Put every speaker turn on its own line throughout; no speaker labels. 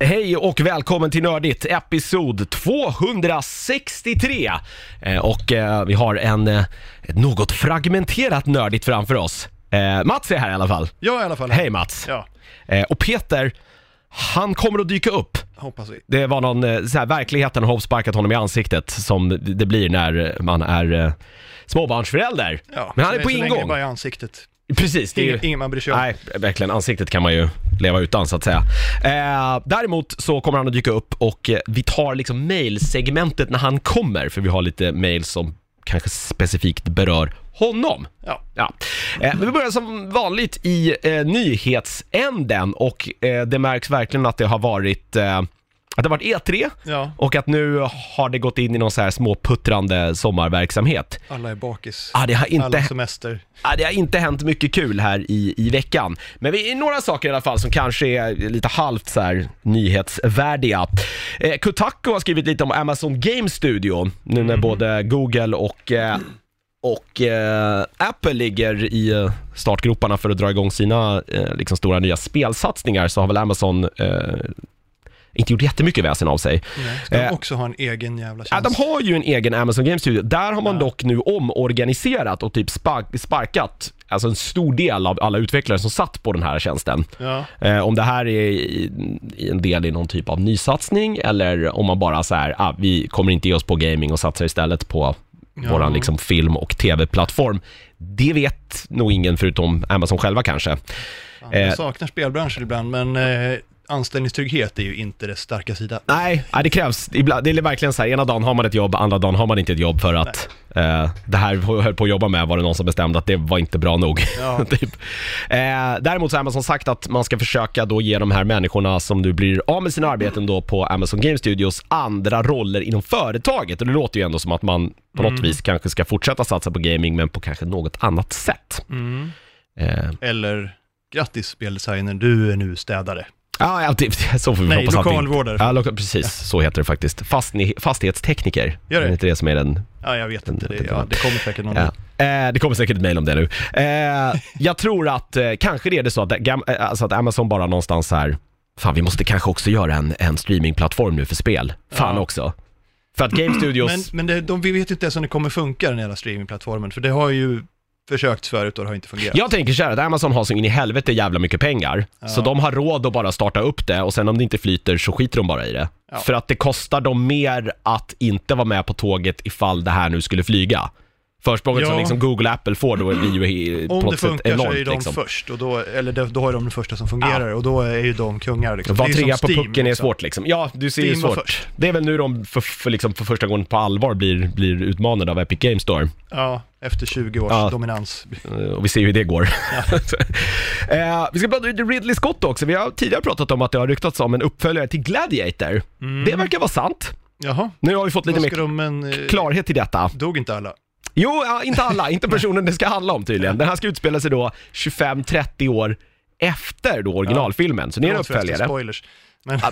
Hej och välkommen till Nördigt, episod 263. Eh, Och eh, vi har en eh, ett något fragmenterat Nördigt framför oss. Eh, Mats är här i alla fall.
Jag i alla fall.
Hej Mats!
Ja,
Eh, Och Peter, han kommer att dyka upp.
hoppas vi.
Det var någon, eh, så här, verkligheten har sparkat honom i ansiktet som det blir när eh, man är eh, småbarnsförälder.
Ja,
Men han är
så
på
länge det
ingång.
bara är i ansiktet.
Precis, det är ju...
Ingen, ingen man bryr sig om.
Nej, verkligen. Ansiktet kan man ju leva utan så att säga. Eh, däremot så kommer han att dyka upp och eh, vi tar liksom mailsegmentet när han kommer, för vi har lite mail som kanske specifikt berör honom.
Ja.
Ja. Eh, men vi börjar som vanligt i eh, nyhetsänden och eh, det märks verkligen att det har varit eh, att det har varit E3
ja,
och att nu har det gått in i någon så här småputtrande sommarverksamhet.
alla är bakis.
Ah, det har inte
Alla semester.
Ja, det har inte hänt mycket kul här i, i veckan. Men vi är några saker i alla fall som kanske är lite halvt så här nyhetsvärdiga. Eh, Kotaku har skrivit lite om Amazon Game Studio, nu
Mm.
när både Google och eh, och eh, Apple ligger i eh, startgroparna för att dra igång sina eh, liksom stora nya spelsatsningar så har väl Amazon eh, inte gjort jättemycket väsen av sig.
Nej, ska de
Eh.
också ha en egen jävla
Ja,
tjänst?
de har ju en egen Amazon Game Studio. Där har man
Ja.
dock nu omorganiserat och typ spark- sparkat alltså en stor del av alla utvecklare som satt på den här tjänsten.
Ja,
Eh, om det här är i, i en del i någon typ av nysatsning eller om man bara så här, ah, vi kommer inte ge oss på gaming och satsar istället på
Ja.
våran liksom film och tv-plattform. Det vet nog ingen förutom Amazon själva kanske.
fan,
Eh.
jag saknar spelbranschen ibland, men eh, anställningstrygghet är ju inte dess starka sida.
Nej, nej, det krävs. Ibland, det är verkligen så här, ena dagen har man ett jobb, andra dagen har man inte ett jobb för att eh, det här vi höll på att jobba med var det någon som bestämde att det var inte bra nog.
Ja.
typ. eh, däremot så har Amazon sagt att man ska försöka då ge de här människorna som nu blir av med sina arbeten då på Amazon Game Studios andra roller inom företaget och det låter ju ändå som att man på
Mm.
något vis kanske ska fortsätta satsa på gaming men på kanske något annat sätt.
Mm.
Eh,
Eller, grattis speldesigner, du är nu städare.
ja, ja, det, så får vi
Nej,
hoppas att det inte-
lokalvårdare.
Ja,
Ja.
loka- precis. Så heter det faktiskt. Fastni- fastighetstekniker.
Gör det. Mm.
Är inte det som är den...
jag vet inte, det, ja, det kommer säkert någon.
Ja. Eh, det kommer säkert ett mejl om det nu. Eh, jag tror att eh, kanske det är det så att, gam- eh, alltså att Amazon bara någonstans så här, fan vi måste kanske också göra en, en streamingplattform nu för spel. Fan
Ja.
också. För att Game Studios...
Men, men det, de, vi vet ju inte ens om det kommer funka, den hela streamingplattformen, för det har ju försökt förut och det har inte fungerat.
Jag tänker så här att Amazon har så in i helvete jävla mycket pengar, så de har råd att bara starta upp det och sen om det inte flyter så skiter de bara i det.
Ja.
För att det kostar dem mer att inte vara med på tåget ifall det här nu skulle flyga. Försprånget
Ja.
som liksom Google och Apple får då blir ju i- på
Om det
något sätt
funkar
enormt.
så är ju de
liksom.
först, och då, eller de- då är de de första som fungerar och då är ju de kungar. Liksom.
Vara
Det är ju
trea på
som Steam
pucken är
också.
svårt liksom. Ja, du ser ju
Steam var
svårt.
först.
Det är väl nu de för, för, liksom, för första gången på allvar blir, blir utmanade av Epic Games Store.
Ja, efter 20 års
Ja.
dominans.
Eh, Och vi ser ju hur det går. eh, vi ska prata lite Ridley Scott också. Vi har tidigare pratat om att det har ryktats om en uppföljare till Gladiator. Det verkar vara sant.
Jaha,
Nu har vi fått lite
vad
mer
ska de men... eh,
klarhet i detta.
Dog inte alla?
Jo, ja, inte alla, inte personen det ska handla om tydligen. Den här ska utspela sig då 25-30 år efter då originalfilmen, så det är en
Förlåt förresten,
uppföljare.
Spoilers. Men
Ah,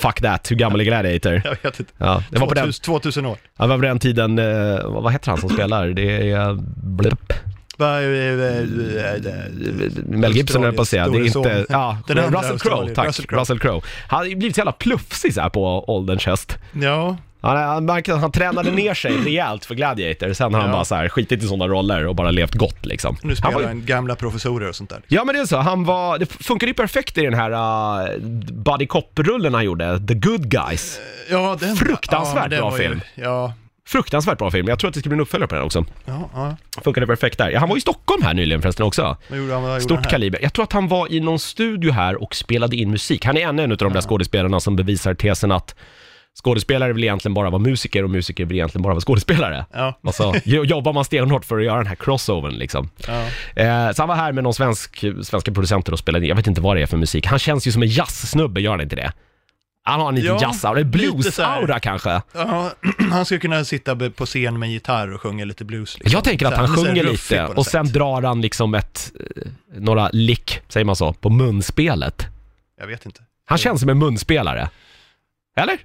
Fuck that, hur gammal är Gladiator?
jag vet inte.
Ja, det var på den,
2000, 2000 år.
ja, det var på den tiden, eh, vad vad heter han som spelar? Det är... eh, Blip.
Va- eh, eh, eh, eh,
Mel Gibson höll jag på att säga. Det är
Australiens store
inte,
son.
ja,
Den andra
Russell Crowe,
Australien,
tack. Russell
Russell
Crowe.
Crowe.
Han har ju blivit så jävla plufsig så här på ålderns höst.
Ja,
Han, han märker att han tränade ner sig rejält för Gladiator, sen har han
Ja.
bara så här skitit i sådana roller och bara levt gott liksom.
nu
han
spelar
var,
han
ju-
gamla professorer och sånt där.
Ja men det är så, han var, det funkade ju perfekt i den här uh, Buddy Cop-rullen han gjorde, The Good Guys.
Ja, den,
Fruktansvärt
ja, men den
bra
var ju-
film.
Ja,
Fruktansvärt bra film, jag tror att det ska bli en uppföljare på den också.
ja, ja.
Funkade perfekt där. Ja, han var i Stockholm här nyligen förresten också.
Vad gjorde han? Vad gjorde han
Stort
här?
kaliber. Jag tror att han var i någon studio här och spelade in musik. Han är ännu en av de där skådespelarna som bevisar tesen att skådespelare vill egentligen bara vara musiker och musiker vill egentligen bara vara skådespelare.
Ja,
Och så jo- jobbar man stenhårt för att göra den här crossovern liksom.
ja.
Eh, så han var här med någon svensk, svenska producenter och spelade in. Jag vet inte vad det är för musik. Han känns ju som en jazzsnubbe, gör han inte det? Han har en liten
Ja,
jazzaura, en
lite så här.
bluesaura kanske.
Ja, han skulle kunna sitta be- på scen med gitarr och sjunga lite blues. Liksom.
Jag tänker att
Så här,
han
så här
sjunger
ruffig
lite
på något
och sen
sätt.
drar han liksom ett, eh, några lick, säger man så, på munspelet.
Jag vet inte.
Han känns som en munspelare. Eller?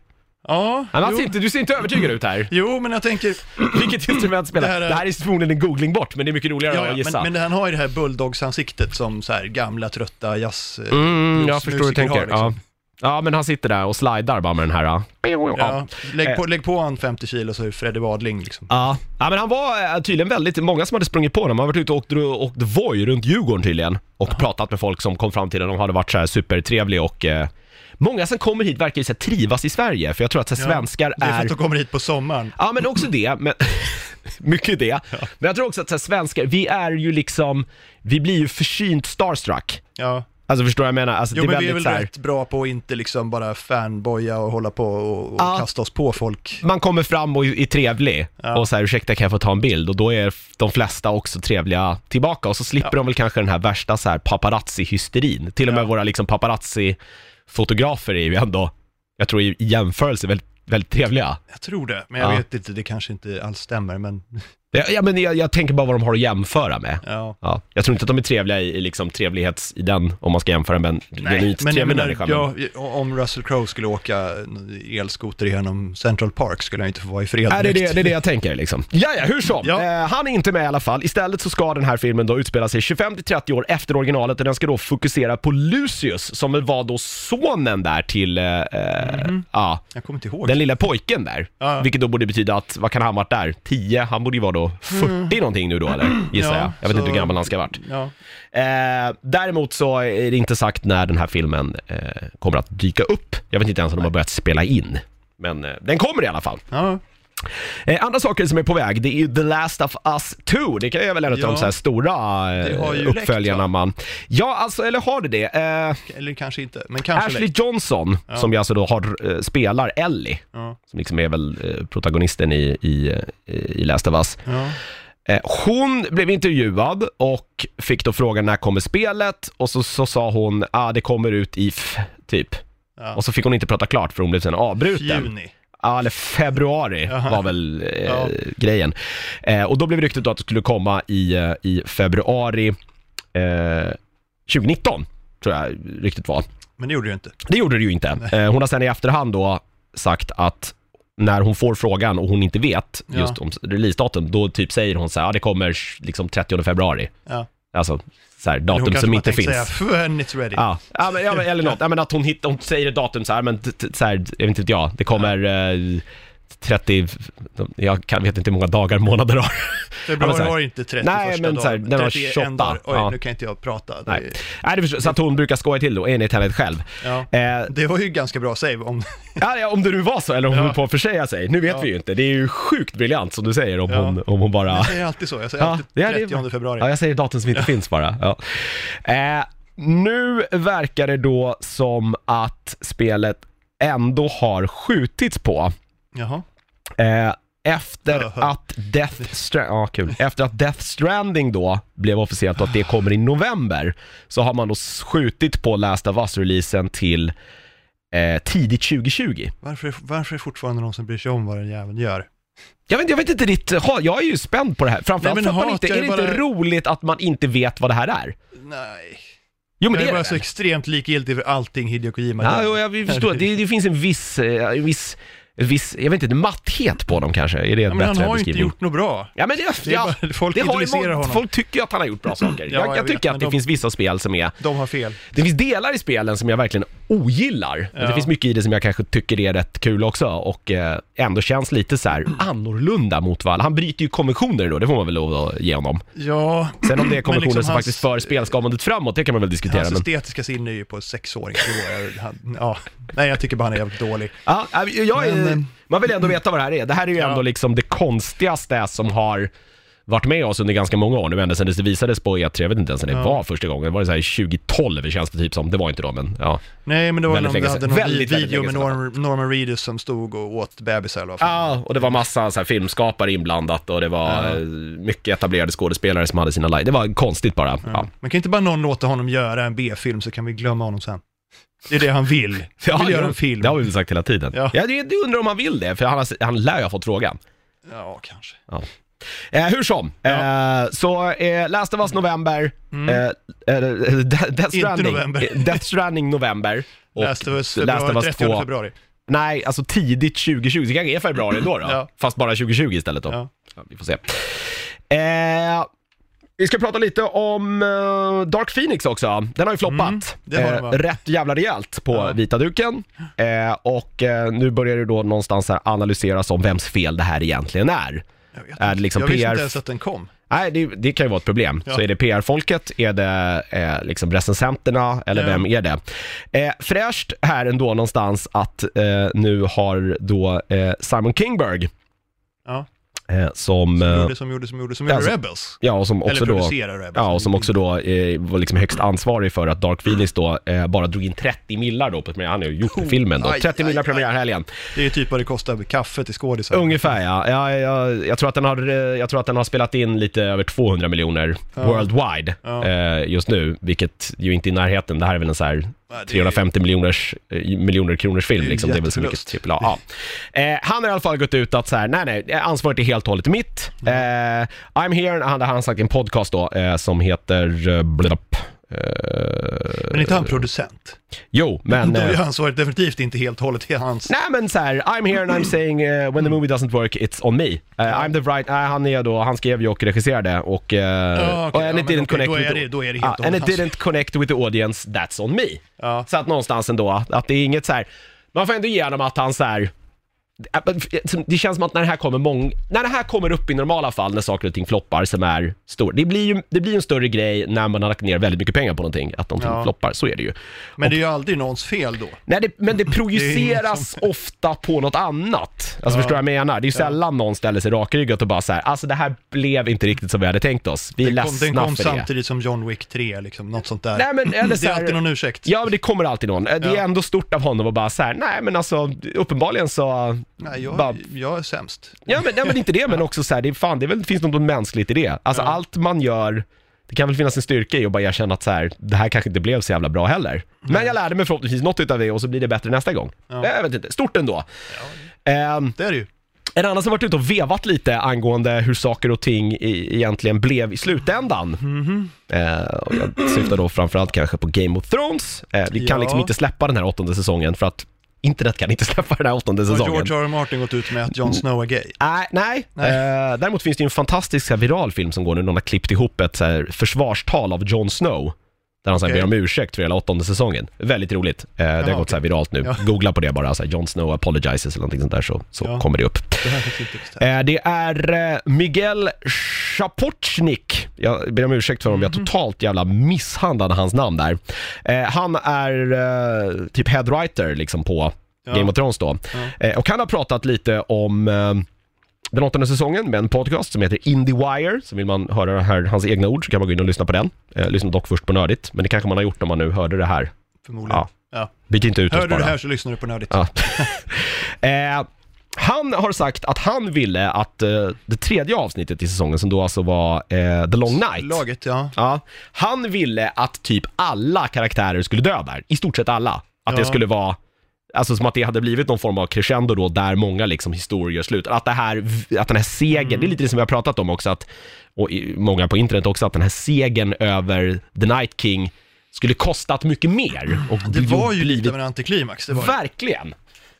Ja,
Han
jo.
ser inte, du ser inte övertygad ut här.
jo, men jag tänker...
Vilket instrument spelar? Det
Det
här
här
är,
är-
förmodligen en googling bort, men det är mycket roligare
Ja,
att
men,
gissa.
men han har ju det här bulldogsansiktet som så här gamla trötta jazz... eh,
mm, jag förstår hur du
bluesmusiker
tänker.
har liksom.
Ja, men han sitter där och slidar bara med den här. Ja. Ja. Eh.
Ja. Lägg, på, lägg på han 50 kilo så är det Freddy Wadling liksom.
Ja. ja, men han var eh, tydligen väldigt, många som hade sprungit på honom. Han har varit ute och åkt, åkt Voi runt Djurgården tydligen och pratat med folk som kom fram till honom. De hade varit så här supertrevliga och eh, många som kommer hit verkar ju så här, trivas i Sverige, för jag tror att så här,
Ja,
svenskar
Det är för
är...
att de kommer hit på sommaren.
Ja, men också det. Men... Mycket det. Men jag tror också att så här, svenskar, vi är ju liksom, vi blir ju försynt starstruck.
Ja.
Alltså förstår du vad jag menar? Alltså,
Jo
det är
men vi är
väldigt
väl
så här...
rätt bra på att inte liksom bara fanboya och hålla på och, och
Ja.
kasta oss på folk.
man kommer fram och är trevlig
Ja.
och så här, ursäkta kan jag få ta en bild? Och då är f- de flesta också trevliga tillbaka och så slipper de väl kanske den här värsta så här paparazzi-hysterin. Till och med våra liksom paparazzi-fotografer är ju ändå, jag tror i i jämförelse, väldigt, väldigt trevliga.
Jag tror det, men jag
Ja.
vet inte, det kanske inte alls stämmer men
Ja, ja, men jag, jag tänker bara vad de har att jämföra med.
ja.
Ja, jag tror inte att de är trevliga i, i liksom trevlighets, i den, om man ska jämföra med en genuint
men jag
trevlig
menar,
människa. men-
ja, om Russell Crowe skulle åka en elskoter genom Central Park skulle han inte få vara i fred
Nej, det, är
direkt.
det, det är det jag tänker liksom. Jaja, hur som.
Ja.
Eh, han är inte med i alla fall. Istället så ska den här filmen då utspela sig 25-30 år efter originalet och den ska då fokusera på Lucius som väl var då sonen där till, eh, ja,
Jag kommer inte ihåg.
den lilla pojken där.
Mhm. Ja.
Vilket då borde betyda att, vad kan han ha varit där? 10? Han borde ju vara då 40 någonting nu då eller? Gissar
Mm. Ja,
jag. Jag vet inte
så-
hur gammal han ska ha varit.
Ja.
Eh, däremot så är det inte sagt när den här filmen eh, kommer att dyka upp. Jag vet inte ens om de har börjat spela in. Men eh, den kommer i alla fall.
Ja.
Eh, andra saker som är på väg, det är ju The Last of Us 2. Det kan jag väl en av
Ja.
de så här stora eh,
Det har ju läckt,
uppföljarna
va?
man... Ja, alltså, eller har det det? Eh,
Eller kanske inte, men kanske
Ashley
lätt.
Johnson, som ju alltså då har, eh, spelar Ellie,
Ja.
som liksom är väl eh, protagonisten i, i, eh, i Last of Us.
Ja.
Eh, hon blev intervjuad och fick då frågan när kommer spelet? Och så, så sa hon, ah det kommer ut i f- typ.
Ja.
Och så fick hon inte prata klart för hon blev sen avbruten.
Juni.
Ja, eller februari
Jaha.
var väl eh,
Ja.
grejen. Eh, och då blev ryktet då att det skulle komma i, eh, i februari eh, 2019, tror jag ryktet var.
Men det gjorde du inte.
Det gjorde det ju inte. Eh, hon har sen i efterhand då sagt att när hon får frågan och hon inte vet
Ja.
just om releasedatum, då typ säger hon så här, ja det kommer liksom 30 februari.
Ja.
Alltså, så här,
Men hon
datum
kanske
som
bara
inte
tänkte
finns.
Säga, When it's ready.
Ja, ja, men, ja men, eller något. Ja, men att hon, hittar, hon säger ett datum så här, men t- t- så här, jag vet inte jag, det kommer eh, 30, jag kan, vet inte hur många dagar, månader har. Ja, men
Februari
så här-
har inte 31
Nej, men så här, den har 28.
dagar. Oj,
Ja.
nu kan inte jag prata. Det,
Nej, Nej det förstår, så att hon brukar skoja till då, enligt henne själv.
Ja.
Eh,
det var ju ganska bra save om...
ja, ja, om det nu var så, eller om hon
Ja.
höll på att försäga sig. Nu vet
Ja.
vi ju inte, det är ju sjukt briljant som du säger om,
Ja.
hon, om hon bara...
Jag säger alltid så, jag säger
Ja,
alltid
det är det.
30 februari.
Ja, jag säger datum som inte finns bara. Ja. Eh, nu verkar det då som att spelet ändå har skjutits på.
Jaha.
Eh, efter
Jaha.
att Death Stranding, ja kul, efter att Death Stranding då blev officiellt och att det kommer i november, så har man då skjutit på Last of Us-releasen till eh, tidigt 2020.
Varför, varför är det fortfarande någon som bryr sig om vad den jäveln gör?
Jag vet, jag vet inte ditt, ha, jag är ju spänd på det här. Framförallt
Nej,
för
men
att man
hat,
inte,
jag
är
är
det inte
bara-
roligt att man inte vet vad det här är?
Nej.
Jo men
Jag
det
är
är
bara
det
så
väl?
extremt likgiltig för allting Hideo Kojima
Ja,
gör.
jo, jag förstår, det, det finns en viss, eh, en viss, en viss, jag vet inte, en matthet på dem kanske, är det en
ja, men han
bättre
har ju inte
beskrivning?
gjort något bra.
Ja men det,
Det är
ja,
bara, folk
Det har ju
idoliserar
må-
honom.
Folk tycker ju att han har gjort bra saker.
Ja,
jag, jag,
jag vet,
tycker att
men
det
de-
finns vissa spel som är...
De har fel.
Det finns delar i spelen som jag verkligen ogillar. Men det
Ja.
finns mycket i det som jag kanske tycker är rätt kul också och eh, ändå känns lite så här annorlunda mot vad alla- Han bryter ju konventioner då, det får man väl lov att ge honom.
Ja,
Sen om det är konventioner
liksom
som
hans-
faktiskt för spelskapandet framåt, det kan man väl diskutera.
hans
men...
estetiska sinne är ju på sexåringsnivå. Jag- han- Ja, nej, jag tycker bara han är jävligt dålig.
Ja, äh, jag är,
Men, eh,
man vill ändå veta vad det här är. Det här är ju
Ja.
ändå liksom det konstigaste som har varit med oss under ganska många år nu, ända sedan det visades på E3, jag vet inte ens när det
Ja.
var första gången, det var det så här 2012 känns det typ som, det var inte då men ja.
Nej, men det var
Väldigt
någon,
länge
det
sedan.
hade någon
Väldigt, väldigt
video
länge
med
sedan.
Norm, Norman Reedus som stod och åt bebisar eller vad fan.
Ja, och det var massa så här filmskapare inblandat och det var eh, mycket etablerade skådespelare som hade sina live, det var konstigt bara. Ja.
Men kan inte bara någon låta honom göra en B-film så kan vi glömma honom sen? Det är det han vill. Han vill göra en film.
Det har vi väl sagt hela tiden. Ja.
Ja.
det, det undrar om han vill det, för han, har, han lär ju ha fått frågan.
Ja, kanske.
Eh, hur som, eh, så eh, Last of Us November, eh, eh, De- Death Stranding,
Mm. november.
eh, Death Stranding November och
Last of Us
Last of
februari,
Us
30
2,
februari.
nej alltså tidigt 2020, det kanske är februari då, då
Ja.
fast bara 2020 istället då. Ja.
Ja.
vi får se. Eh, Vi ska prata lite om eh, Dark Phoenix också. Den har ju
Mm,
floppat Eh,
det har den, va?
rätt jävla rejält på
Ja.
vita duken. Eh, och eh, nu börjar det då någonstans här analyseras om vems fel det här egentligen är.
Jag, vet
Är det
inte.
liksom
jag visste
PR?
inte ens att den kom.
Nej, det, det kan ju vara ett problem.
Ja.
Så är det PR-folket, är det eh, liksom recensenterna eller
Ja.
vem är det? Eh, fräscht här ändå någonstans att eh, nu har då eh, Simon Kingberg,
Ja,
eh, som,
som
eh,
gjorde, som gjorde, som gjorde, som
Ja,
gjorde
som-
Rebels.
ja, och som också
Eller
då...
producerar alltså. Rebels.
Ja, och som också då eh, var liksom högst ansvarig för att Dark Phoenix då eh, bara drog in 30 millar då på premiär. Han har ju gjort filmen då.
Oh, Aj,
30
aj,
millar
aj.
premiärhelgen.
Det är ju typ vad det kostar med kaffe till skådisar.
Ungefär ja. ja jag, jag, tror att den har, eh, jag tror att den har spelat in lite över 200 miljoner worldwide
Ja.
eh, just nu, vilket ju inte är i närheten. Det här är väl en så här
det är-
350 miljoners, eh, miljoner kronors film.
Det är
Liksom. Det är väl så mycket
jätteförlust.
trippel A. Ja. Eh, han har i alla fall gått ut att så här, nej nej, ansvaret är helt och hållet mitt. Eh,
Mm.
I'm here, han har han sagt i en podcast då, eh, som heter eh, Blup. Eh,
Men inte han producent?
jo, men...
Då är
eh,
ansvaret definitivt inte helt och hållet i hans.
Nej men så här, I'm here and I'm saying eh, when the movie doesn't work it's on me. Eh, I'm the right, nej han är då, han skrev ju och regisserade och... Uh,
Ja, Ah, okej,
och and
ja,
it
men
didn't
okej,
connect
då är
with
det-
the-
då är det helt
Ja,
och
And
hållet
it
hans-
didn't connect with the audience, that's on me.
Ja.
Så att någonstans ändå, att det är inget så här. man får ändå ge honom att han så här. Det känns som att när det här kommer mång... När det här kommer upp i normala fall när saker och ting floppar som är stor. Det blir ju det blir ju en större grej när man har lagt ner väldigt mycket pengar på någonting, att någonting
Ja.
floppar. Så är det ju.
Men det är ju aldrig någons fel då.
Nej, det, men det
ingen
projiceras ofta på något annat. Alltså förstår du vad jag menar? Det är ju sällan någon ställer sig rakryggat och bara så här, alltså det här blev inte riktigt som vi hade tänkt oss. Vi är
Den kom, den
ledsna
kom
för det.
samtidigt som John Wick 3, liksom, något sånt där.
Nej, men, eller så
det är
här-
alltid någon ursäkt.
Ja, men det kommer alltid någon. Det är
Ja.
ändå stort av honom att bara så här, nej men alltså uppenbarligen så,
Nej,
Bara-
jag, jag är sämst.
ja men, nej, men inte det, men också så här, det, är fan, det är väl, finns något mänskligt i det. Alltså allt man gör, det kan väl finnas en styrka i att bara erkänna att så här, det här kanske inte blev så jävla bra heller. Men jag lärde mig förhoppningsvis något utav det och så blir det bättre nästa gång. Jag vet inte, stort ändå. Ehm,
Det är det ju.
En annan som varit ute och vevat lite angående hur saker och ting i, egentligen blev i slutändan.
Mhm.
Eh, och jag syftar då framförallt kanske på Game of Thrones. Eh, vi kan
Ja.
liksom inte släppa den här åttonde säsongen för att internet kan inte släppa den här åttonde
Har
säsongen.
George R. R. Martin gått ut med att Jon Snow är gay?
Nej, nej.
Nej.
Eh, däremot finns det ju en fantastisk så här, viral film som går nu, någon har klippt ihop ett så här, försvarstal av Jon Snow. Där han så här,
Okej.
ber om ursäkt för hela åttonde säsongen. Väldigt roligt. Eh, det har gått
okej.
så här viralt nu.
Ja.
Googla på det bara, så här, Jon Snow apologizes eller någonting sånt där så, så
Ja.
kommer det upp.
Det här finns inte bestämt.
Eh, Det är eh, Miguel Chapotnik. Jag ber om ursäkt för om
Mhm.
jag totalt jävla misshandlade hans namn där. Eh, Han är eh, typ head writer liksom på
Ja.
Game of Thrones då.
Ja.
Eh, Och han har pratat lite om eh, den åttonde säsongen med en podcast som heter Indie Wire. Så vill man höra det här, hans egna ord så kan man gå in och lyssna på den. Eh, Lyssna dock först på Nördigt, men det kanske man har gjort om man nu hörde det här.
Förmodligen.
Ja.
Ja.
Byt inte ut oss
Hör du
bara.
det här så lyssnar du på Nördigt.
Ja. eh, han har sagt att han ville att eh, det tredje avsnittet i säsongen, som då alltså var eh, The Long Night,
Laget, ja.
ja, han ville att typ alla karaktärer skulle dö där. I stort sett alla. Att det
Ja.
skulle vara Alltså som att det hade blivit någon form av crescendo då, där många liksom historier slutar. Att, det här, att den här segern,
Mm.
det är lite det som vi har pratat om också, att, och i- många på internet också, att den här segern över The Night King skulle kostat mycket mer. Och
Det var ju
blivit
lite av en antiklimax. Det var det.
Verkligen!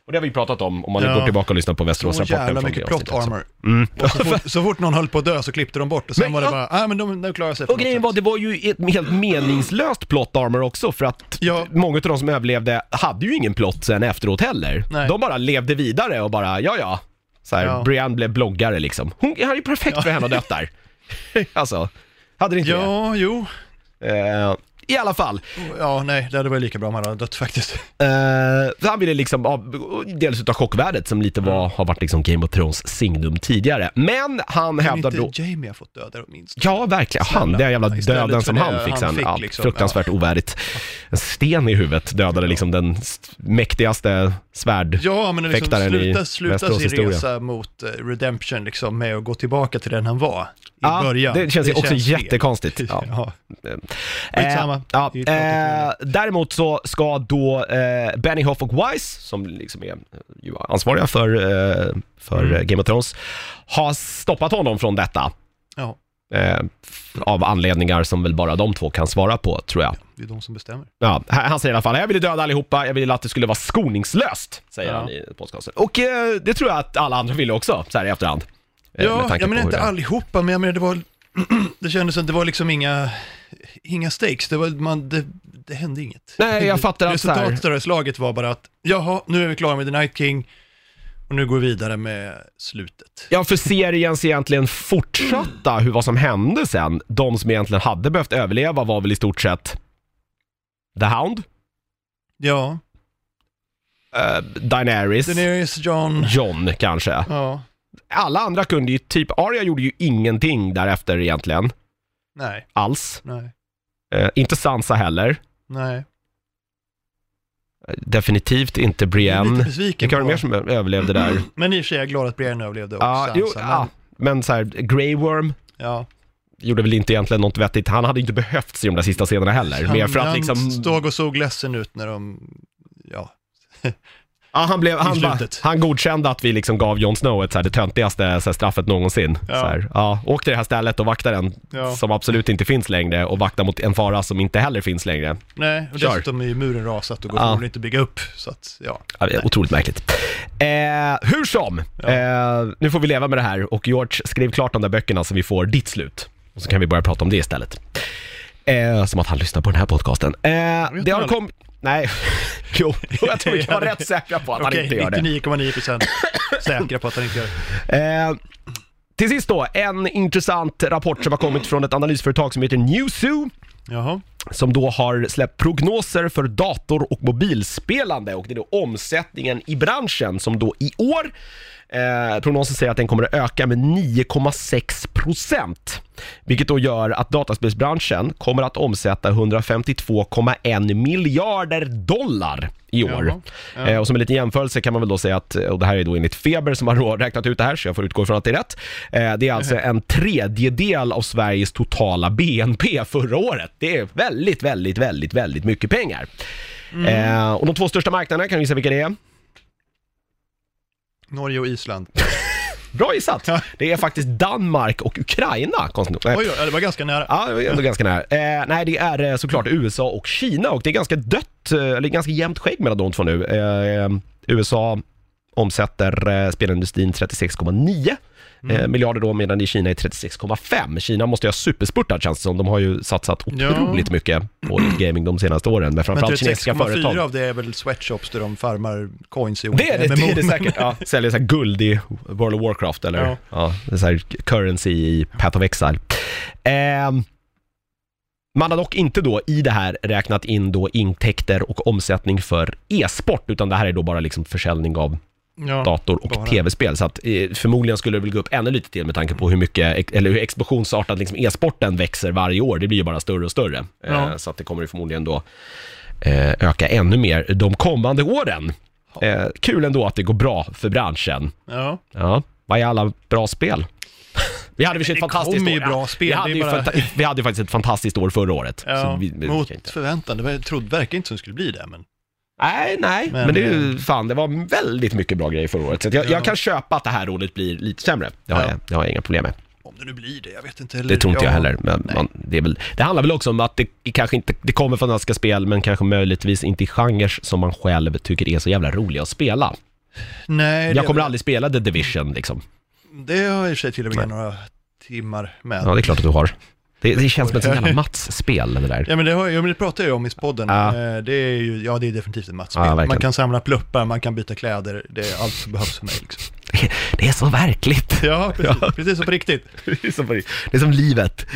Och det har vi pratat om, om man
Ja.
går tillbaka och lyssnar på
så
Västeråsrapporten
jävla
från
mycket
det
plot
avsnittet. också.
armor. Och Så, fort, så fort någon höll på att dö så klippte de bort och sen
Men-
var det
ja.
bara, ah, men de, de klarar sig. på
Och
något
grejen
sätt."
var, det var ju ett helt meningslöst plot armor också för att
Ja.
många av de som överlevde hade ju ingen plot sen efteråt heller.
Nej.
De bara levde vidare och bara, ja ja. Så här,
Ja.
Brienne blev bloggare liksom. Hon, det här är ju perfekt för henne att dött där. alltså, hade det inte
Ja, jo.
det? Eh, I alla fall.
Ja, nej, det hade varit lika bra om han hade dött faktiskt.
Eh, så han ville liksom, av, dels utav chockvärdet som lite
Mm.
var, har varit liksom Game of Thrones signum tidigare. Men han
Kan
hävdar
inte
då...
Jamie har fått döda åtminstone?
Ja, verkligen. Han,
Snälla.
den jävla
Ja, istället
döden
för
som
det
han fick
han
sen.
fick,
ja,
liksom.
fruktansvärt ovärdigt. En sten i huvudet dödade liksom den st- mäktigaste svärd...
Ja, men liksom
Fäktaren i
sluta, sluta
Västerås
sin
historia.
resa mot eh, Redemption liksom med att gå tillbaka till den han var i
Ja,
början.
det känns ju också
fel.
jättekonstigt. Ja.
Ja.
Eh,
Skitsamma.
ja,
Det är ju klart
eh,
att
däremot så ska då eh, Benioff och Weiss, som liksom är eh, ju ansvariga för, eh, för
Mm.
eh, Game of Thrones, ha stoppat honom från detta.
ja,
Eh, f- av anledningar som väl bara de två kan svara på, tror jag.
det är de som bestämmer.
Ja, här- han säger i alla fall, jag ville döda allihopa, jag ville att det skulle vara skoningslöst, säger
Ja.
han i podcasten. Och eh, det tror jag att alla andra ville också, så här i efterhand. Eh, med
Ja,
tanke
jag menar
på hur
inte
det är.
allihopa, men jag menar det var det kändes som det var liksom inga, inga stakes, det, var, man, det, det hände inget.
Nej, jag fattar att så här-
Resultatet av det här slaget var bara att, jaha, nu är vi klara med The Night King och nu går vi vidare med slutet.
Ja, för seriens egentligen fortsatta, hur, vad som hände sen, de som egentligen hade behövt överleva var väl i stort sett The Hound,
Ja,
eh, Daenerys,
Daenerys, John,
John kanske.
ja,
Alla andra kunde ju, typ Arya gjorde ju ingenting därefter egentligen,
nej,
alls.
nej,
Eh, inte Sansa heller.
nej.
Eh, Definitivt inte
Jag är lite
Brienne.
besviken
Vilka var det mer
på,
som överlevde där?
men i och för sig är jag glad att Brienne överlevde också.
Ja, jo,
Sansa, men,
ja, men så här, Grey Worm,
ja.
gjorde väl inte egentligen något vettigt. Han hade inte behövts i de där sista scenerna heller. Mer för att
han
liksom...
stod och såg ledsen ut när de, ja,
Ja, han, blev, han,
i
bara-
slutet.
han godkände att vi liksom gav Jon Snow ett, så här, det töntigaste så här, straffet någonsin.
Ja.
Ja. Så här, ja, åk till det här stället och vakta den
Ja.
som absolut inte finns längre och vakta mot en fara som inte heller finns längre.
nej, och
Kör.
dessutom är ju muren rasat och går
Ja.
förmodligen inte att bygga upp, så att, ja.
Ja, det är otroligt märkligt. Eh, hur som, eh, nu får vi leva med det här och George, skriv klart de där böckerna så vi får ditt slut. Och så kan vi börja prata om det istället. Eh, som att han lyssnar på den här podcasten. Eh, det har
aldrig.
kommit... Nej, jo, jag tror vi kan vara rätt säkra på att han
Okej,
inte gör det.
99,9% säkra på att han inte gör det.
Eh, till sist då, en intressant rapport som har kommit från ett analysföretag som heter Newzoo
Jaha.
som då har släppt prognoser för dator och mobilspelande och det är då omsättningen i branschen som då i år, eh, prognosen säger att den kommer att öka med 9,6 procent. Vilket då gör att dataspelsbranschen kommer att omsätta 152,1 miljarder dollar i år.
Jaha. Ja.
Eh, och som en liten jämförelse kan man väl då säga att, eh, och det här är då enligt Feber som har då räknat ut det här, så jag får utgå ifrån att det är rätt. Eh, det är alltså en tredjedel av Sveriges totala BNP förra året. Det är väldigt, väldigt, väldigt, väldigt mycket pengar.
Mm.
Eh, och de två största marknaderna, kan du gissa vilka det är?
Norge och Island.
Bra gissat!
Ja.
Det är faktiskt Danmark och Ukraina, konstigt nog. Nej.
Oj, oj, det var ganska nära.
Äh. Ja, det är ändå ganska nära. Eh, nej, det är eh, såklart USA och Kina och det är ganska dött, eh, eller ganska jämnt skägg mellan de två nu. Eh, USA omsätter eh, spelindustrin 36,9 eh, miljarder då, medan det i Kina är 36,5. Kina måste ju ha superspurtat känns det som. De har ju satsat
Ja.
otroligt mycket på gaming de senaste åren, men
Men
framförallt kinesiska
36,4
företag.
av det är väl sweatshops där de farmar coins i
Det är det,
MMO.
det, är det säkert. Ja, säljer så här guld i World of Warcraft eller
Ja.
ja. det är så här currency i Path of Exile. Ehm, man har dock inte då i det här räknat in då intäkter och omsättning för e-sport, utan det här är då bara liksom försäljning av
Ja.
dator och
Bara.
tv-spel. Så att eh, förmodligen skulle det väl gå upp ännu lite till med tanke på hur mycket, eller hur explosionsartat liksom e-sporten växer varje år. Det blir ju bara större och större. Eh,
Ja.
Så att det kommer ju förmodligen då eh, öka ännu mer de kommande åren. Eh, kul ändå att det går bra för branschen.
ja.
Ja, vad är alla bra spel? Vi hade ju ett
det
fantastiskt
kommer
år.
ju bra
Ja,
spel,
vi,
det är
hade ju
bara-
fanta- vi hade ju faktiskt ett fantastiskt år förra året.
ja.
Så vi- vi- vi kan
Mot
inte-
förväntan. Det var, jag trodde, verkar inte som det skulle bli det, men
Nej, nej,
Men- eh,
men, det är ju fan, det var väldigt mycket bra grejer förra året. Så att jag,
Ja.
jag kan köpa att det här året blir lite sämre. Det har,
Ja.
jag, det har jag inga problem med.
om det nu blir det, jag vet inte heller.
Det tror inte
Ja.
jag heller. Men man, det, är väl, det handlar väl också om att det kanske inte, det kommer från önska spel, men kanske möjligtvis inte i genrer som man själv tycker är så jävla roliga att spela.
Nej, det,
Jag kommer aldrig spela The Division liksom.
det har jag i och för sig till och med några timmar med.
Ja, det är klart att du har. Det, det känns som ett sånt jävla Mats-spel det där.
Ja men det, har, ja, men det pratar jag ju om i podden.
Ja.
Eh, Det är ju, ja det är definitivt ett matchspel.
Ja, verkligen.
man kan samla pluppar, man kan byta kläder, det är allt som behövs för mig liksom.
Det är så verkligt.
Ja, precis, precis som på riktigt.
Det är som, det är som livet.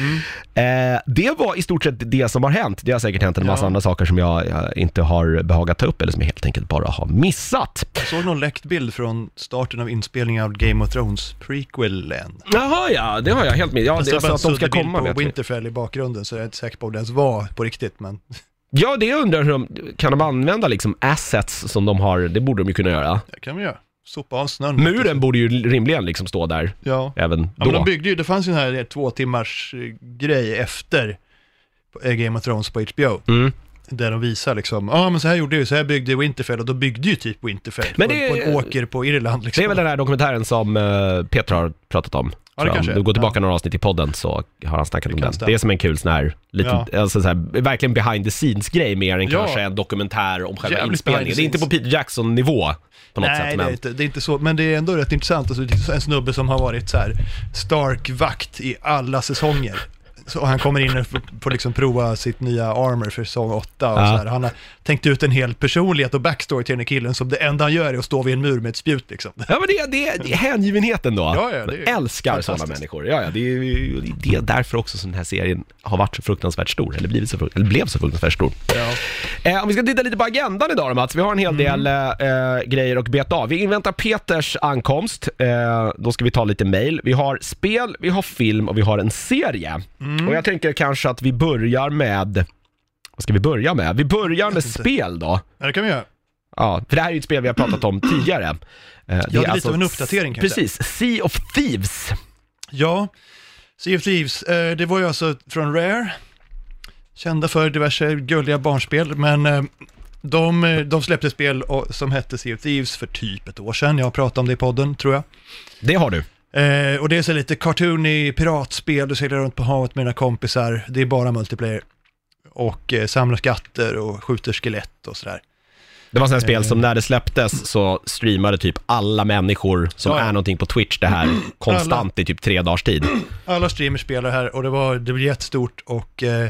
Eh, det var i stort sett det som har hänt. Det har säkert hänt en massa
Ja.
andra saker som jag, eh, inte har behagat ta upp eller som jag helt enkelt bara har missat.
Jag såg någon läckt bild från starten av inspelningen av Game of Thrones prequelen.
Jaha ja, det har jag helt med. Ja,
Fast
det,
det
alltså
var
att de ska
en bild
komma
på
med.
Winterfell i bakgrunden så jag är inte säker på om det ens var på riktigt men...
Ja, det undrar hur de, kan de använda liksom assets som de har, det borde de ju kunna göra.
Det kan vi göra. Sopa av snön.
Muren borde ju rimligen liksom stå där,
Ja.
även då.
ja men de byggde ju, det fanns ju en här två timmars eh, grej efter eh, Game of Thrones på HBO.
Mm.
där de visar liksom, ja ah, men så här gjorde vi, så här byggde Winterfell och då byggde ju typ Winterfell
Men
på-
det-
på en åker på Irland liksom.
Det är väl den här dokumentären som eh, Peter har pratat om.
det
tror jag.
kanske
Om
är.
du går tillbaka
Ja.
några avsnitt i podden så har han snackat om
kan
den.
stämma.
Det är som en kul sån här, liten, alltså så här, verkligen behind the scenes-grej mer än
Ja.
kanske en dokumentär om själva
Jävligt
inspelningen. Det
behind the
är inte på
scenes.
Peter Jackson-nivå på något
Nej,
sätt.
det,
Men...
är inte, det är inte så, men det är ändå rätt intressant. Alltså, det är en snubbe som har varit så här Stark-vakt i alla säsonger. Så han kommer in och får- får liksom prova sitt nya armor för säsong 8 och
Ja.
så här. Han har tänkt ut en hel personlighet och backstory till den här killen som det enda han gör är att stå vid en mur med ett spjut liksom.
Ja men det, det, det är hängivenheten då.
Ja, ja, det är
Jag älskar sådana
fantastiskt.
människor. Ja, ja, det, är, ju- det är därför också som den här serien har varit så fruktansvärt stor, eller, blivit så, frukt- eller blev så fruktansvärt stor.
Ja.
Eh, om vi ska titta lite på agendan idag då Mats, vi har en hel
Mm.
del eh, grejer att beta av. Vi inväntar Peters ankomst, eh, då ska vi ta lite mail. Vi har spel, vi har film och vi har en serie.
Mm.
Och jag tänker kanske att vi börjar med, vad ska vi börja med? Vi börjar med spel då.
Ja, det kan vi göra.
Ja, för det här är ju ett spel vi har pratat om tidigare. Eh, Det ja,
lite av en uppdatering kanske.
Precis, Sea of Thieves.
Ja, Sea of Thieves, eh, det var ju alltså från Rare, kända för diverse gulliga barnspel, men eh, de, eh, de släppte spel och- som hette Sea of Thieves för typ ett år sedan, jag har pratat om det i podden tror jag.
Det har du.
Eh, och det är så lite cartoony piratspel, du seglar runt på havet med dina kompisar, det är bara multiplayer. Och eh, samlar skatter och skjuter skelett och sådär.
Det var sådana spel
Eh.
som när det släpptes så streamade typ alla människor som
Ja.
är någonting på Twitch det här konstant i typ tre dagars tid.
Alla streamers spelar här och det, var, det blev jättestort och eh,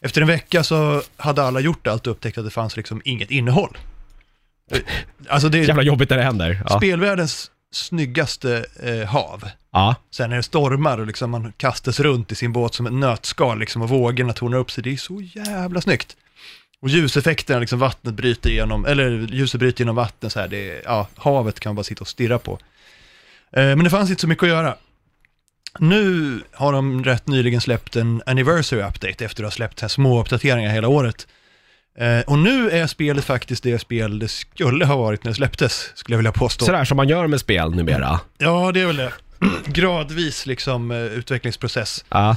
efter en vecka så hade alla gjort allt och upptäckt att det fanns liksom inget innehåll. Eh, Alltså det är
Jävla jobbigt när det händer. Ja.
spelvärldens snyggaste eh, hav.
Ja.
Sen när det stormar och liksom man kastas runt i sin båt som ett nötskal liksom och vågorna tornar upp sig, det är så jävla snyggt. Och ljuseffekterna, liksom vattnet bryter igenom, eller ljuset bryter genom vattnet så här, det är, ja, havet kan man bara sitta och stirra på. Eh, men det fanns inte så mycket att göra. Nu har de rätt nyligen släppt en anniversary update efter att ha släppt så här små uppdateringar hela året. Eh, och nu är spelet faktiskt det spel det skulle ha varit när det släpptes, skulle jag vilja påstå.
Sådär som man gör med spel numera.
Ja, det är väl det. Gradvis liksom eh, utvecklingsprocess.
Ja.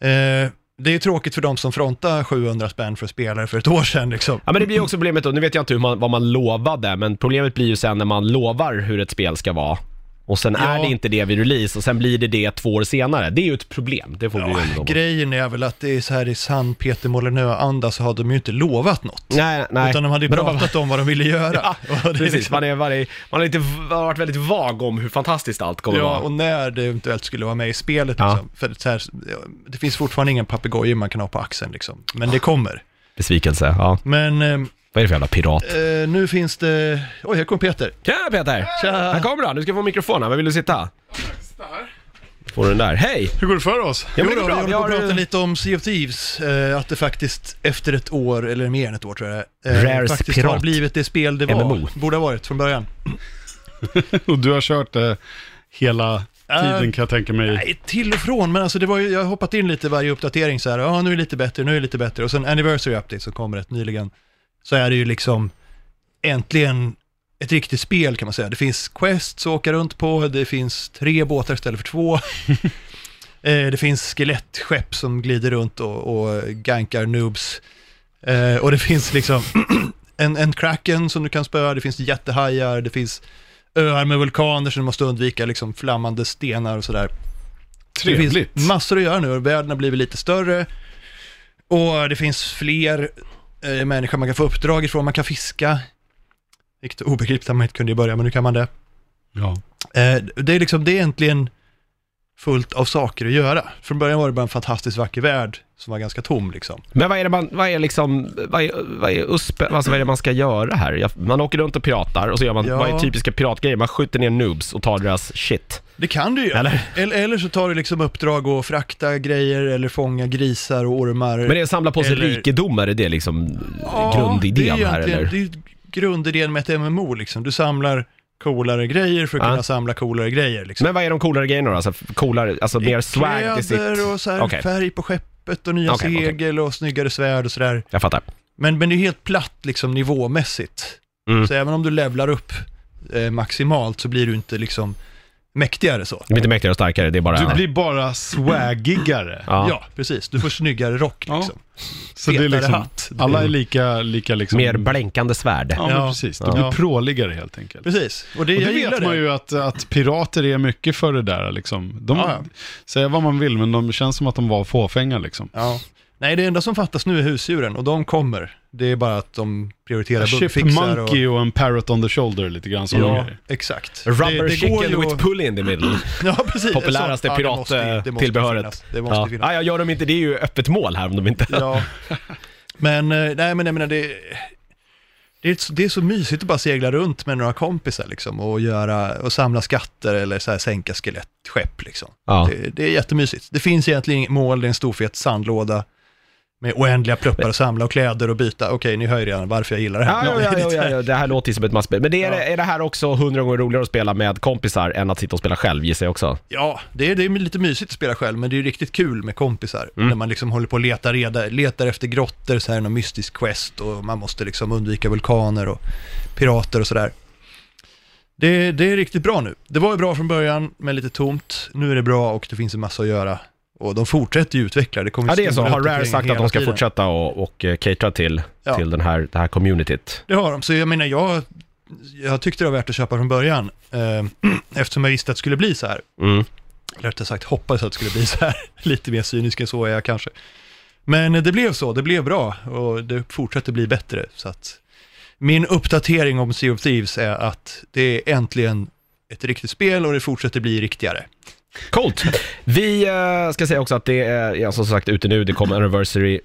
Eh, det är tråkigt för de som frontade 700 spänn för spelare för ett år sedan liksom.
ja, men det blir ju också problemet då. Nu vet jag inte hur man, vad man lovade, men problemet blir ju sen när man lovar hur ett spel ska vara. Och sen är
Ja.
det inte det vid release och sen blir det det två år senare. Det är ju ett problem, det får vi ju ändå-
Grejen är väl att det är så här i sann Peter Molinö-anda så har de ju inte lovat något.
Nej, nej.
Utan de hade ju
Men de
pratat om vad de ville göra.
Ja,
Och det är
Precis,
liksom-
man, är, man, är, man, är lite, man har varit väldigt vag om hur fantastiskt allt kommer
Ja,
att vara.
och när det eventuellt skulle vara med i spelet.
Ja.
Liksom. För det, så här, det finns fortfarande ingen papegoja man kan ha på axeln, liksom. men det kommer.
Besvikelse, ja.
Men ehm,
Vad är det för jävla pirat?
eh, nu finns det... Oj, här kom Peter.
Tjena Peter!
Tja.
Här kommer han, du ska få mikrofonen. Var vill du sitta? Får du den där. Hej!
Hur går det för oss?
Ja,
Jo,
men
då,
det är bra.
vi
Vi
håller på
har-
att prata lite om Sea of Thieves, eh, att det faktiskt efter ett år, eller mer än ett år tror jag det är,
Rares
faktiskt
pirat.
har blivit det spel det var,
MMO.
borde ha varit från början.
Och du har kört eh, hela tiden kan jag tänka mig.
Nej, till och från, men alltså det var ju, jag har hoppat in lite i varje uppdatering så här, ja nu är det lite bättre, nu är det lite bättre, och sen Anniversary Update som kom rätt nyligen, så är det ju liksom äntligen ett riktigt spel kan man säga. Det finns quests att åka runt på, det finns tre båtar istället för två. Eh, det finns skelettskepp som glider runt och, och gankar noobs. Eh, och det finns liksom en, en kraken som du kan spöa, det finns jättehajar, det finns öar med vulkaner som du måste undvika, liksom flammande stenar och sådär. Det
Trevligt.
finns massor att göra nu, världen har blivit lite större och det finns fler eh, människor man kan få uppdrag ifrån, man kan fiska. Vilket är obegripligt att man inte kunde i början, men nu kan man det.
Ja.
Eh, det är liksom, det är egentligen fullt av saker att göra. Från början var det bara en fantastiskt vacker värld som var ganska tom liksom.
Men vad är det man, vad är liksom, vad är, vad är uspe, alltså vad är det man ska göra här? Jag, man åker runt och piratar och så gör man,
Ja.
vad är typiska piratgrejer? Man skjuter ner noobs och tar deras shit.
Det kan du ju.
Eller?
Eller, eller så tar du liksom uppdrag och frakta grejer eller fånga grisar och ormar.
Men det är att samla på sig
Eller-
rikedomar, är det liksom
Ja,
grundidén
det är
här
egentligen-
eller?
Det är ju grundidén med ett MMO liksom. Du samlar coolare grejer för att
Ja.
kunna samla coolare grejer liksom.
Men vad är de coolare grejerna då? Alltså, coolare, alltså mer swag i sitt...
Kläder och så här
Okej.
färg på skeppet och nya
Okej, okej.
segel och snyggare svärd och sådär.
Jag fattar.
Men, men det är helt platt liksom nivåmässigt.
Mm.
Så även om du levlar upp eh, maximalt så blir du inte liksom mäktigare så.
De är inte mäktigare och starkare, det är bara...
Du blir bara swaggigare.
Ja.
Ja. precis. Du får snyggare rock
Ja.
liksom.
Så det är
Fetare
liksom,
hatt.
alla är lika, lika liksom...
Mer blänkande svärd.
Ja, men
Ja.
precis. Det
Ja.
blir pråligare helt enkelt.
Precis. Och det,
Och det
jag gillar
vet man
det.
ju att, att pirater är mycket för det där liksom. De,
Ja, ja.
Säga vad man vill, men de känns som att de var fåfänga liksom.
Ja. Nej, det enda som fattas nu är husdjuren och de kommer. Det är bara att de prioriterar bugfixar och...
Chipmonkey och en parrot on the shoulder lite grann. sådana
Ja,
grejer.
exakt.
Rubber
det, det går
chicken
ju
with
att-
pulley in the middle.
Ja, precis.
Populäraste
Ja, det måste- det måste
pirattillbehöret.
finnas. Det måste
Ja.
finnas.
Ah, ja, gör de inte det är ju öppet mål här om de inte...
Ja. Men, eh, nej men jag menar det... Det är, så- det är så mysigt att bara segla runt med några kompisar liksom och, göra, och samla skatter eller så här sänka skelettskepp liksom.
Ja.
Det, det är jättemysigt. Det finns egentligen inget mål, det är en stor fet sandlåda med oändliga pluppar att samla och kläder och byta. Okej, ni hör ju redan varför jag gillar det
Ja,
här.
ja, ja, ja, ja, ja, det här låter ju som ett masspel. Men det är,
Ja.
är det här också hundra gånger roligare att spela med kompisar än att sitta och spela själv gissar jag också?
Ja, det är, det är lite mysigt att spela själv, men det är ju riktigt kul med kompisar.
Mm.
När man liksom håller på och letar, reda, letar efter grottor, så här någon mystisk quest och man måste liksom undvika vulkaner och pirater och sådär. Det, det är riktigt bra nu. Det var ju bra från början, men lite tomt. Nu är det bra och det finns en massa att göra. Och de fortsätter ju utveckla. Det kommer
Ja, det är så.
stora
Har Rare
uppdateringar
sagt att
hela
de ska
tiden.
fortsätta och, och eh, catera till,
Ja.
till den här, det här communityt?
Det har de, så jag menar jag, jag tyckte det var värt att köpa från början. Eh, eftersom jag visste att det skulle bli så här.
Mm.
Eller rättare sagt hoppades att det skulle bli så här. Lite mer cynisk än så är jag kanske. Men det blev så, det blev bra och det fortsätter bli bättre. Så att min uppdatering om Sea of Thieves är att det är äntligen ett riktigt spel och det fortsätter bli riktigare.
Coolt! Vi eh, ska säga också att det är, ja, som sagt, ute nu. Det kommer anniversary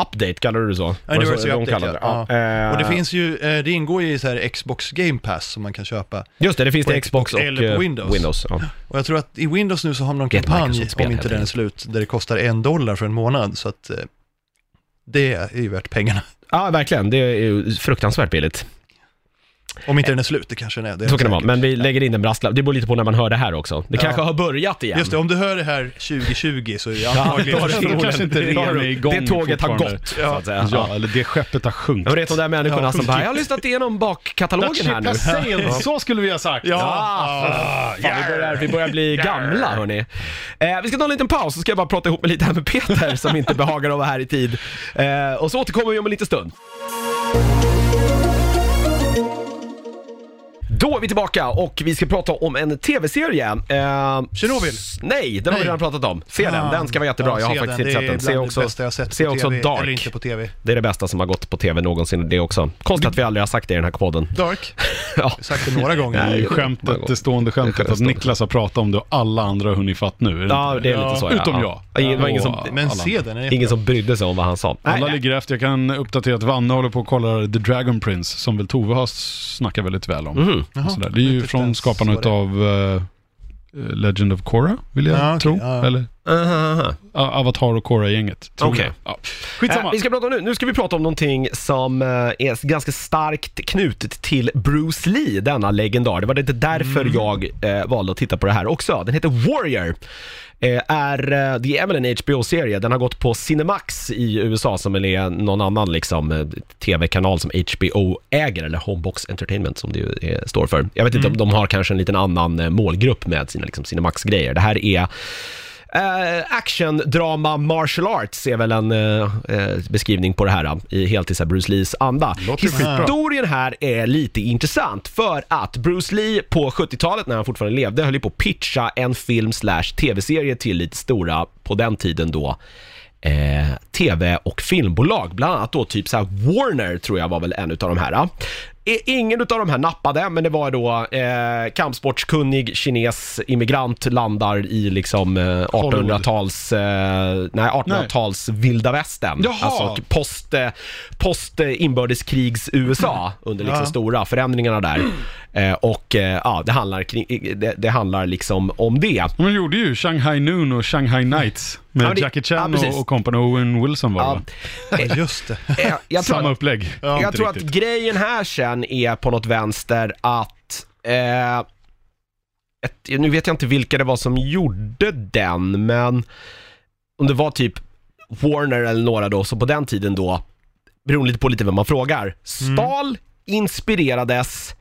update, kallar du det så? Var det så
Anniversary
de
update,
kallade det?
ja.
eh,
Och det finns ju, eh, det ingår ju i så här Xbox Game Pass som man kan köpa.
Just det, det finns
på
det Xbox och
Xbox eller på
eh,
Windows.
Windows ja.
Och jag tror att i Windows nu så har man någon
Det är ett
kampanj,
Microsoft-spel
om inte
helt
den är
enkelt.
slut, där det kostar en dollar för en månad. Så att eh, det är ju värt pengarna.
ja, verkligen. Det är ju fruktansvärt billigt.
Om inte den är slut, det kanske den är. är
Eh. Så kan det vara.
säkert.
Men vi lägger in en brasklapp. Det beror lite på när man hör det här också. Det
Ja.
kanske har börjat igen.
Just det, om du hör det här 2020 så är jag
Ja, då
antagligen
har
ja,
det
förmodligen-
kanske inte
det har
redan
det igång
Det tåget har
fortfarande.
gått, så att säga.
Ja, eller det skeppet har
Jag
sjunkit.
vet de där människorna som bara, jag har lyssnat igenom bakkatalogen här nu.
That's it, that's it. Så skulle vi ha sagt.
Ah, fan, vi, börjar, vi börjar bli gamla hörni. Eh, vi ska ta en liten paus, så ska jag bara prata ihop mig lite här med Peter som inte behagar att vara här i tid. Eh, och så återkommer vi om en liten stund. Då är vi tillbaka och vi ska prata om en tv-serie. Eh,
Tjernobyl.
s- Nej, den har vi
Nej.
redan pratat om. Se den,
Fan.
den ska vara jättebra.
Ja,
jag har
se
faktiskt
den.
inte
Det
sett
är
den. Se
bland det
också,
bästa jag har sett
se
på
också
TV,
Dark.
Eller inte på tv.
Det är det bästa som har gått på tv någonsin det också. Konstigt att vi aldrig har sagt det i den här podden.
Dark?
Ja.
Jag har sagt det några
Det är
gånger.
ju skämtet, det stående skämtet att Niklas har pratat om det och alla andra har hunnit fatt nu. är det
Ja,
inte?
det är lite så. Ja.
Utom
ja.
jag.
Ja, Det var ingen som,
Men se den, är
ingen som brydde sig om vad han sa. Nej,
Alla
nej.
ligger efter. Jag kan uppdatera att Vanne håller på och kollar The Dragon Prince, som väl Tove har snackat väldigt väl om.
Mhm.
Jaha,
Och sådär. Det är ju
inte
från
ens vad
skaparna
det är.
av Legend of Korra, vill jag
Ja, okej,
tro.
ja.
Eller A- Avatar och Korra-gänget. tror
Okej.
jag. Ja.
Eh,
Skitsamma.
vi ska prata om nu. nu ska vi prata om någonting som eh, är ganska starkt knutet till Bruce Lee, denna legendar. Det var lite därför jag eh, valde att titta på det här också. Den heter Warrior. Eh, är, eh, det är väl en HBO-serie. Den har gått på Cinemax i USA som väl är någon annan liksom, eh, tv-kanal som HBO äger, eller Homebox Entertainment som det ju eh, står för. Jag vet inte om de har kanske en liten annan eh, målgrupp med sina liksom, Cinemax-grejer. Det här är Eh, action, drama, martial arts är väl en eh, eh, beskrivning på det här eh, i helt i så här Bruce Lees anda. Historien här är lite intressant för att Bruce Lee på 70-talet när han fortfarande levde höll ju på att pitcha en film slash tv-serie till lite stora, på den tiden då, eh, tv och filmbolag. Bland annat då typ så här Warner tror jag var väl en utav de här. eh. I- Ingen utav de här nappade, men det var då eh, kampsportskunnig kines immigrant landar i liksom eh, 1800-tals, eh, nej 1800-tals vilda västern.
Jaha.
Alltså post, eh, post eh, inbördeskrigs USA under liksom
Ja.
stora förändringarna där. Eh, och eh, ja, det handlar, kring, eh, det, det handlar liksom om det.
De gjorde ju Shanghai Noon och Shanghai Nights med
Ja, men det-
Jackie
ja,
Chan
precis.
och, och kompani Owen Wilson var det,
Ja,
va?
Ja, Just det.
eh, jag tror
Samma
att-
upplägg.
jag
Inte
tror
riktigt.
att grejen här sen är på något vänster att, eh, ett, nu vet jag inte vilka det var som gjorde den, men om det var typ Warner eller några då, så på den tiden då, beroende lite på lite vem man frågar, stal, inspirerades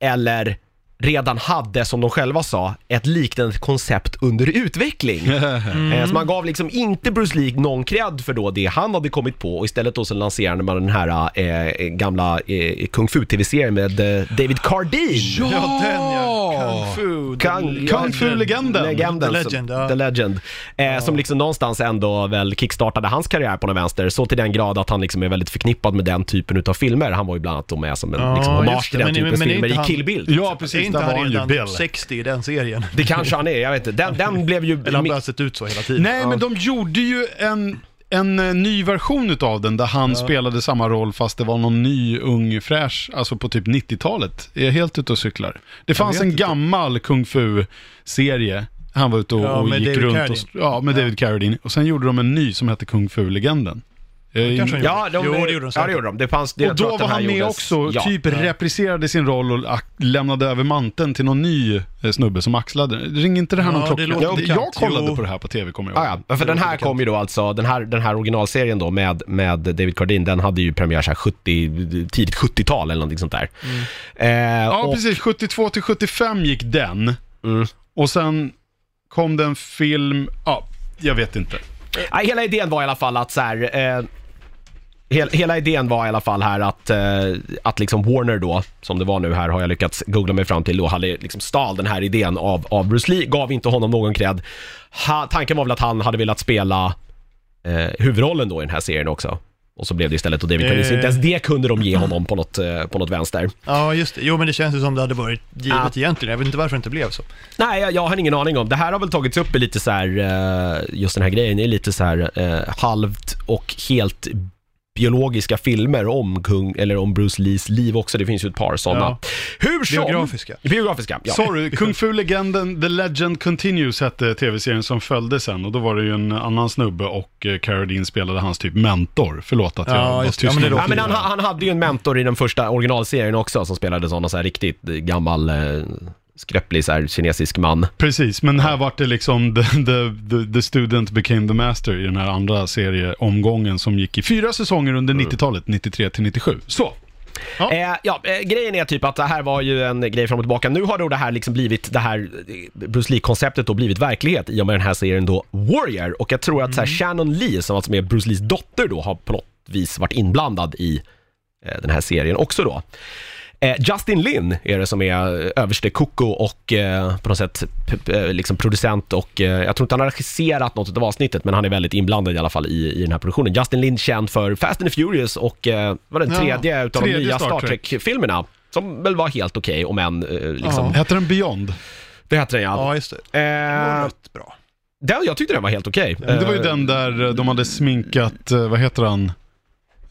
eller redan hade, som de själva sa, ett liknande koncept under utveckling. Eh, Så man gav liksom inte Bruce Lee någon cred för då det han hade kommit på och istället då så lanserade man den här eh, gamla eh, Kung Fu-tv-serien med eh, David Cardin.
Ja, den ja. Kung Fu. the
Kung-
Kung
legend.
Fu-legenden.
Legenden,
The
som-
Legend, ja.
The legend eh, Som liksom någonstans ändå väl kickstartade hans karriär på något vänster, så till den grad att han liksom är väldigt förknippad med den typen utav filmer. Han var ju bland annat då med som en
Ja,
liksom, hommage
just
till
det.
den
Men-
typen
men
av
är
filmer
inte
i
han-
Kill Bill.
Ja,
Är
precis.
inte
Där var
han
han ju
redan
Bill.
60 i den serien?
Det kanske han är, jag vet inte. Den, den blev ju...
Eller han bara sett ut så hela tiden.
Nej, men de gjorde ju en, en eh, ny version utav den där han spelade samma roll fast det var någon ny ung fräsch, alltså på typ 90-talet. Är jag helt ute och cyklar? Det fanns
vet
en
inte.
gammal kung fu-serie. Han var ute och,
Ja,
och
med
gick
David
runt
Carradine.
och... Ja, med David Carradine. Och sen gjorde de en ny som hette Kung Fu-legenden. Eh,
kanske han gjorde.
Ja, de,
Jo, det gjorde de
ja,
säkert.
det gjorde de. Det fanns, det,
och då var han med också, typ repriserade sin roll och ak- lämnade över manteln till någon ny eh, snubbe som axlade den. Ring inte det här
Ja,
någon
det
klocka?
låter
Det- jag
bekant,
kollade
jo.
på det här på tv, kommer jag ihåg.
Ah, Ja, ja, för den här kom ju då alltså, den här, den här originalserien då med, med David Cardin, den hade ju premiär så här 70, tidigt 70-tal eller någonting sånt där. Eh,
Mm. Ja,
och- Mm.
precis. 72 till 75 gick den. Och sen kom det en film, ja, jag vet inte.
Ja, hela idén var i alla fall att så här, eh, hel, hela idén var i alla fall här att, eh, att liksom Warner då, som det var nu här, har jag lyckats googla mig fram till då, hade liksom stal den här idén av, av Bruce Lee, gav inte honom någon cred. Ha, tanken var väl att han hade velat spela eh, huvudrollen då i den här serien också. Och så blev det istället då David Cardin, så
Eh.
inte ens det kunde de ge honom på något, eh, på något vänster.
Ja, just det. Jo, men det känns ju som det hade varit givet
Ja.
egentligen. Jag vet inte varför det inte blev så.
Nej, jag, jag har ingen aning om. Det här har väl tagits upp i lite så här, eh, just den här grejen är lite så här eh, halvt och helt biologiska filmer om kung, eller om Bruce Lees liv också. Det finns ju ett par sådana. Hur som...
Biografiska.
Biografiska, ja.
Sorry, Kung Fu-legenden The Legend Continues hette tv-serien som följde sen och då var det ju en annan snubbe och eh, Carradine spelade hans typ mentor. Förlåt att jag
Ja,
var
just det. Ja, men det
nu.
låter
Ja, men han, han hade ju en mentor i den första originalserien också som spelade sådana så här riktigt gammal eh, skröplig så här, kinesisk man.
Precis, men här var det liksom the, the, the, the student became the master i den här andra serieomgången som gick i fyra säsonger under 90-talet, 93 till 97. Så,
Eh, ja, eh, grejen är typ att det här var ju en grej fram och tillbaka. Nu har då det här liksom blivit, det här eh, Bruce Lee-konceptet då blivit verklighet i och med den här serien då Warrior. Och jag tror att så här, Shannon Lee, som alltså är Bruce Lees dotter då, har på något vis varit inblandad i eh, den här serien också då. Eh, Justin Lin är det som är eh, överste Koko och eh, på något sätt p- p- eh, liksom producent och eh, jag tror inte han har regisserat något av avsnittet men han är väldigt inblandad i alla fall i, i den här produktionen. Justin Lin känd för Fast and the Furious och eh, var den
Ja,
tredje utav de
tredje
nya
Star
Star Trek-filmerna. Som väl var helt okej, om än eh, liksom.
Ja.
hette den Beyond?
Det hette den ja.
Ja, just det. Det var
Eh,
rätt bra.
den, jag tyckte den var helt okej.
Men Det var ju
Eh,
den där eh, de hade sminkat, eh, vad heter han?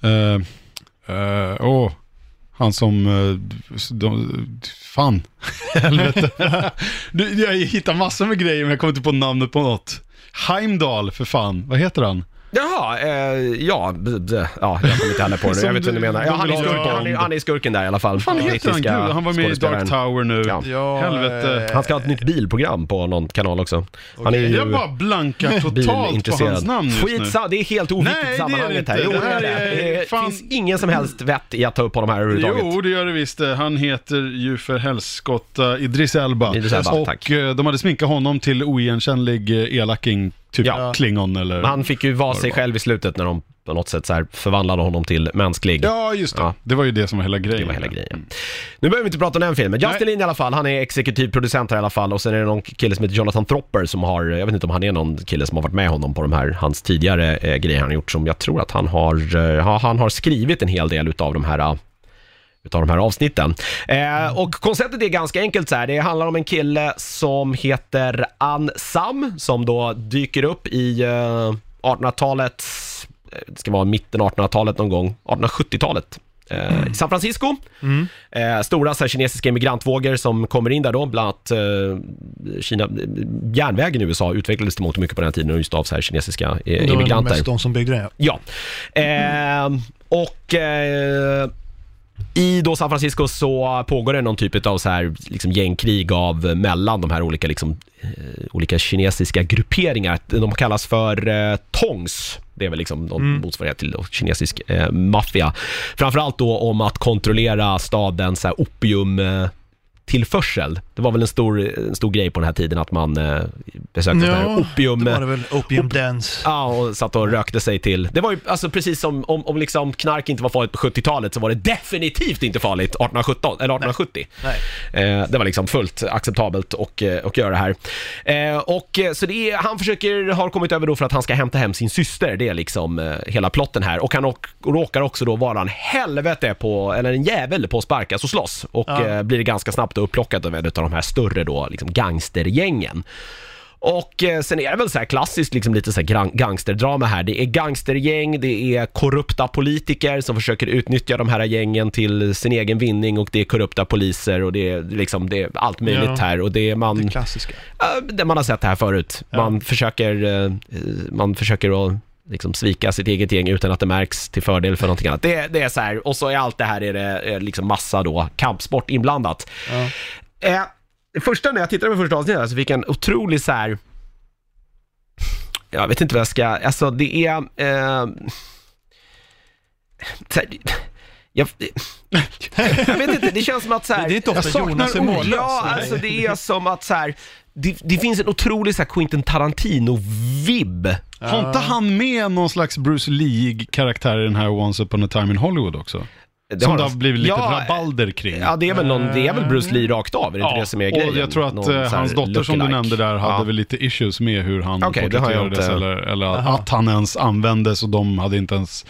Eh, eh, Åh, han som... eh, De, fan, helvete. Du, jag hittar massor med grejer men jag kommer inte på namnet på något. Heimdall för fan, vad heter han?
Jaha, eh, ja, b- b- ja, jag kommer inte heller på det nu. Jag
Som
vet hur du
du-
menar. Ja,
de
han, är
vill ha
skurken,
Bond.
han, är, han är skurken där i alla fall.
Fan heter han? Gud,
Brittiska
han var med i Dark
skådespelaren.
Tower nu.
Ja.
Ja,
Helvete.
eh,
Han ska ha ett nytt bilprogram på någon kanal också. Han är ju
Jag bara blankar totalt på hans namn just nu.
Skitsa, det är helt oviktigt
Nej,
i
det är det
sammanhanget
inte.
här. Jo, det är
Det
det.
är-
Det
fan.
finns ingen som helst vett i att ta upp honom här överhuvudtaget.
Jo, det gör det visst. Han heter ju för helskotta Idris Elba.
Idris Elba,
och
tack.
eh, de hade sminkat honom till oigenkännlig eh, elaking, typ
Ja.
klingon eller...
Men Han fick ju vara sig själv i slutet när de på något sätt så här förvandlade honom till mänsklig.
Ja, just det.
Ja.
Det var ju det som var hela grejen.
Det var hela grejen. Nu behöver vi inte prata om den filmen. Justin Lin i alla fall, han är exekutiv producent här i alla fall och sen är det någon kille som heter Jonathan Thropper som har, jag vet inte om han är någon kille som har varit med honom på de här, hans tidigare eh, grejer han har gjort som jag tror att han har, eh, ja, han har skrivit en hel del utav de här eh, utav de här avsnitten. Eh, och konceptet är ganska enkelt så här. Det handlar om en kille som heter Ann Sam som då dyker upp i eh, 1800-talet, eh, det ska vara mitten 1800-talet någon gång, 1870-talet.
Mm.
eh, I San Francisco. Eh, stora så här, kinesiska emigrantvågor som kommer in där då, bland annat eh, Kina, järnvägen i USA utvecklades till mångt och mycket på den här tiden och just av så här, kinesiska eh,
Det var
emigranter.
mest de som byggde den, ja.
Ja. Ehm, och eh, i då San Francisco så pågår det någon typ av så här, liksom gängkrig av eh, mellan de här olika, liksom, eh, olika kinesiska grupperingar. De kallas för eh, tongs. Det är väl liksom någon
Mm.
motsvarighet till då, kinesisk eh, maffia. Framförallt då om att kontrollera stadens så här, opium eh, opiumtillförsel. Det var väl en stor, en stor grej på den här tiden att man eh, besökte ja, här opium...
Det var det väl, Opium Dance.
Ja, och satt och rökte sig till. Det var ju alltså precis som om, om liksom knark inte var farligt på 70-talet så var det definitivt inte farligt 1817, eller 1870.
Nej.
Eh, det var liksom fullt acceptabelt att eh, att göra det här. Eh, och eh, så det är, han försöker, har kommit över då för att han ska hämta hem sin syster. Det är liksom eh, hela plotten här. Och han och, råkar också då vara en helvete på, eller en jävel på att sparkas och slåss. Och
Ja.
eh, blir ganska snabbt upplockad av en av de här större då, liksom gangstergängen. Och eh, sen är det väl så här klassiskt, liksom lite så här gran- gangsterdrama här. Det är gangstergäng, det är korrupta politiker som försöker utnyttja de här gängen till sin egen vinning och det är korrupta poliser och det är liksom, det är allt möjligt
Ja.
här och det är man...
Det klassiska.
Ja, det man har sett det här förut. Man försöker, eh, eh, man försöker att liksom svika sitt eget gäng utan att det märks till fördel för någonting annat. Det, det är så här, och så är allt det här är det är liksom massa då kampsport inblandat.
Ja.
Eh, första när jag tittade på första avsnittet här så fick jag en otrolig så här, jag vet inte vad jag ska, alltså det är, eh, så här, jag, jag vet inte, det känns som att så här,
Det det är inte
Jag
ofta
saknar
Jonas är
ord.
mållös.
Ja,
Nej.
alltså det är som att så här, det, det finns en otrolig så här Quentin Tarantino-vibb.
Har
Ah.
inte han med någon slags Bruce Lee-karaktär i den här Once upon a time in Hollywood också?
Det
Som
har
det
han.
har blivit lite
ja, eh,
rabalder kring.
Ja, det är, väl någon, det är väl Bruce Lee rakt av, är det inte det som är grejen?
och jag tror att
Någon
eh,
så här
hans dotter som du
look-alike.
nämnde där hade
Ja.
väl lite issues med hur han
Okej, det har jag
porträtterades
inte-
eller, eller att- att han ens användes och de hade inte ens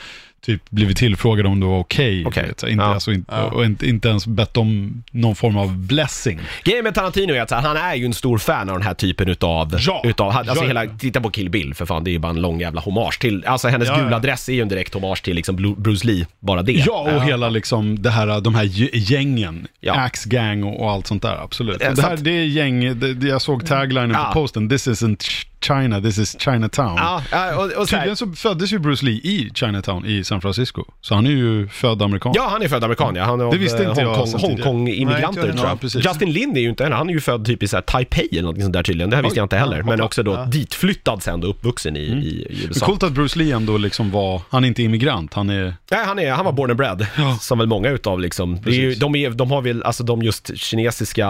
typ blivit tillfrågade om det var okej.
Okej.
vet. Så Inte,
Ja.
alltså, inte, Och inte, inte ens bett om någon form av blessing.
Grejen med Tarantino är att så här, han är ju en stor fan av den här typen utav...
Ja.
utav han- alltså
Ja,
hela,
ja.
titta på Kill Bill för fan, det är ju bara en lång jävla hommage till... Alltså hennes
Ja, ja.
gula dress är ju en direkt hommage till liksom Blu- Bruce Lee, bara det.
Ja, och hela liksom det här, de här g- gängen,
Ja.
Axe Gang och, och allt sånt där, absolut.
Eh,
Och det
så
här,
att-
det är gäng, det, det, jag såg taglinen
Ja.
på posten, this isn't Ch- China, this is Chinatown.
Ja, ja, och, och så här,
Tydligen så föddes ju Bruce Lee i Chinatown i San Francisco, så han är ju född amerikan.
Ja, han är född amerikan ja. Han är
Det visste
av, eh,
inte jag
Hongkong,
sen tidigare.
Nej,
Hongkong-immigranter
inte
tror
jag
heller.
jag.
Ja, precis.
Justin Lin är ju inte en, han är ju född typ i så här Taipei eller något sånt där tydligen. Det här visste jag inte heller. Men också då ditflyttad sen då, uppvuxen i, i, i
Det är
USA.
Mm. coolt att Bruce Lee ändå liksom var, han är inte immigrant, han är...
Nej, han, är, han var born and bred, som väl många utav liksom. Det är ju,
Precis.
de, är, de har väl, alltså de just kinesiska,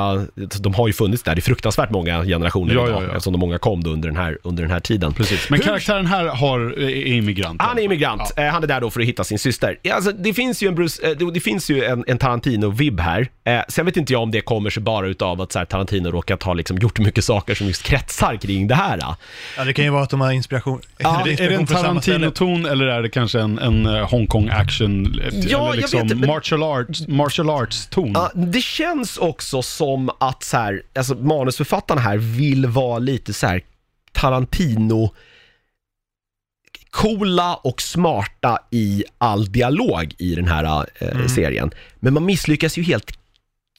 de har ju funnits där i fruktansvärt många generationer
Ja,
idag,
ja, ja.
eftersom de många kom då under den här, under den här tiden.
Precis. Men karaktären här har, är är immigrant.
Han är immigrant. Eh, Han är där då för att hitta sin syster. Ja, Alltså, det finns ju en, Bruce, eh, det- det finns ju en, en Tarantino-vibb här. Eh, Sen vet inte jag om det kommer sig bara utav att så här, Tarantino råkat ha liksom, gjort mycket saker som just kretsar kring det här. eh.
Ja, det kan ju vara att de har inspiration.
Ja,
Är det en
inspiration från samma ställe.
Tarantino-ton eller är det kanske en, en eh, Hong Kong action, eh,
jag
eller
vet
liksom
inte, men-
martial arts, martial arts
Mm.
ton?
Ja, det känns också som att så här, alltså, manusförfattarna här vill vara lite så här Tarantino coola och smarta i all dialog i den här eh,
Mm.
serien. Men man misslyckas ju helt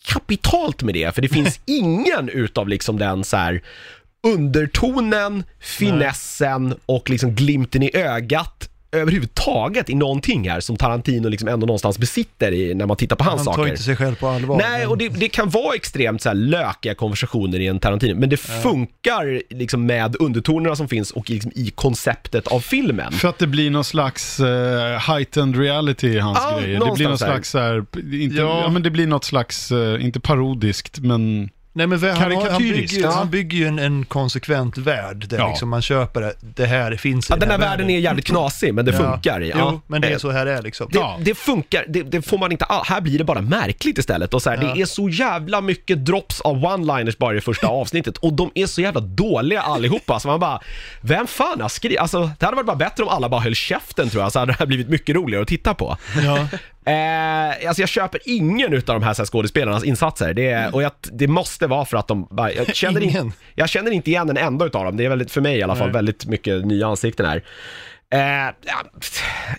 kapitalt med det, för det finns ingen utav liksom den så här undertonen, finessen och liksom glimten i ögat överhuvudtaget i någonting här som Tarantino liksom ändå någonstans besitter i, när man tittar på hans
Han
saker.
tar inte sig själv på allvar.
Nej,
men-
och det, det kan vara extremt så här lökiga konversationer i en Tarantino, men det funkar liksom med undertonerna som finns och liksom i konceptet av filmen.
För att det blir någon slags eh, heightened reality i hans
Ja,
grejer. Det blir någon
någonstans där.
slags, så här, inte, ja.
Ja.
men det blir något slags, eh, inte parodiskt, men
Nej, men väl, han, har- han, bygger,
Karikatyriskt.
ju-
Ja.
han bygger ju en, en konsekvent värld där
Ja.
liksom man köper det, det här finns i
Ja, den här världen är jävligt knasig, men det
Ja.
funkar. Ja.
Jo, men det är så här det är liksom.
Det,
Ja.
det funkar, det, det får man inte all... här blir det bara märkligt istället. Och så här, Det är så jävla mycket drops av one-liners bara i första avsnittet och de är så jävla dåliga allihopa. Så man bara, vem fan har skrivit? Alltså, det hade varit bara bättre om alla bara höll käften tror jag, så hade det här blivit mycket roligare att titta på.
Ja.
Eh, alltså jag köper ingen utav de här, så här skådespelarnas insatser. Det, är, och jag, det måste vara för att de bara, jag, känner in,
Mm. Ingen.
jag känner inte igen en enda utav dem. Det är väldigt, för mig i alla fall väldigt mycket nya ansikten här. Eh, ja,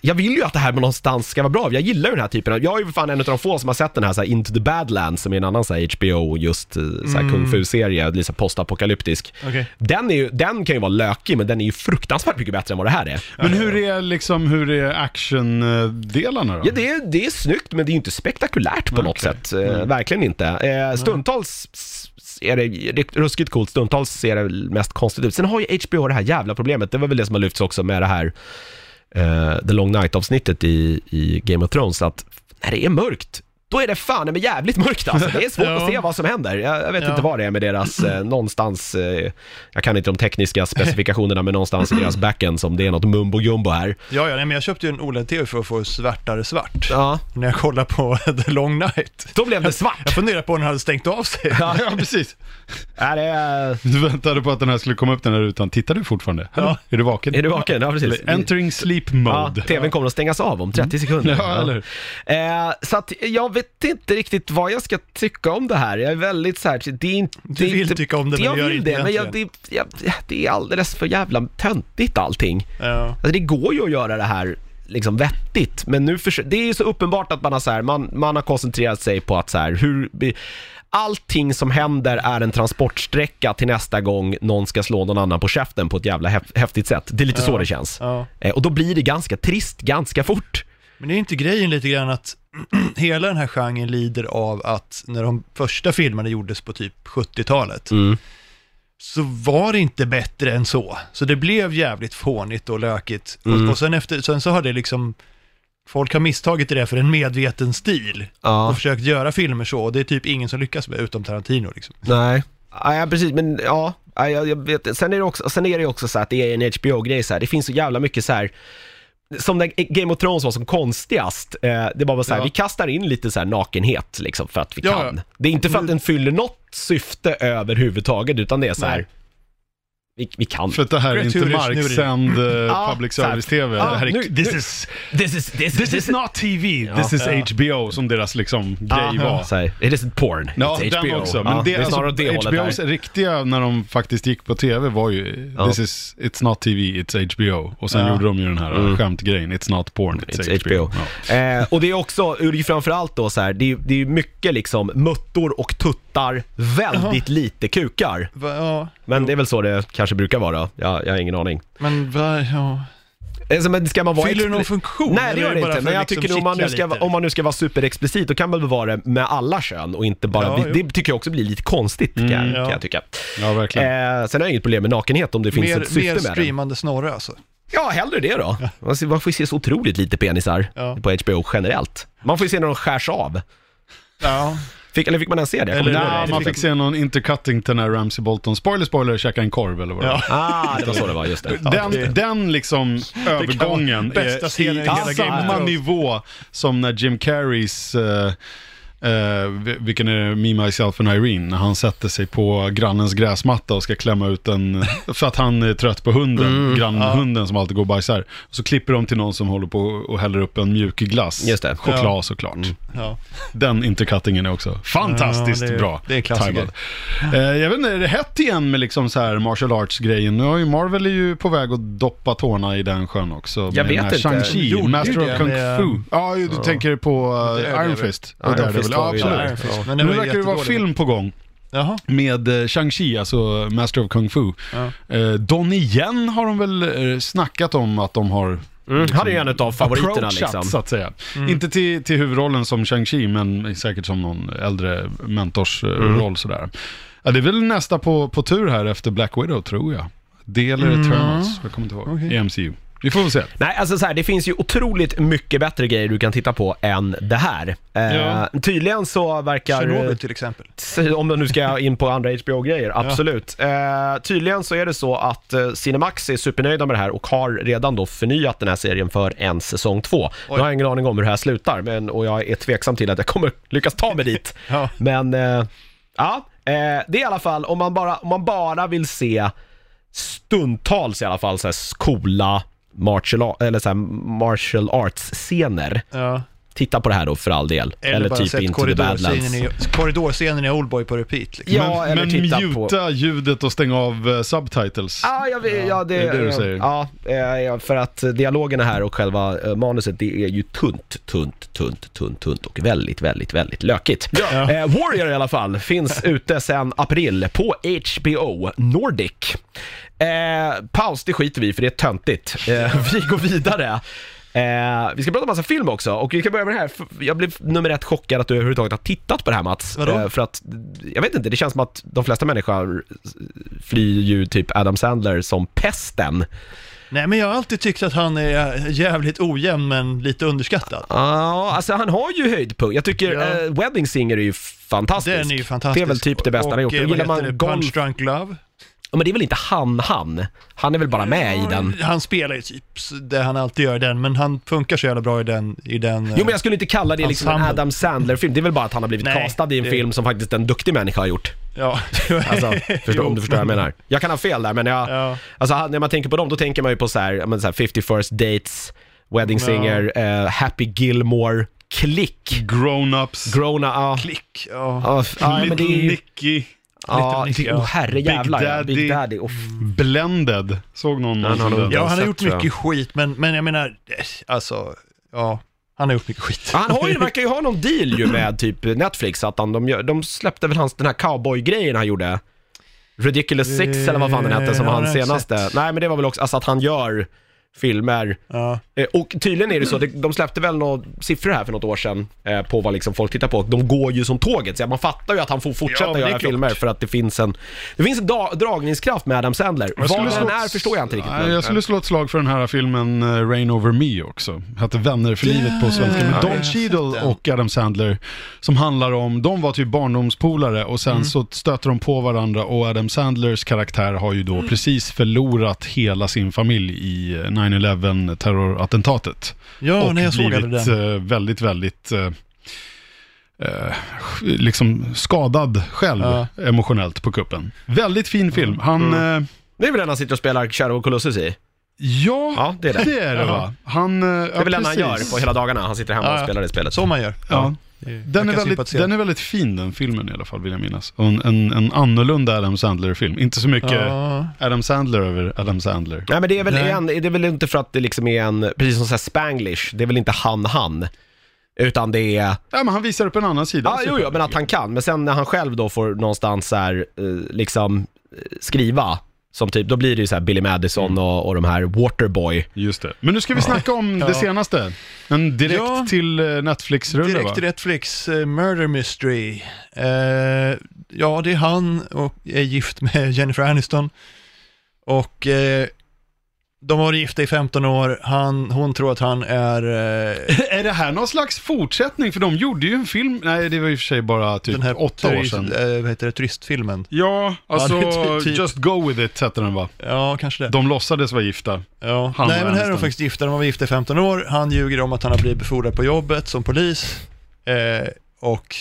jag vill ju att det här med någonstans ska vara bra. Jag gillar ju den här typen av, jag är ju för fan en av de få som har sett den här, så här Into the Badlands som är en annan så här HBO just eh, så här kung fu-serie, lite så här postapokalyptisk.
Okej.
Den, är ju, den kan ju vara lökig men den är ju fruktansvärt mycket bättre än vad det här är.
Men hur är liksom, hur är action-delarna då?
Ja, det är, det är snyggt men det är ju inte spektakulärt på något sätt. Eh,
Mm.
Verkligen inte. Eh, stundtals s- s- är det ri- ruskigt coolt, stundtals ser det mest konstigt ut. Sen har ju HBO det här jävla problemet, det var väl det som har lyfts också med det här eh, The Long Night-avsnittet i, i Game of Thrones, att när det är mörkt då är det fan men jävligt mörkt alltså. Det är svårt
Ja.
att se vad som händer. Jag, jag vet
Ja.
inte vad det är med deras, eh, någonstans, eh, jag kan inte de tekniska specifikationerna, men någonstans i deras backend som det är något mumbo jumbo här.
Ja, ja, nej, men jag köpte ju en OLED-TV för att få svartare svart.
Ja,
När jag kollade på The Long Night.
då blev det svart.
Jag funderade på när den hade stängt av sig.
Ja, ja, precis.
är, det, eh,
Du väntade på att den här skulle komma upp den här rutan. Tittar du fortfarande? Ja. Är du vaken?
är du vaken? Ja, precis.
Eller
typ
Entering sleep
Ja,
mode.
TVn kommer att stängas av om
Mm.
30 sekunder.
Ja, eller hur?
Eh, så att jag vet inte riktigt vad jag ska tycka om det här. Jag är väldigt så här, det är inte...
Du
det är
vill
inte,
tycka om det, men
Jag
du gör
vill
inte
det, men jag, det, jag, det är alldeles för jävla töntigt allting.
Ja.
Alltså det går ju att göra det här liksom vettigt, men nu försö- det är ju så uppenbart att man har så här, man, man har koncentrerat sig på att så här, hur, vi- allting som händer är en transportsträcka till nästa gång någon ska slå någon annan på käften på ett jävla häf- häftigt sätt. Det är lite så det känns.
Ja.
Eh, Och då blir det ganska trist ganska fort.
Men det är inte grejen lite grann att hela den här genren lider av att när de första filmerna gjordes på typ 70-talet
Mm.
så var det inte bättre än så. Så det blev jävligt fånigt och lökigt.
Mm.
Och, och sen, efter, sen så har det liksom, folk har misstagit det där för en medveten stil
Ja.
och försökt göra filmer så. Och det är typ ingen som lyckas med, utom Tarantino liksom.
Nej. Ja, precis, men ja. ja, jag, jag vet. Sen är det också, sen är det också så här att det är en HBO-grej så här. Det finns så jävla mycket så här som när Game of Thrones var som konstigast, eh, det bara var så här,
Ja.
vi kastar in lite så här nakenhet liksom för att vi
Ja,
kan.
ja.
Det är inte för att den fyller något syfte överhuvudtaget, utan det är så här,
Nej.
vi, vi kan.
För att det här är
Great
inte
Tourist,
marksänd eh,
Ja,
public
så här.
service-tv.
Ja,
det här är,
nu-
this, is,
This is, this,
this is not TV, this is HBO som deras liksom grej var.
Så här, it isn't porn,
Ja,
it's
den
HBO.
också. Men
ja,
det,
är snarare åt
alltså,
det hållet
HBOs
där.
riktiga, när de faktiskt gick på tv, var ju
Ja.
This is, It's not TV, it's HBO. Och sen
Ja.
gjorde de ju den här
Mm.
skämtgrejen, It's not porn, it's,
It's HBO. Eh, och det är också, och det är ju framförallt då så här, det är ju det är ju mycket liksom muttor och tuttar, väldigt lite kukar.
Va, ja,
Men det är väl så det kanske brukar vara, jag, jag har ingen aning.
men va, ja.
Alltså, men ska man vara
Fyller det
expli-
någon funktion?
Nej det
Eller är
gör det
bara
inte,
för
men jag
att liksom
tycker nog om man, nu
kittla
ska,
lite?
om man nu ska vara superexplicit, då kan man väl vara det med alla kön och inte bara,
Ja,
det,
jo. Mm,
det tycker jag också blir lite konstigt kan, jag-
ja.
kan jag tycka.
Ja, verkligen.
Eh, sen har jag inget problem med nakenhet om det finns ett
Mer,
syfte
mer
med det.
streamande snorre alltså.
Ja, hellre det då. Man ser- Man får ju se så otroligt lite penisar
Ja.
på HBO generellt. Man får ju se när de skärs av.
Ja,
Fick, eller fick man ens se det? Jag kommer
Eller-
inte ihåg
Nej,
det.
man fick se någon intercutting till den här Ramsey Bolton. Spoiler, spoiler, käka en korv eller vad det
Ja.
var.
Ah, det var så det var, just det.
Den,
det-
den liksom övergången
bästa
är
scenen
i
i hela Game
samma
of Thrones.
nivå som när Jim Carreys, eh, eh, vi- vilken är det, Me, Myself and Irene, när han sätter sig på grannens gräsmatta och ska klämma ut en, för att han är trött på hunden,
Mm.
grannhunden som alltid går och bajsar. Så klipper de till någon som håller på och häller upp en mjuk glass.
Just det.
Choklad
Ja. Mm.
såklart.
ja.
Den intercuttingen är också fantastiskt
Ja, det är-
bra.
det är en klassiker.
tajmad. Eh, jag vet inte, är det hett igen med liksom så här martial arts-grejen? Nu har ju Marvel är ju på väg att doppa tårna i den sjön också. med
vet
den här
inte.
Shang-Chi,
Gjorde ju
Master of
det
Kung
med-
Fu. Ja, ju, du tänker på eh,
Det är det
Iron
väl.
Fist.
Iron
Daredevil.
Fist
ja,
var ju
absolut.
där.
Iron Fist. Men
Nu
den var ju
verkar det vara
jättedålig.
film på gång
Jaha.
med eh, Shang-Chi, alltså Master of Kung Fu.
Ja.
Eh, Don igen har de väl eh, snackat om att de har
Mm, han är ju en av favoriterna
approachat,
liksom.
så att säga. Inte till, till huvudrollen som Shang-Chi, men säkert som någon äldre mentorsroll
Mm.
sådär. Ja, det är väl nästa på, på tur här efter Black Widow, tror jag. Det eller
Mm.
Eternals, jag kommer inte ihåg.
Okej.
I MCU. Vi får väl se.
Nej, alltså så här, det finns ju otroligt mycket bättre grejer du kan titta på än det här. Eh,
Ja.
Tydligen så verkar...
Tjernobyl till exempel.
om du nu ska in på andra HBO-grejer, absolut. Eh, tydligen så är det så att eh, Cinemax är supernöjda med det här och har redan då förnyat den här serien för en säsong två. Nu har jag ingen aning om hur det här slutar men, och jag är tveksam till att jag kommer lyckas ta mig dit.
Ja.
Men eh, ja, eh, det är i alla fall om man bara, om man bara vill se stundtals i alla fall så här coola martial, a- eller så här martial arts-scener.
Ja.
Titta på det här då för all del. typ
Eller, typ bara sett
the
korridorscenen i, korridorscenen i Oldboy på repeat. Liksom.
Ja, eller
men
titta på- Ah.
muta ljudet och stäng av eh, subtitles.
Ja, jag, vet- ja, det,
det är det du säger.
Ja, eh, för att dialogerna här och själva eh, manuset, det är ju tunt, tunt, tunt, tunt, tunt och väldigt, väldigt, väldigt lökigt. Eh, Warrior i alla fall, finns ute sedan april på HBO Nordic. Eh, paus, det skiter vi i, för det är töntigt. Eh, vi går vidare. Eh, vi ska prata massa film också och vi kan börja med det här. F- Jag blev nummer ett chockad att du överhuvudtaget har tittat på det här Mats. Eh,
Vadå?
för att, jag vet inte, det känns som att de flesta människor flyr ju typ Adam Sandler som pesten.
Nej, men jag har alltid tyckt att han är jävligt ojämn men lite underskattad.
Ja, alltså han har ju höjdpunkt. Jag tycker
Ja.
eh, Wedding Singer är ju fantastisk.
Den är ju fantastisk.
Det är väl typ det bästa han har gjort.
Och, eh,
Gillar
vad
man
heter det?
golf-
Punch Drunk Love.
Ja, men det är väl inte han, han? Han är väl bara med i den?
Han spelar ju typ det han alltid gör i den, men han funkar så jävla bra i den. I den eh,
Jo men jag skulle inte kalla det liksom en
Ensemble.
Adam Sandler-film, det är väl bara att han har blivit
Nej,
castad i en
det-
film som faktiskt en duktig människa har gjort.
ja.
Alltså, förstå,
Jo,
om du förstår vad jag menar. Jag kan ha fel där men jag,
Ja.
alltså han- när man tänker på dem då tänker man ju på så här, ja, men så här 50 first dates, Wedding Singer, eh, Happy Gilmore, Klick,
Grown-ups,
Growna, ja.
Klick, ja.
Ja, f- ja, men det
Little
är ju,
Nicky,
ja,
Little Nick,
oh,
ja.
herre
Big
jävlar, ja. Big
Daddy.
Daddy. Oh,
Blended. Såg någon
Den har
någonting
nog-
där?
ja, han har
sett,
gjort
tror jag.
mycket skit, men, men jag menar, eh, alltså, ja, han har gjort mycket skit.
Ja, Han har ju, verkar ju ha någon deal ju med typ Netflix, att han, de, gör- de släppte väl hans, den här cowboy-grejen han gjorde. Ridiculous Six eller vad fan den hette som
Eh, har
hans
jag inte
senaste.
sett.
Nej men det var väl också, alltså att han gör filmer.
Ja.
Eh, Och tydligen är det så, det- de släppte väl några siffror här för något år sedan eh, på vad liksom folk tittar på. De går ju som tåget, så man fattar ju att han får
Ja,
fortsätta
men det är
göra
klart.
filmer för att det finns en, det finns en da- dragningskraft med Adam Sandler. Vad
skulle
den
slå-
är förstår jag inte riktigt.
Nej,
men-
jag skulle slå ett slag för den här filmen eh, Rain Over Me också. Hette Vänner för livet på svenska.
Ja,
Med
jag har
Don
sett
Cheadle
den.
och Adam Sandler. Som handlar om, de var typ barndomspolare och
Mm.
sen så stöter de på varandra och Adam Sandlers karaktär har ju
Mm.
då precis förlorat hela sin familj i eh, 9-11 terrorattentatet.
Ja,
och
när jag såg aldrig
blivit
den.
eh, väldigt, väldigt eh, eh, liksom skadad själv
Ja.
emotionellt på kuppen. Väldigt fin film. Han...
Mm.
eh,
Det är väl den han sitter och spelar Shadow of Colossus i?
Ja,
Ja, det är det.
det är det va? Han, eh, det
Det är väl den han gör på hela dagarna, han sitter hemma och
Ja, ja.
spelar det spelet.
Så man gör.
eh, Ja.
Det- jag
Den,
kan
är väldigt,
sympatisera.
den är väldigt fin den filmen i alla fall vill jag minnas. Och en, en, en annorlunda Adam Sandler-film. Inte så mycket
Ja.
Adam Sandler över Adam Sandler.
Nej men det är väl,
Nej.
en, det är väl inte för att det liksom är en, precis som såhär spanglish, det är väl inte han-han. Utan det är,
Ja, men han visar upp en annan sida.
ja ah, jo, jo men att han kan. Men sen när han själv då får någonstans såhär, liksom eh, skriva, som typ, då blir det ju såhär Billy Madison
Mm.
och, och de här Waterboy.
Just det. Men nu ska vi snacka om
Ja.
det senaste. En direkt
Ja.
till eh, Netflix-rulle va?
Direkt till Netflix, eh, Murder Mystery. Eh, ja, det är han och är gift med Jennifer Aniston. Och eh, de har varit gifta i 15 år. Han, hon tror att han är eh,
Är det här någon slags fortsättning? För de gjorde ju en film, nej det var i och för sig bara typ
den här
åtta år
turist-
sedan.
eh, vad heter det, turistfilmen.
Ja, alltså
Ja, det är typ-
Just Go With It hette den va?
Ja, kanske det.
De låtsades vara gifta.
Ja.
Han
Nej,
och
men här är de
Aniston.
faktiskt gifta. De har varit gifta i 15 år. Han ljuger om att han har blivit befordrad på jobbet som polis. Eh, och,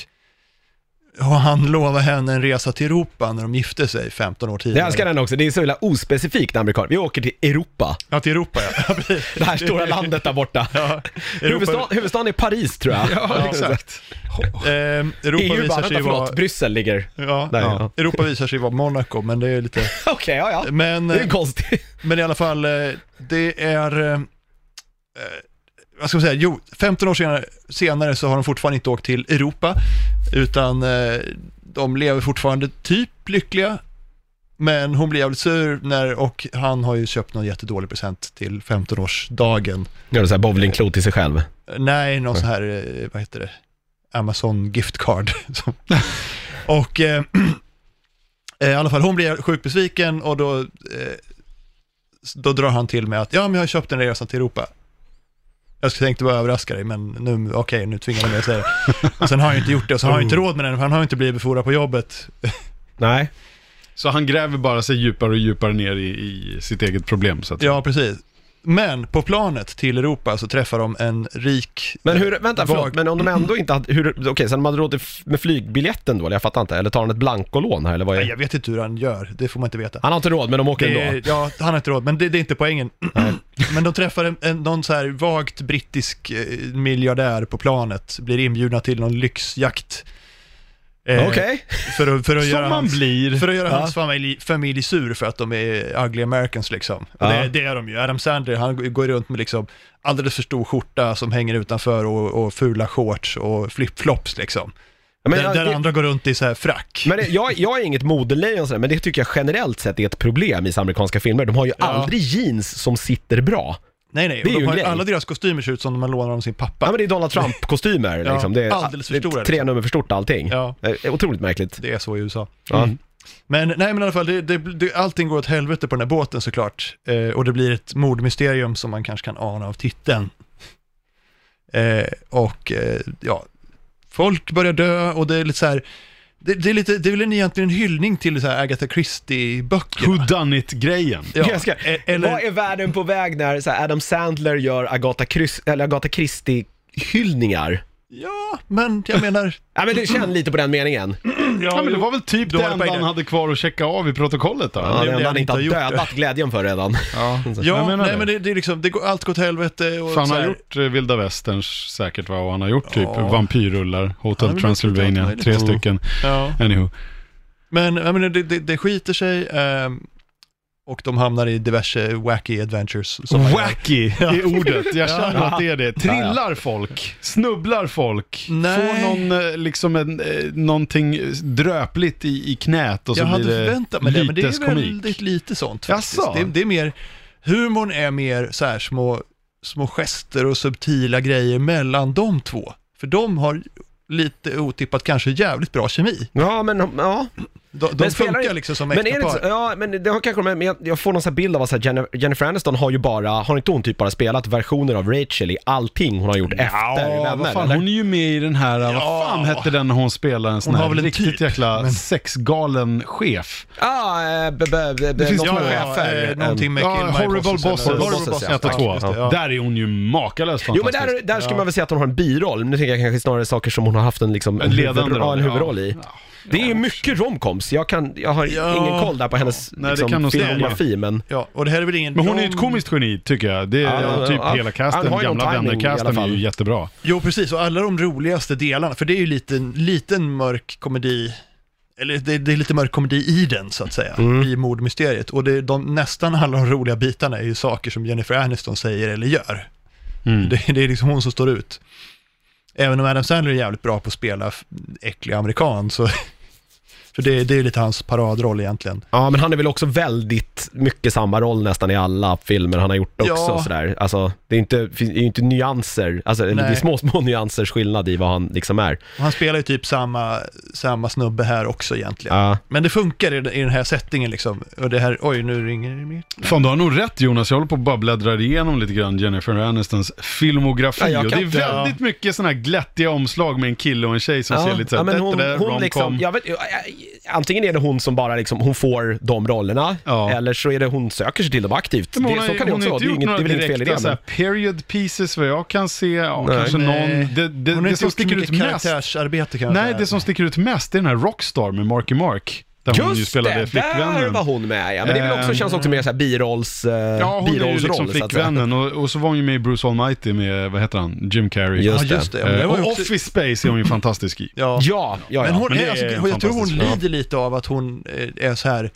och han lovar henne en resa till Europa när de gifte sig 15 år tidigare.
Jag älskar den också, det är så jävla ospecifikt amerikan. Vi åker till Europa,
Ja, till Europa ja. ja. precis.
det här stora landet där borta.
Ja,
Huvudstaden,
Europa,
huvudstaden är Paris tror jag.
Ja,
exakt.
ehm, Europa,
EU bara,
visar
vänta
sig
förlåt,
vara,
Bryssel ligger.
ja,
Där,
ja. Europa visar sig vara Monaco, men det är lite...
Okej, ja ja.
Men,
Det är ju konstigt.
men i alla fall, eh, det är... eh, eh, Vad ska man säga? Jo, 15 år senare, senare så har de fortfarande inte åkt till Europa, utan eh, de lever fortfarande typ lyckliga. Men hon blir jävligt sur när, och han har ju köpt någon jättedålig present till 15-årsdagen.
Gör du såhär bowlingklot till sig själv?
Nej, någon sån här, eh, vad heter det, Amazon gift card. som- och eh, eh, i alla fall, hon blir sjukt besviken och då, eh, s- då drar han till med att ja, men jag har köpt en resa till Europa. Jag skulle tänkte bara överraska dig, men nu, okej, nu tvingar han mig att säga det. Och sen har han ju inte gjort det och så har han ju
Oh.
inte råd med den, för han har ju inte blivit befordrad på jobbet.
Nej.
Så han gräver bara sig djupare och djupare ner i, i sitt eget problem. Så att,
Ja, precis. Men på planet till Europa så träffar de en rik...
Men hur, vänta förlåt,
Vag-
men om de ändå inte hade, hur- okej, så de hade råd till f- med flygbiljetten då, eller jag fattar inte, eller tar han ett blankolån här eller vad
Nej,
är
jag vet inte hur han gör, det får man inte veta.
Han har inte råd men de åker
Det
ändå.
är, ja, han har inte råd, men det, det är inte poängen. men de träffar en, en, någon så här vagt brittisk eh, miljardär på planet, blir inbjudna till någon lyxjakt. Eh,
Okej.
För att, för att göra,
Som man
hans,
blir.
för att göra
Ja.
hans familj, familj sur för att de är ugly Americans liksom. Och
Ja.
Det, det är de ju. Adam Sandler, han går runt med liksom alldeles för stor skorta som hänger utanför och, och fula shorts och flipflops liksom.
Men,
där
jag-
där
det-
andra går runt i så här frack.
men det- jag, jag är inget modelejon sådär, men det tycker jag generellt sett är ett problem i så amerikanska filmer. De har ju
Ja.
aldrig jeans som sitter bra.
nej, nej.
det är ju
Och de
en
har, ju-
grej.
alla deras kostymer ser ut som de man lånar av sin pappa.
Ja men det är Donald Trump-kostymer
Ja,
liksom. Det är,
alldeles för
det är
stora,
tre
liksom.
nummer för stort allting.
Ja. Mm.
Det är Otroligt märkligt.
Mm.
Det är så i USA.
Ja.
Men nej, men i alla fall, det, det, det, allting går åt helvete på den här båten såklart. Eh, och det blir ett mordmysterium som man kanske kan ana av titeln. Eh, och eh, ja, folk börjar dö och det är lite så här, det, det är lite, det är väl en egentligen en hyllning till så här Agatha Christie-böckerna.
Who done it-grejen.
Ja,
Jag ska,
e- eller-
Vad är världen på väg när så här, Adam Sandler gör Agatha, Chris, eller Agatha Christie-hyllningar?
Ja, men jag menar,
Ja men det känner lite på den meningen.
Ja, men det var väl typ
Då
det
har du
enda
poäng
han
där.
hade kvar att checka av i protokollet då.
Ja, det
det är
enda han
det han
inte har
inte har gjort
dödat glädjen för redan.
Ja. Jag
ja,
menar
nej
det.
men det, det är liksom, det går, allt går åt helvete och
För han
så
har
här,
gjort eh, vilda västerns säkert va, och han har gjort typ
Ja.
vampyrrullar,
Han har
Hotel
väl gjort
Transylvania,
allt
tre
möjligt.
stycken.
Ja.
Anywho.
Men jag menar, det, det, det skiter sig ehm, och de hamnar i diverse wacky adventures. Som man gör.
Wacky är ordet, jag känner att det är det. Trillar folk, snubblar folk,
Nej.
får någon, eh, liksom en, eh, någonting dröpligt i, i knät och så
Jag hade
blir
förväntat mig det, men det är
lyteskomik.
väldigt lite sånt faktiskt.
Jaså?
Det, det är mer, humorn är mer så här små, små gester och subtila grejer mellan de två. För de har lite otippat kanske jävligt bra kemi.
Ja men, ja.
De, de
Men spelar
funkar
det-
liksom som
Men är det inte så,
äktapar.
ja men det har kanske de- men jag, jag får någon sån här bild av att så här, Jennifer- Jennifer Aniston har ju bara, har inte hon typ bara spelat versioner av Rachel i allting hon har gjort efter
Ja, vad
Vänner?
fan,
eller?
hon är ju med i den här, vad
Ja.
fan hette den när hon spelar en sån
Hon har
här
väl en
riktigt
typ,
jäkla
men-
sexgalen chef.
Ah, eh, b- b- b-
Det finns-
något
ja,
med
ja,
chefer.
eh, någonting med
Ja,
Kill My
horrible
Bosses eller-
bosses. Horrible
bosses,
bosses,
ja.
ett och
Ja,
två.
just det, ja.
Där är hon ju makalöst
Jo men
fantastisk.
där, där skulle man väl säga att hon har en biroll, men nu tänker jag kanske snarare saker som hon har haft en, liksom, en,
En ledande
huvudroll,
roll,
en huvudroll
ja.
i. Det är ju mycket romcoms, jag, kan, jag har
Ja.
ingen koll där på hennes
Nej, det kan
liksom,
nog stämma.
filmografi men...
Ja, och det här är väl ingen...
Men hon är ju ett
de-
komiskt geni tycker jag. Det är
Ja,
typ
ja,
hela
han
casten,
har ju någon
gamla
timing i
vänner-casten
alla
är
fall.
ju jättebra.
Jo, precis. Och alla de roligaste delarna, för det är ju lite, en liten mörk komedi, eller det, det är lite mörk komedi i den, så att säga, i mordmysteriet. Och det, de, nästan alla de roliga bitarna är ju saker som Jennifer Aniston säger eller gör.
Mm.
Det, det är liksom hon som står ut. Även om Adam Sandler är jävligt bra på att spela f- äcklig amerikan, så... För det, det är ju lite hans paradroll egentligen.
Ja men han är väl också väldigt mycket samma roll nästan i alla filmer han har gjort också
Ja.
sådär. Alltså det är, inte, finns- det är ju inte nyanser, alltså eller det är
Nej.
små, små nyansers skillnad i vad han liksom är.
Och han spelar ju typ samma, samma snubbe här också egentligen.
Ja.
Men det funkar i, den- i den här settingen liksom. Och det här, oj nu ringer det mer.
Fan du har nog rätt Jonas, jag håller på att bara bläddra igenom lite grann Jennifer Anistons
Ja,
filmografi.
jag
och det
kan
är
inte-
väldigt mycket sådana här glättiga omslag med en kille och en tjej som ser lite såhär,
men hon,
dettere,
hon
romcom.
liksom, jag vet, jag- antingen är det hon som bara liksom, hon får de rollerna,
Ja.
eller så är det hon söker sig till dem aktivt.
Men
Det,
hon har
så
ju-
kan det
hon
också
har
vara, det är, inget, det är väl inget fel i det.
så
Men,
här period pieces vad jag kan se, ja,
Nej.
kanske
Nej.
någon. Det, det,
Hon har
det
inte
som
gjort så
sticker
mycket
ut mest,
karaktärsarbete kanske.
nej det som sticker ut mest är den här Rockstar med Marky Mark. Där hon ju
Just det,
spelade
där
flickvännen.
var hon med ja. Men det är väl också,
Ehm,
känns också mer såhär birolls, eh,
Ja, hon är ju
birollsroll
liksom
så att säga.
flickvännen och, och så var hon ju med i Bruce Almighty med, vad heter han, Jim Carrey.
Just
Ja, just det. Ja, men
Eh,
det var ju
och
också,
Office Space är hon ju fantastisk i.
ja.
Ja, ja, ja.
Men hon
men det
är, alltså,
är
jag tror hon
fantastiskt bra.
lider lite av att hon eh, är så här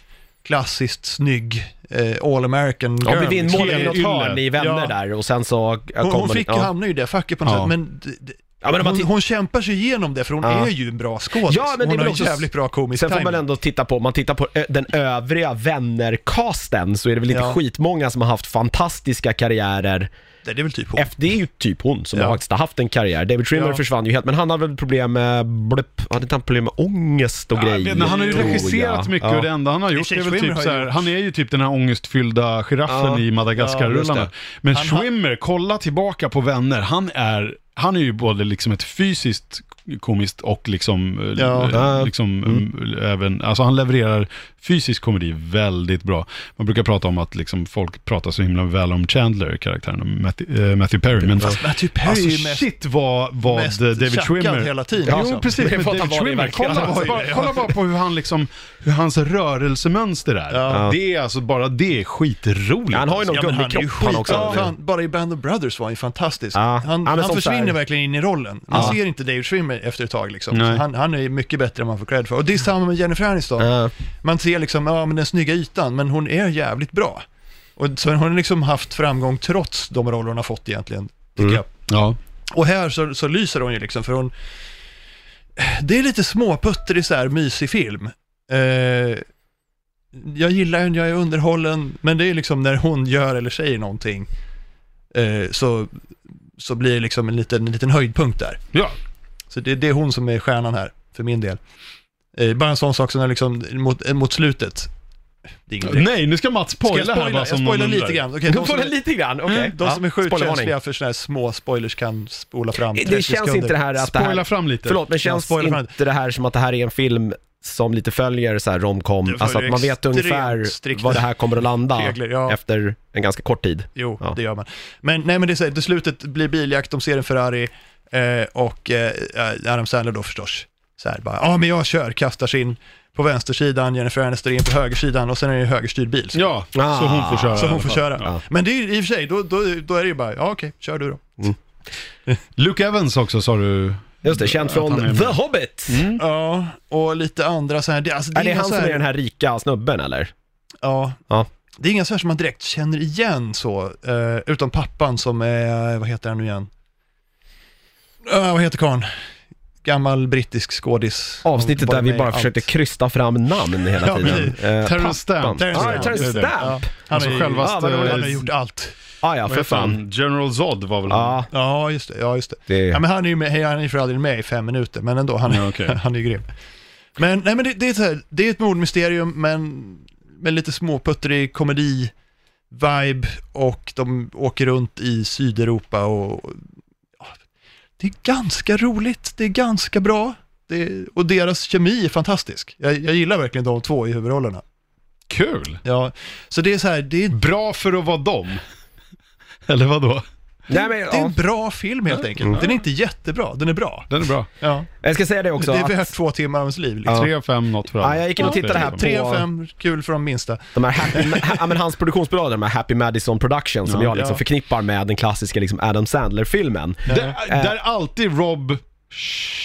klassiskt snygg, eh, all American girl.
Ja, blev inmålad i
Kjell
något hörn
Ylle.
i vänner
Ja.
där och sen så
hon,
kommer...
hon fick
ja.
hamna ju där facket på något
Ja.
sätt, men, d- d-
Ja, men om man
hon,
tittar-
hon kämpar sig igenom det för hon
Ja.
är ju en bra skådis.
Ja, men det är
hon
väl
har
också-
ju jävligt bra komisk
Sen får man
timing.
ändå titta på, om man tittar på ö- den övriga vänner-casten så är det väl inte
Ja.
skitmånga som har haft fantastiska karriärer.
Det är väl typ hon.
F, det är ju typ hon som
Ja.
har faktiskt har haft en karriär. David Trimmer
Ja.
försvann ju helt, men han hade väl problem med, blip, hade inte han problem med ångest och
Ja, jag
grejer?
vet inte, han har ju
tror jag.
regisserat mycket
Ja.
och det enda han har gjort
sig,
är väl
Schwimmer
typ
har
så här,
gjort-
han är ju typ den här ångestfyllda giraffen
Ja.
i Madagaskar-rullarna.
Ja, just
Men
Han har-
Schwimmer, kolla tillbaka på vänner, han är, han är ju både liksom ett fysiskt komiskt och liksom, eh,
Ja.
eh, liksom
Mm.
eh, även, alltså han levererar fysisk komedi väldigt bra. Man brukar prata om att liksom folk pratar så himla väl om Chandler, karaktären, och Matthew, eh, Matthew Perry, men
Fast Matthew Perry
Alltså
är ju mest,
shit vad, vad
mest
David
tjackad
Schwimmer...
hela tiden.
Ja,
liksom.
jo, precis.
Men
Men
för att
David
han var det
Schwimmer,
verkligen.
kolla,
Han var ju
bara,
det, ja.
kolla bara på hur, han liksom, hur hans rörelsemönster är.
Ja.
Det är alltså, bara det är skitroligt. alltså.
Ja, han har ju någon
Ja, men han är
gummikropp
ju
han också.
skit. Fan, bara i Band of Brothers var han ju fantastisk.
Ja. Ja,
Han,
men
han
sånt
försvinner
där.
verkligen in i rollen. Man
Ja.
ser inte David Schwimmer efter ett tag liksom.
Nej.
Han, han är mycket bättre än man får cred för. Och det är samma med Jennifer Aniston.
Ja.
Man ser liksom, ja men den snygga ytan, men hon är jävligt bra. Och så hon har liksom haft framgång trots de roller hon har fått egentligen, tycker
Mm.
jag.
Ja.
Och här så, så lyser hon ju liksom, för hon... Det är lite småputtrig så här mysig film. Eh, jag gillar henne, jag är underhållen, men det är liksom när hon gör eller säger någonting eh, så, så blir det liksom en liten, en liten höjdpunkt där.
ja.
Så det, det är hon som är stjärnan här, för min del. Eh, bara en sån sak som är liksom mot, mot slutet. Det är ingen direkt-
Nej, nu ska Mats
Ska jag
spoila här
spoila?
bara
Jag
som någon
spoilar
undrar.
lite grann. Okej, de,
Du får
som
den
är,
lite grann, okej.
Mm, de som är sjukt
spoilervarning.
känsliga för såna här små spoilers kan spola fram 30
Det känns
sekunder.
inte det här äh. att det
Spoila
här...
fram lite.
Förlåt, men
Ja,
känns
spoiler fram.
inte det här som att det här är en film som lite följer så här romcom,
Det
alltså att
följer
man vet
extremt
ungefär
strikta
var det här kommer att landa
Regler, ja.
efter en ganska kort tid.
Jo,
Ja.
det gör man. Men nej, men det är så här, till slutet blir biljakt, de ser en Ferrari eh, och eh, Adam Sandler då förstås. Så här bara, ja men jag kör, kastar sig in på vänstersidan, Jennifer Aniston in på högersidan och sen är det en högerstyrd bil. Så,
Ja, så hon får köra.
så
i alla
hon får
fall.
köra.
Ja.
Men det är ju i och för sig, då, då, då är det ju bara, ja okej, kör du då.
Luke Evans också sa du.
Just det, känd
Att han är
från
med.
The Hobbit!
Ja, och lite andra så här, det, alltså, Mm. det
Är
är,
det
inga
han
så
som är
här,
den här rika snubben eller?
ja,
Ja.
det är inga så här som man direkt känner igen så, eh, utom pappan som är, vad heter han nu igen? Uh, vad heter karln? Gammal brittisk skådis. Han
Avsnittet
var
där vi
med i
bara
allt.
försökte krysta fram namn hela
Ja,
tiden.
precis.
Eh,
Terrence
pappan.
Stamp.
Terrence
Ah,
Stamp.
Terrence
Det är det.
Stamp!
Han,
Alltså
är,
själva-
självaste...
Ja, vad roligt.
han har gjort allt.
Ah, ja,
Vad
för
heter
fan. Ah.
han? General Zod var väl
Ja,
Ja, just det. Ja, just det.
det...
Ja, men han är ju med, han är ju för all del med i fem minuter, men ändå, han,
Ja, okej.
han är ju grym. Men, nej, men det, det, är så här, det är ett mordmysterium, men med lite småputtrig komedi, vibe och de åker runt i Sydeuropa och... ja, Det är ganska roligt, det är ganska bra. Det, och deras kemi är fantastisk. Jag, jag gillar verkligen de två i huvudrollerna.
Kul.
Ja, så det är så här, det är,
Bra för att vara dem. Eller vad då?
Nej, men,
det är
ja. Mm.
en bra film helt enkelt. Den är inte jättebra, den är bra.
Den är bra.
Ja.
Jag ska säga det också.
Det är
att-
värt två timmar av ens liv. Liksom.
Ja.
Tre av fem, något för alla.
Ja, jag gick in och tittade här på-
Tre av fem, kul för de minsta.
De här happy, ha, ja, men hans produktionsbolag, de här Happy Madison Productions, som
Ja.
jag liksom
Ja.
förknippar med den klassiska liksom Adam Sandler-filmen.
Där, där alltid Rob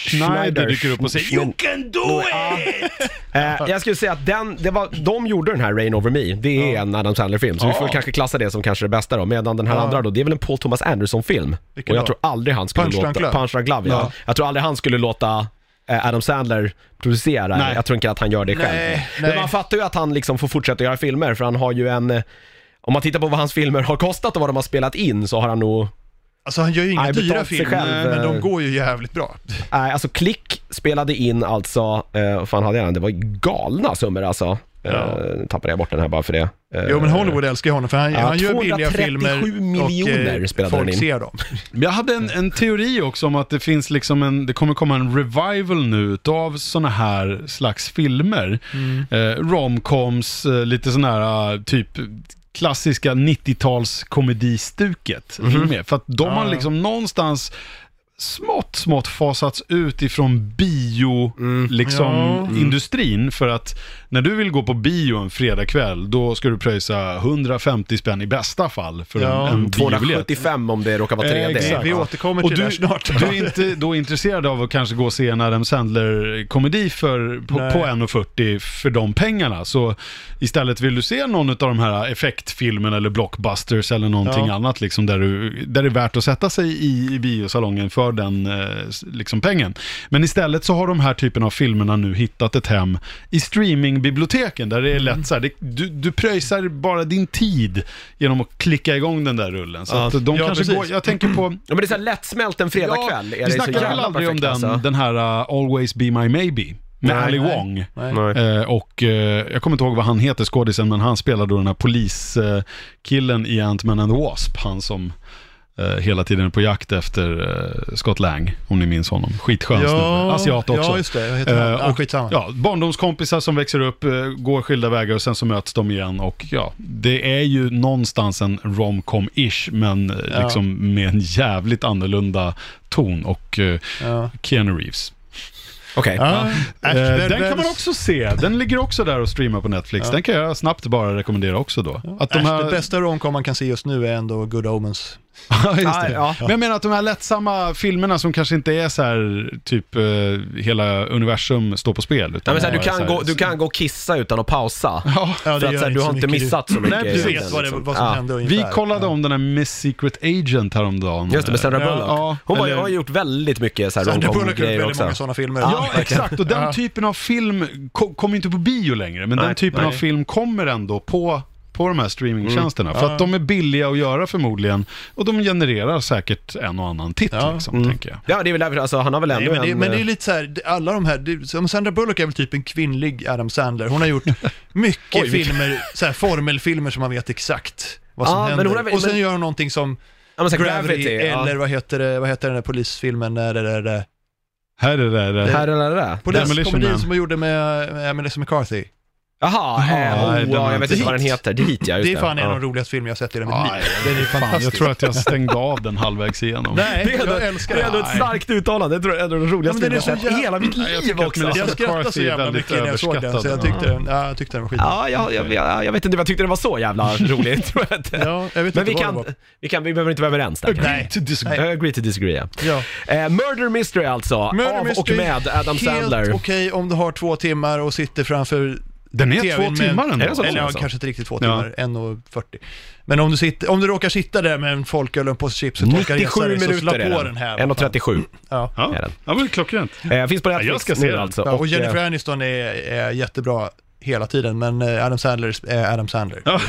Schneider dyker upp och säger
Schneider.
You can do it!
Eh, jag skulle säga att den, det var, de gjorde den här Rain Over Me, det är en Adam Sandler-film, så vi får
Ja.
kanske klassa det som kanske det bästa då, medan den här
Ja.
andra då, det är väl en Paul Thomas Anderson-film. Och
Vilken
jag
då?
tror aldrig han skulle
Punch Drunk
låta,
Love.
Punch Drunk Love, ja.
Ja.
Jag tror aldrig han skulle låta eh, Adam Sandler producera,
Nej.
jag tror inte att han gör det själv.
Nej,
Men
nej.
man fattar ju att han liksom får fortsätta göra filmer, för han har ju en eh, om man tittar på vad hans filmer har kostat och vad de har spelat in så har han nog
Alltså han gör ju inga
Nej, betalt
dyra
sig
filmer,
själv,
men
eh.
de går ju jävligt bra.
Nej, alltså Klick spelade in alltså, eh, vad fan hade jag den? Det var galna summor alltså.
Ja.
Eh, nu tappade jag bort den här bara för det. Eh,
Jo men Hollywood älskar ju honom för han,
Ja,
han gör billiga
237
filmer och eh,
miljoner spelade
folk
den in.
ser dem.
Men Jag hade en, en teori också om att det finns liksom en, det kommer komma en revival nu av sådana här slags filmer.
Mm.
Eh, romcoms, eh, lite sådana här eh, typ klassiska 90-tals komedistuket. Är du med? För att de
Mhm. Ja,
har
ja.
liksom någonstans smått, smått fasats ut ifrån bio, liksom,
Mm. Ja.
industrin. För att när du vill gå på bio en fredagkväll, då ska du pröjsa 150 spänn i bästa fall för
Ja.
en, en biobiljett.
275 om det råkar vara
Eh,
3D.
exakt.
Vi
Ja.
återkommer till
Och
det
du,
här snart.
du är inte då intresserad av att kanske gå och se en Adam Sandler-komedi för, på,
Nej.
på 1,40 för de pengarna. Så istället vill du se någon av de här effektfilmerna eller blockbusters eller någonting
Ja.
annat liksom där, du, där det är värt att sätta sig i, i biosalongen för den eh, s- liksom pengen. Men istället så har de här typen av filmerna nu hittat ett hem i streamingbiblioteken där det är
Mm.
lätt så här, det, du, du pröjsar bara din tid genom att klicka igång den där rullen. Så
Ja.
att de
Ja,
kanske
precis.
går, jag tänker på
Ja, men det är så här lättsmält en fredagkväll. är
vi
det så
snackade väl
jävla
aldrig om
perfekt,
den,
alltså.
den här uh, Always Be My Maybe
Nej,
med Ali
nej.
Wong.
Nej.
Nej.
Eh, och eh, jag kommer inte ihåg vad han heter, skådisen, men han spelar då den här poliskillen i Ant-Man and the Wasp. Han som eh, hela tiden är på jakt efter eh, Scott Lang, om ni minns honom. Skitskön snubbe. Asiat också.
Ja, just det. Vad heter han?
Eh,
ja,
och-
skitsamma.
Ja, barndomskompisar som växer upp, eh, går skilda vägar och sen så möts de igen och ja, det är ju någonstans en romcom-ish men eh,
Ja.
liksom med en jävligt annorlunda ton och eh,
Ja.
Keanu Reeves.
Okej.
Ja. Ash,
Eh,
vem-
den kan
vem-
man också se, den ligger också där och streamar på Netflix.
Ja.
Den kan jag snabbt bara rekommendera också då. Att de
Ash,
här...
Det bästa romcom man kan se just nu är ändå Good Omens.
Ja, just
Ah,
det.
ja.
Men jag menar att de här lättsamma filmerna som kanske inte är så här, typ eh, hela universum står på spel.
Nej,
Utan
men så här, du,
bara
kan
så här-
gå, du kan gå och kissa utan att pausa.
Ja.
Ja,
för att
gör
så här, du
inte
har
så
inte
mycket.
missat så mycket.
Nej,
Du
precis.
egentligen,
vet vad, det,
liksom.
vad som
Ja.
hände ungefär.
Vi kollade om den här Miss Secret Agent häromdagen.
Just det, med Sandra Bullock.
Ja,
Hon var,
eller-
har gjort väldigt mycket så här
Sandra Bullock har gjort
romcom-grejer
väldigt
också.
många sådana filmer.
Ja, exakt. Och den
Ja.
typen av film ko- kommer ju inte på bio längre, men
Nej,
den typen
nej.
av film kommer ändå på på de här streamingtjänsterna.
Mm.
För att de är billiga att göra förmodligen. Och de genererar säkert en och annan titt
Ja. Mm.
liksom, tänker jag.
Ja, det är väl därför, alltså han har väl ändå
Nej, men, det,
en...
men det är
eh,
lite så här, det- alla de här, det, som Sandra Bullock är väl typ en kvinnlig Adam Sandler. Hon har gjort mycket
Oj, vilken-
filmer, så här, formelfilmer som man vet exakt vad som
Ja, men
händer.
hon har väl-
och sen
men-
gör hon någonting som
ja, men så här,
Gravity,
Gravity,
eller
ja.
vad, heter det, vad heter den där polisfilmen, där, där, där, där.
Här är det. det.
Eh,
Här eller där?
Demolition Man.
poliskomedin som hon gjorde med, med Melissa McCarthy.
Jaha, eh,
Jaha,
oh,
nej, den har
ja, jag
inte
vet inte vad den
sett.
heter. Dit ja, just
Det är fan en
ja.
av de roligaste filmer jag sett i hela mitt
Ja,
liv. Den är
Fan, jag
fantastisk.
tror att jag stängde av den halvvägs igenom.
Nej,
Det är ändå-
jag älskar
Det är ändå ett
Nej.
starkt uttalande, det tror jag är en av de roligaste
Ja, men den
filmerna
är så
jag sett i
jävla-
hela mitt
jag
liv
tycker att
också.
Melissa-
Jag skrattade
McCarthy
så
är
jävla
väldigt
mycket när jag såg den, så jag
överskattad.
tyckte den, ja, jag tyckte den var skit.
Ja, jag, jag, jag, jag vet inte om jag tyckte det var så jävla roligt. tror jag inte.
Ja, jag vet
Men vi
inte vad det
kan,
var.
vi kan, vi behöver inte vara överens där.
Nej.
To
I
disagree.
agree to disagree. ja.
Ja.
Eh, Murder Mystery alltså,
Murder
av och
Mystery,
med Adam Sandler.
Helt okej om du har två timmar och sitter framför,
Den är
TVn
två
med-
timmar ändå.
Är det så?
eller ja,
alltså.
kanske inte riktigt två
Ja.
timmar, 1.40. Men om du, sitter, om du råkar sitta där med en folköl och en påse chips och torkar
97
resare, så slå
minuter
på
är den.
den här.
1.37.
Ja.
Ja,
Är den.
ja men klockrent.
Eh, finns på Netflix
jag ska se
nu
den.
alltså.
Ja, och Jennifer
eh,
Aniston är, är jättebra hela tiden, men eh, Adam Sandler är Adam Sandler.
Ja.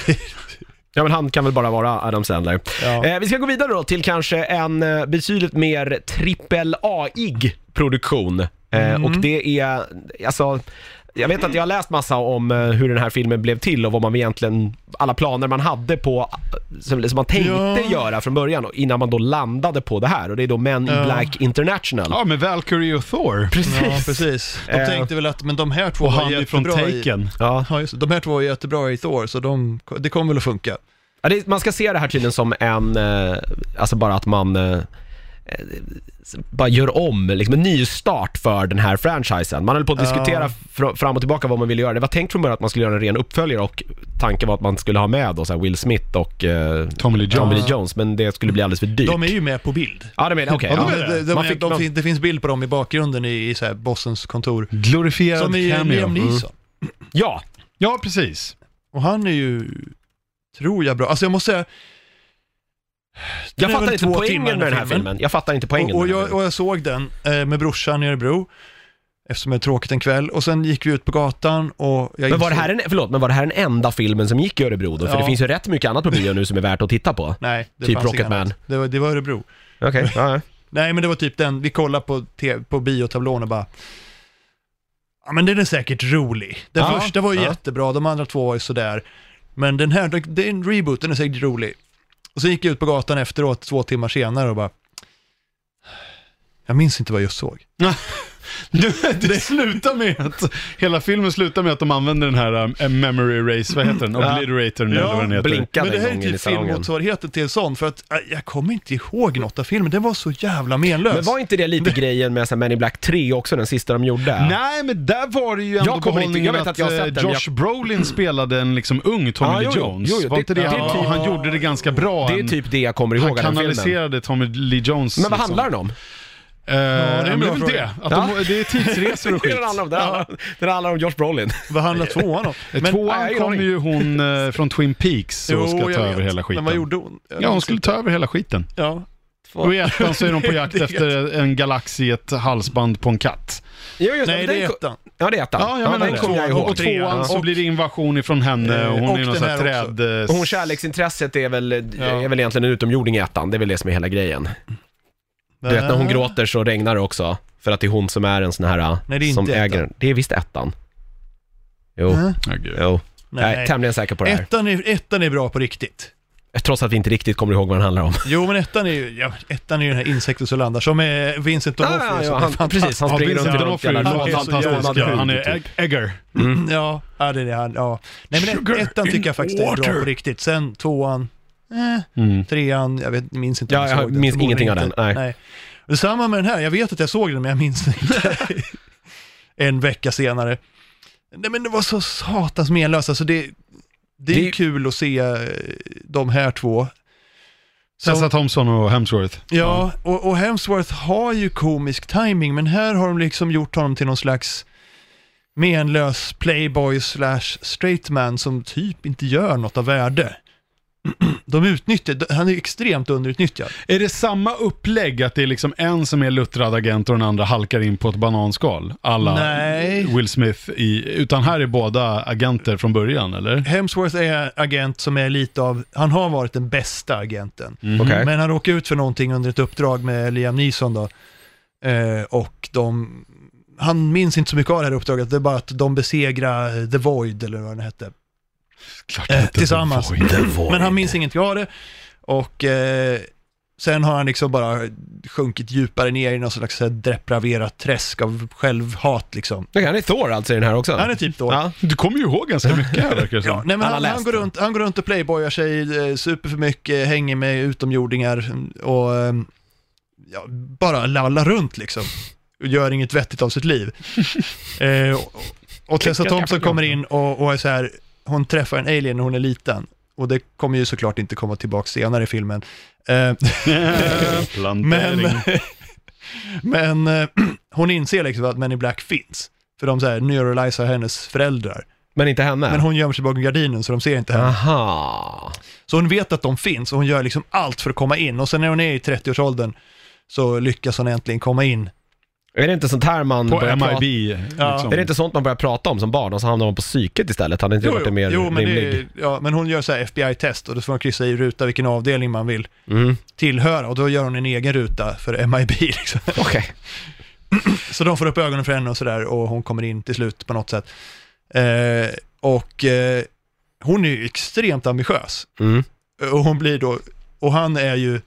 Ja men han kan väl bara vara Adam Sandler.
Ja.
Eh, vi ska gå vidare då till kanske en eh, betydligt mer trippel A-ig produktion. Eh,
Mm.
Och det är, alltså, jag vet att jag har läst massa om eh, hur den här filmen blev till och vad man egentligen, alla planer man hade på, som, som man tänkte
Ja.
göra från början och innan man då landade på det här. Och det är då Men in
Ja.
Black International.
Ja, med Valkyrie och Thor.
Ja, precis. De
Eh.
tänkte väl att, men de här två
Och
var
han ifrån
jättebra i...
Taken.
Ja.
Ja, just det. De här två är jättebra i Thor, så de, det kommer väl att funka.
Ja, det, man ska se det här tydligen som en, eh, alltså bara att man eh, eh, bara gör om, liksom en ny start för den här franchisen. Man höll på att diskutera fr- fram och tillbaka vad man ville göra. Det var tänkt från början att man skulle göra en ren uppföljare och tanken var att man skulle ha med då, så här Will Smith och eh,
Tommy Lee
Tommy
Jones.
Lee Jones, men det skulle bli alldeles för
Typ.
dyrt.
De är ju med på bild.
Ja, de är okej.
Ja, de
ja.
är det.
De, de,
Man
är-
fick
de,
någon-
fin- det finns bild på dem i bakgrunden i, i så här bossens kontor.
Glorifierad
Som i
cameo.
Liam
Mm.
Neeson.
ja,
Ja, precis.
Och han är ju, tror jag, bra. Alltså jag måste säga...
jag
är
fattar
väl
inte
två
poängen
timmar,
med den här filmen. Jag fattar inte poängen
Och, och,
med den här
jag,
filmen.
och jag såg den eh, med brorsan i Örebro, eftersom det är tråkigt en kväll. Och sen gick vi ut på gatan och... Jag
Men var det
insåg-
här en, förlåt, men var det här den enda filmen som gick i Örebro då? För
Ja.
det finns ju rätt mycket annat på bio nu som är värt att titta på.
Nej, det
typ
fanns
Rocket
inget annat.
Man?
Det var, det var Örebro.
Okej, ja.
Nej, men det var typ den, vi kollade på, te- på biotablån och bara... Ja, men den är säkert rolig. Den
Ja,
första var ju
ja.
jättebra, de andra två var ju sådär. Men den här, den rebooten är säkert rolig. Och sen gick jag ut på gatan efteråt, två timmar senare och bara... Jag minns inte vad jag just såg.
Det, det slutar med att hela filmen slutar med att de använder den här um, memory erase, vad heter den?
Ja.
Obliterator nu eller vad den heter.
blink.
Men det
en
här
gång
är
in i
typ
salongen.
filmmotsvarigheten till en sån, för att äh, jag kommer inte ihåg något av filmen. Den var så jävla menlös.
Men var inte det lite grejen med så här Men in Black 3 också, den sista de gjorde?
Nej, men där var det ju ändå
Jag kommer inte- jag
behållningen
vet att jag har
eh,
sett den, men
Josh Brolin spelade en liksom ung Tommy
Ja,
Lee
jo, jo.
Jones.
Jo, jo,
var
det-
inte det,
det är
han,
typ-
han gjorde det ganska bra.
Det är
Han-
typ det jag kommer ihåg
han
av den filmen.
kanaliserade Tommy Lee Jones.
Men vad
liksom.
handlar den om?
Eh,
är en
men det
bra
är väl
fråga.
det. Att de, det är tidsresor och skit.
den, handlar om, den, handlar, om- den handlar om Josh Brolin.
Vad handlar tvåan om? Men-
jag har
Eh, Tvåan
ingen
kom
aning.
ju hon eh, från Twin Peaks och ska
Jo,
ta
jag
över
vet.
hela skiten.
Men vad gjorde hon? Jag
Ja, hon
minns
skulle
inte.
ta över hela skiten.
Ja.
Och i ettan så är de på jakt
Det är
efter en galax i ett halsband på en katt.
Jo, just,
Nej,
den
det är
ko-
ettan.
Ja, det är ettan.
Ja, jag menar
den
det.
kommer jag ihåg.
Och tvåan så
Och-
blir det invasion ifrån henne och hon
och
är någon
den
sån här
här också.
träd... eh,
Och hon kärleksintresset är väl, är
Ja.
väl egentligen en utomjording i ettan, det är väl det som är hela grejen. Du vet när
Eh.
hon gråter så regnar det också, för att det är hon som är en sån här,
Nej, det är
som
inte
äger
ettan.
Det är visst ettan. Jo,
Äh?
Ja, gud.
jo. Jag
Nej.
är tämligen säker på det här.
Ettan, är, ettan är bra på riktigt.
Trots att vi inte riktigt kommer ihåg vad den handlar om.
Jo, men ettan är ju, ja, ettan är ju den här insekten som landar, som är Vincent
Ja,
D'Onofrio.
ja, ja,
som är
han,
fantastisk.
precis, han
Ja,
springer
Vincent
runt i något
D'Onofrio
jävla
är
Han är så
lådan-
jävla
fantastisk.
lådan-
Han
typ.
är Egg- Egger.
Mm.
Mm.
Ja, ja, det är det han. Ja. Nej, men
Sugar
ettan
in
tycker jag faktiskt är
water.
bra på riktigt. Sen tvåan, eh,
Mm.
trean, jag vet, minns inte. om
Ja,
jag
jag
såg
minns
den, förmodligen
ingenting av den,
inte.
nej.
Och Samma med den här, jag vet att jag såg den men jag minns den inte. en vecka senare. Nej men det var så satans menlöst, alltså det, det är
Det-
kul att se eh, de här två. Som-
Tessa Thompson och Hemsworth.
Ja, och, och Hemsworth har ju komisk timing men här har de liksom gjort honom till någon slags menlös playboy slash straight man som typ inte gör något av värde. De utnyttjar, han är extremt underutnyttjad.
Är det samma upplägg att det är liksom en som är luttrad agent och den andra halkar in på ett bananskal? Alla
Nej.
Will Smith i... Utan här är båda agenter från början, eller?
Hemsworth är agent som är lite av, han har varit den bästa agenten.
Mm.
Okej.
Men han råkade ut för någonting under ett uppdrag med Liam Neeson då. Eh, och de, han minns inte så mycket av det här uppdraget, det är bara att de besegrar The Void eller vad den hette.
Klart
Eh,
att det
tillsammans.
var- det var-
Men han minns ingenting av det. Och eh, sen har han liksom bara sjunkit djupare ner i någon slags så här depraverat träsk av självhat liksom.
Okej, Han är Thor alltså i den här också?
Han är typ då.
Ja.
Du kommer ju ihåg ganska mycket här, verkar det
Ja,
som.
nej, men
Alla
han,
läst
han, går
den.
runt, han går runt och playboyar sig, eh, super för mycket, hänger med utomjordingar och eh, ja, bara lallar runt liksom. Och Gör inget vettigt av sitt liv. eh, och, och Tessa
Klicka
Thompson
jackan.
kommer in och, och är så här, hon träffar en alien när hon är liten. Och det kommer ju såklart inte komma tillbaka senare i filmen. Eh, men
Plantering.
men eh, hon inser liksom att Men in Black finns. För de så här neuralisar hennes föräldrar.
Men inte henne?
Men hon gömmer sig bakom gardinen så de ser inte henne.
Aha.
Så hon vet att de finns och hon gör liksom allt för att komma in. Och sen när hon är i 30-årsåldern så lyckas hon äntligen komma in.
Är det inte sånt här man
På
börjar prata-
MIB.
Ja.
Liksom.
Är det inte sånt man börjar prata om som barn och så hamnar man på psyket istället? Hade inte det varit en mer
jo men,
rimlig?
det, ja, men hon gör så här FBI-test och då får man kryssa i ruta vilken avdelning man vill
Mm.
tillhöra. Och då gör hon en egen ruta för MIB liksom.
Okej.
Så de får upp ögonen för henne och sådär och hon kommer in till slut på något sätt. Eh, och eh, hon är ju extremt ambitiös.
Mm.
Och hon blir då, och han är ju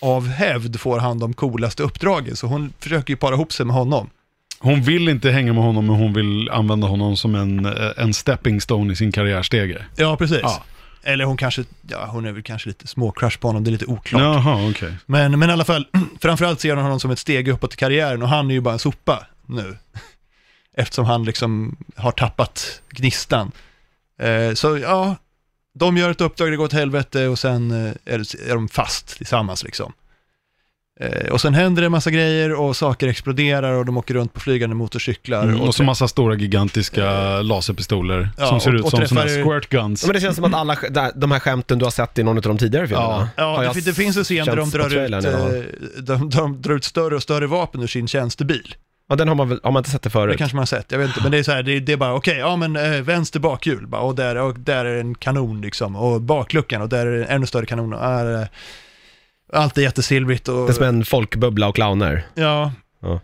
av hävd får han de coolaste uppdragen. Så hon försöker ju para ihop sig med honom.
Hon vill inte hänga med honom, men hon vill använda honom som en, eh, en stepping stone i sin karriärstege.
Ja, precis.
Ja.
Eller hon kanske, ja hon är väl kanske lite småcrush på honom, det är lite oklart.
Jaha, okej.
Men, men i alla fall, framförallt ser hon honom som ett steg uppåt i karriären och han är ju bara en sopa nu. Eftersom han liksom har tappat gnistan. Eh, så ja, de gör ett uppdrag, det går åt helvete och sen eh, är, det- är de fast tillsammans liksom. Eh, och sen händer det en massa grejer och saker exploderar och de åker runt på flygande motorcyklar.
Mm, och så
trä-
massa stora gigantiska laserpistoler
Ja,
som ser
och-
ut
och
som sådana
träffar-
här squirt guns.
Ja, Men det känns som att alla sk- där- de här skämten du har sett i någon av de tidigare filmerna.
Ja,
har
det,
jag
fin- det finns en scen där de
känns på
drar, ut,
trailern, ja.
eh, de, de drar ut större och större vapen ur sin tjänstebil.
Ja, den har man väl, har man inte sett det
Det
förut?
kanske man har sett, jag vet inte. Men det är så här, det, det är bara okej, ja men eh, vänster bakhjul bara, och, där, och där är en kanon liksom. Och bakluckan och där är en ännu större kanon. Och, är, eh, allt är jättesilvrigt och...
Det är som en folkbubbla och clowner.
Ja.
Ja.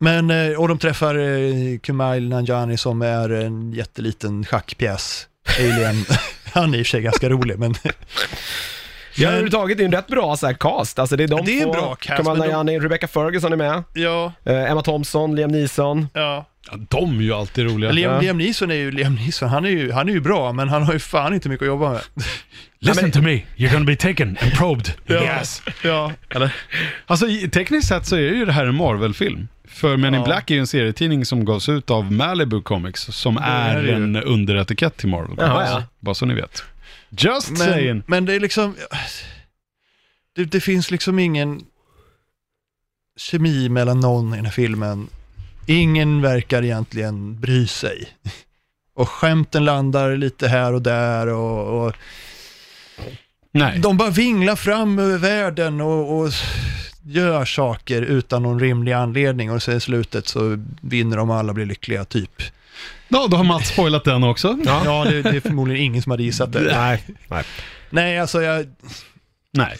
Men, eh, och de träffar eh, Kumail Nanjiani som är en jätteliten schackpjäs. Alien. Han är i och för sig ganska rolig, men
Ja, överhuvudtaget det är ju en rätt bra så här, cast. Alltså det är de
Det är
två,
en bra cast,
Kamal
men de-
Nanjiani, Rebecca Ferguson är med,
ja,
eh, Emma Thompson, Liam Neeson.
ja.
Ja, de är ju alltid roliga.
Ja.
Liam, Liam Neeson är ju, Liam Neeson, han är ju, han är ju bra, men han har ju fan inte mycket att jobba med.
Listen to me, you're gonna be taken and probed.
Yes. Ja,
Eller? Alltså i- tekniskt sett så är ju det här en Marvel-film. För Men in
Ja.
Black är ju en serietidning som gavs ut av Malibu Comics, som är,
är det ju.
en underetikett till Marvel Comics.
Jaha, ja.
Bara så ni vet. Just
men,
saying.
men det är liksom, det, det finns liksom ingen kemi mellan någon i den här filmen. Ingen verkar egentligen bry sig. Och skämten landar lite här och där och, och
Nej.
de bara vinglar fram över världen och, och gör saker utan någon rimlig anledning och sen i slutet så vinner de och alla blir lyckliga, typ.
Ja, då har Mats spoilat den också.
Ja.
Ja, det, det är förmodligen ingen som hade gissat det.
Nej. Nej.
Nej, alltså jag,
Nej.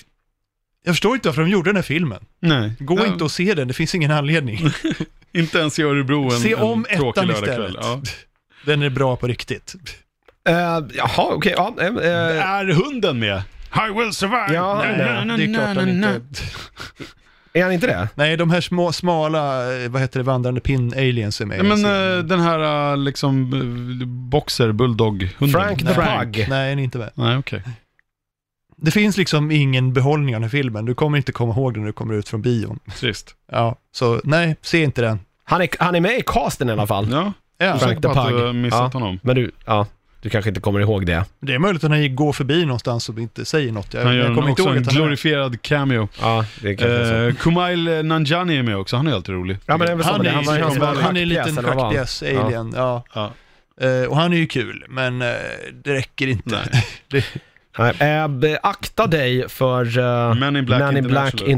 jag förstår inte varför de gjorde den här filmen.
Nej.
Gå
Ja,
inte och se den, det finns ingen anledning.
Inte ens i Örebro en,
se om
en tråkig
ettan
lördagkväll.
istället.
Ja.
Den är bra på riktigt.
Eh, jaha, okej. ja, eh, eh,
Är hunden med? I will survive!
Ja,
Na,
nej,
na, na,
det är klart
na,
den
na.
inte...
är han inte det?
Nej, de här små, smala, eh, vad heter det, vandrande pin-aliens är med.
Ja, men eh, den här eh, liksom eh, boxer, bulldog, hunden.
Frank the Pug.
Nej, den är inte med.
Nej, okej.
Det finns liksom ingen behållning av den här filmen. Du kommer inte komma ihåg den när du kommer ut från bion.
Trist.
Ja, så nej, se inte den.
Han är, han är med i casten i alla fall.
Ja,
Ja,
Frank
säker på
the
att du
Pug.
har missat
Ja.
honom.
Men du, ja, du kanske inte kommer ihåg det.
det är möjligt att han går förbi någonstans som inte säger något. Jag,
Han gör
jag kommer
en,
inte
också
ihåg
en
att han är med.
glorifierad cameo.
Ja, det kanske är så.
Eh, Kumail Nanjani är med också, han är alltid rolig.
Ja, men det är väl så.
Han
det.
är, han,
var ju
han,
som var
är en
schackpjäs,
liten
eller vad var han?
schackpjäs, alien, ja.
Ja.
Eh, och han är ju kul, men eh, det räcker inte.
Nej.
Det,
Eh, be- akta dig för eh,
Men in Black
Men in Black
International.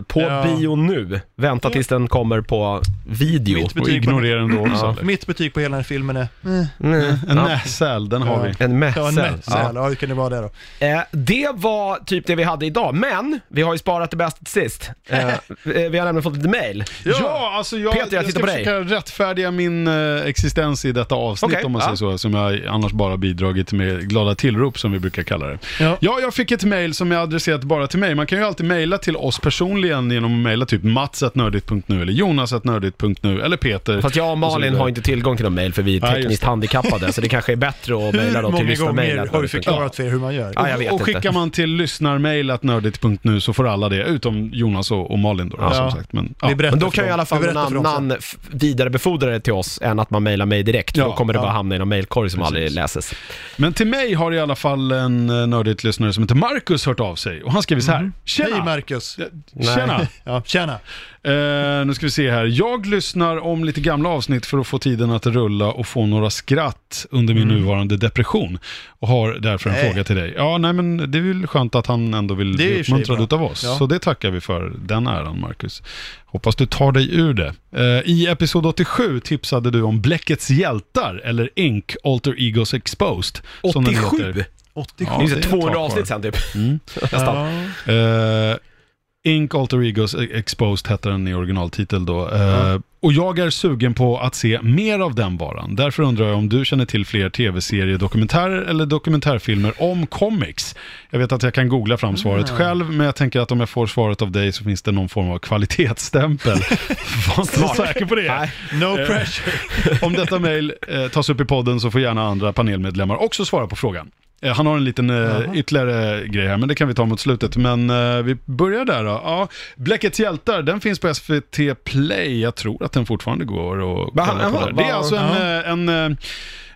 International. På
Ja.
bio nu. Vänta tills den kommer på video.
Mitt
Och
betyg, på,
ignorera den då också. eller?
mitt betyg på hela den här filmen är... Eh,
Mm.
En
Ja.
näsäl, den har
Ja.
vi.
En
ja, en
mässel.
mätt säl. Ja, hur kan det vara det då?
Eh, det var typ det vi hade idag, men vi har ju sparat det bästa till sist. Eh, eh, vi har nämligen fått lite mail.
Ja, alltså jag,
Peter, jag
jag,
tittar
ska
på dig.
försöka rättfärdiga min eh, existens i detta avsnitt
Okej,
om man
ja.
säger så, som jag annars bara bidragit med glada tillrop som vi brukar kalla det.
Ja.
Ja, jag fick ett mail som är adresserat bara till mig. Man kan ju alltid mejla till oss personligen genom att mejla typ mats.nördigt.nu eller jonas.nördigt.nu eller Peter.
Fast jag och
så
Malin
vidare.
har inte tillgång till de mail för vi är
Nej, just
tekniskt handikappade, så det kanske är bättre att mejla dem till
Hur många gånger
lyssnarmailen.
har vi förklarat för er hur man gör?
Ja, jag vet
och skickar
inte.
man till lyssnarmail.nördigt.nu så får alla det, utom Jonas och, och Malin då,
Ja.
som sagt. Men, ja.
Vi berättar
Men då
för
kan ju i
dem.
alla fall
Vi
någon
berättar för dem sen.
annan f- vidarebefordra det till oss än att man mejlar mig direkt, för
Ja,
då kommer det bara
ja.
hamna i någon mejlkorg som
Precis.
aldrig läses.
Men till mig har i alla fall en eh, nördigt lyssnare som heter Marcus hört av sig och han skriver så här.
Mhm.
Hej
Tjena! Eh,
Marcus!
Tjena!
Ja, tjena!
Eh, nu ska vi se här. Jag lyssnar om lite gamla avsnitt för att få tiden att rulla och få några skratt under min nuvarande depression. Och har därför en
Mm. Nej.
fråga till dig. Ja, nej men det är väl skönt att han ändå vill
Det är
bli
i och för sig
uppmuntrad
bra.
utav oss.
Ja.
Så det tackar vi för, den äran Marcus. Hoppas du tar dig ur det. Eh, I episod 87 tipsade du om Bläckets hjältar, eller Ink, Alter Egos Exposed. som den
87!
heter.
Det
87.
Ja,
är ju så
det är ett
200
tag
avsnitt
kvar.
sen typ.
Mm.
Nästan.
Eh, Ink Alter Egos E- Exposed hette den i originaltitel då. Eh, Och jag är sugen på att se mer av den varan. Därför undrar jag om du känner till fler tv-serier, dokumentärer eller dokumentärfilmer om comics. Jag vet att jag kan googla fram svaret själv, men jag tänker att om jag får svaret av dig så finns det någon form av kvalitetsstämpel. Var inte så säker på det.
Nej.
No
Eh,
pressure!
Om detta mejl eh, tas upp i podden så får gärna andra panelmedlemmar också svara på frågan. Eh, han har en liten eh, ytterligare grej här, men det kan vi ta mot slutet. Men eh, vi börjar där då. Ja, Bläckets hjältar, den finns på SVT Play. Jag tror att den fortfarande går att
Va-
kolla på
jaha,
där. Det är
va-
alltså en, eh, en, eh,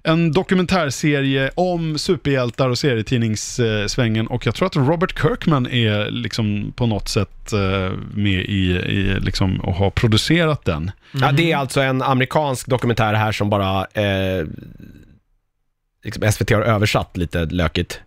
en dokumentärserie om superhjältar och serietidningssvängen. Och jag tror att Robert Kirkman är liksom på något sätt eh, med i, i liksom, och har producerat den.
Ja, det är alltså en amerikansk dokumentär här som bara eh, liksom SVT har översatt lite lökigt.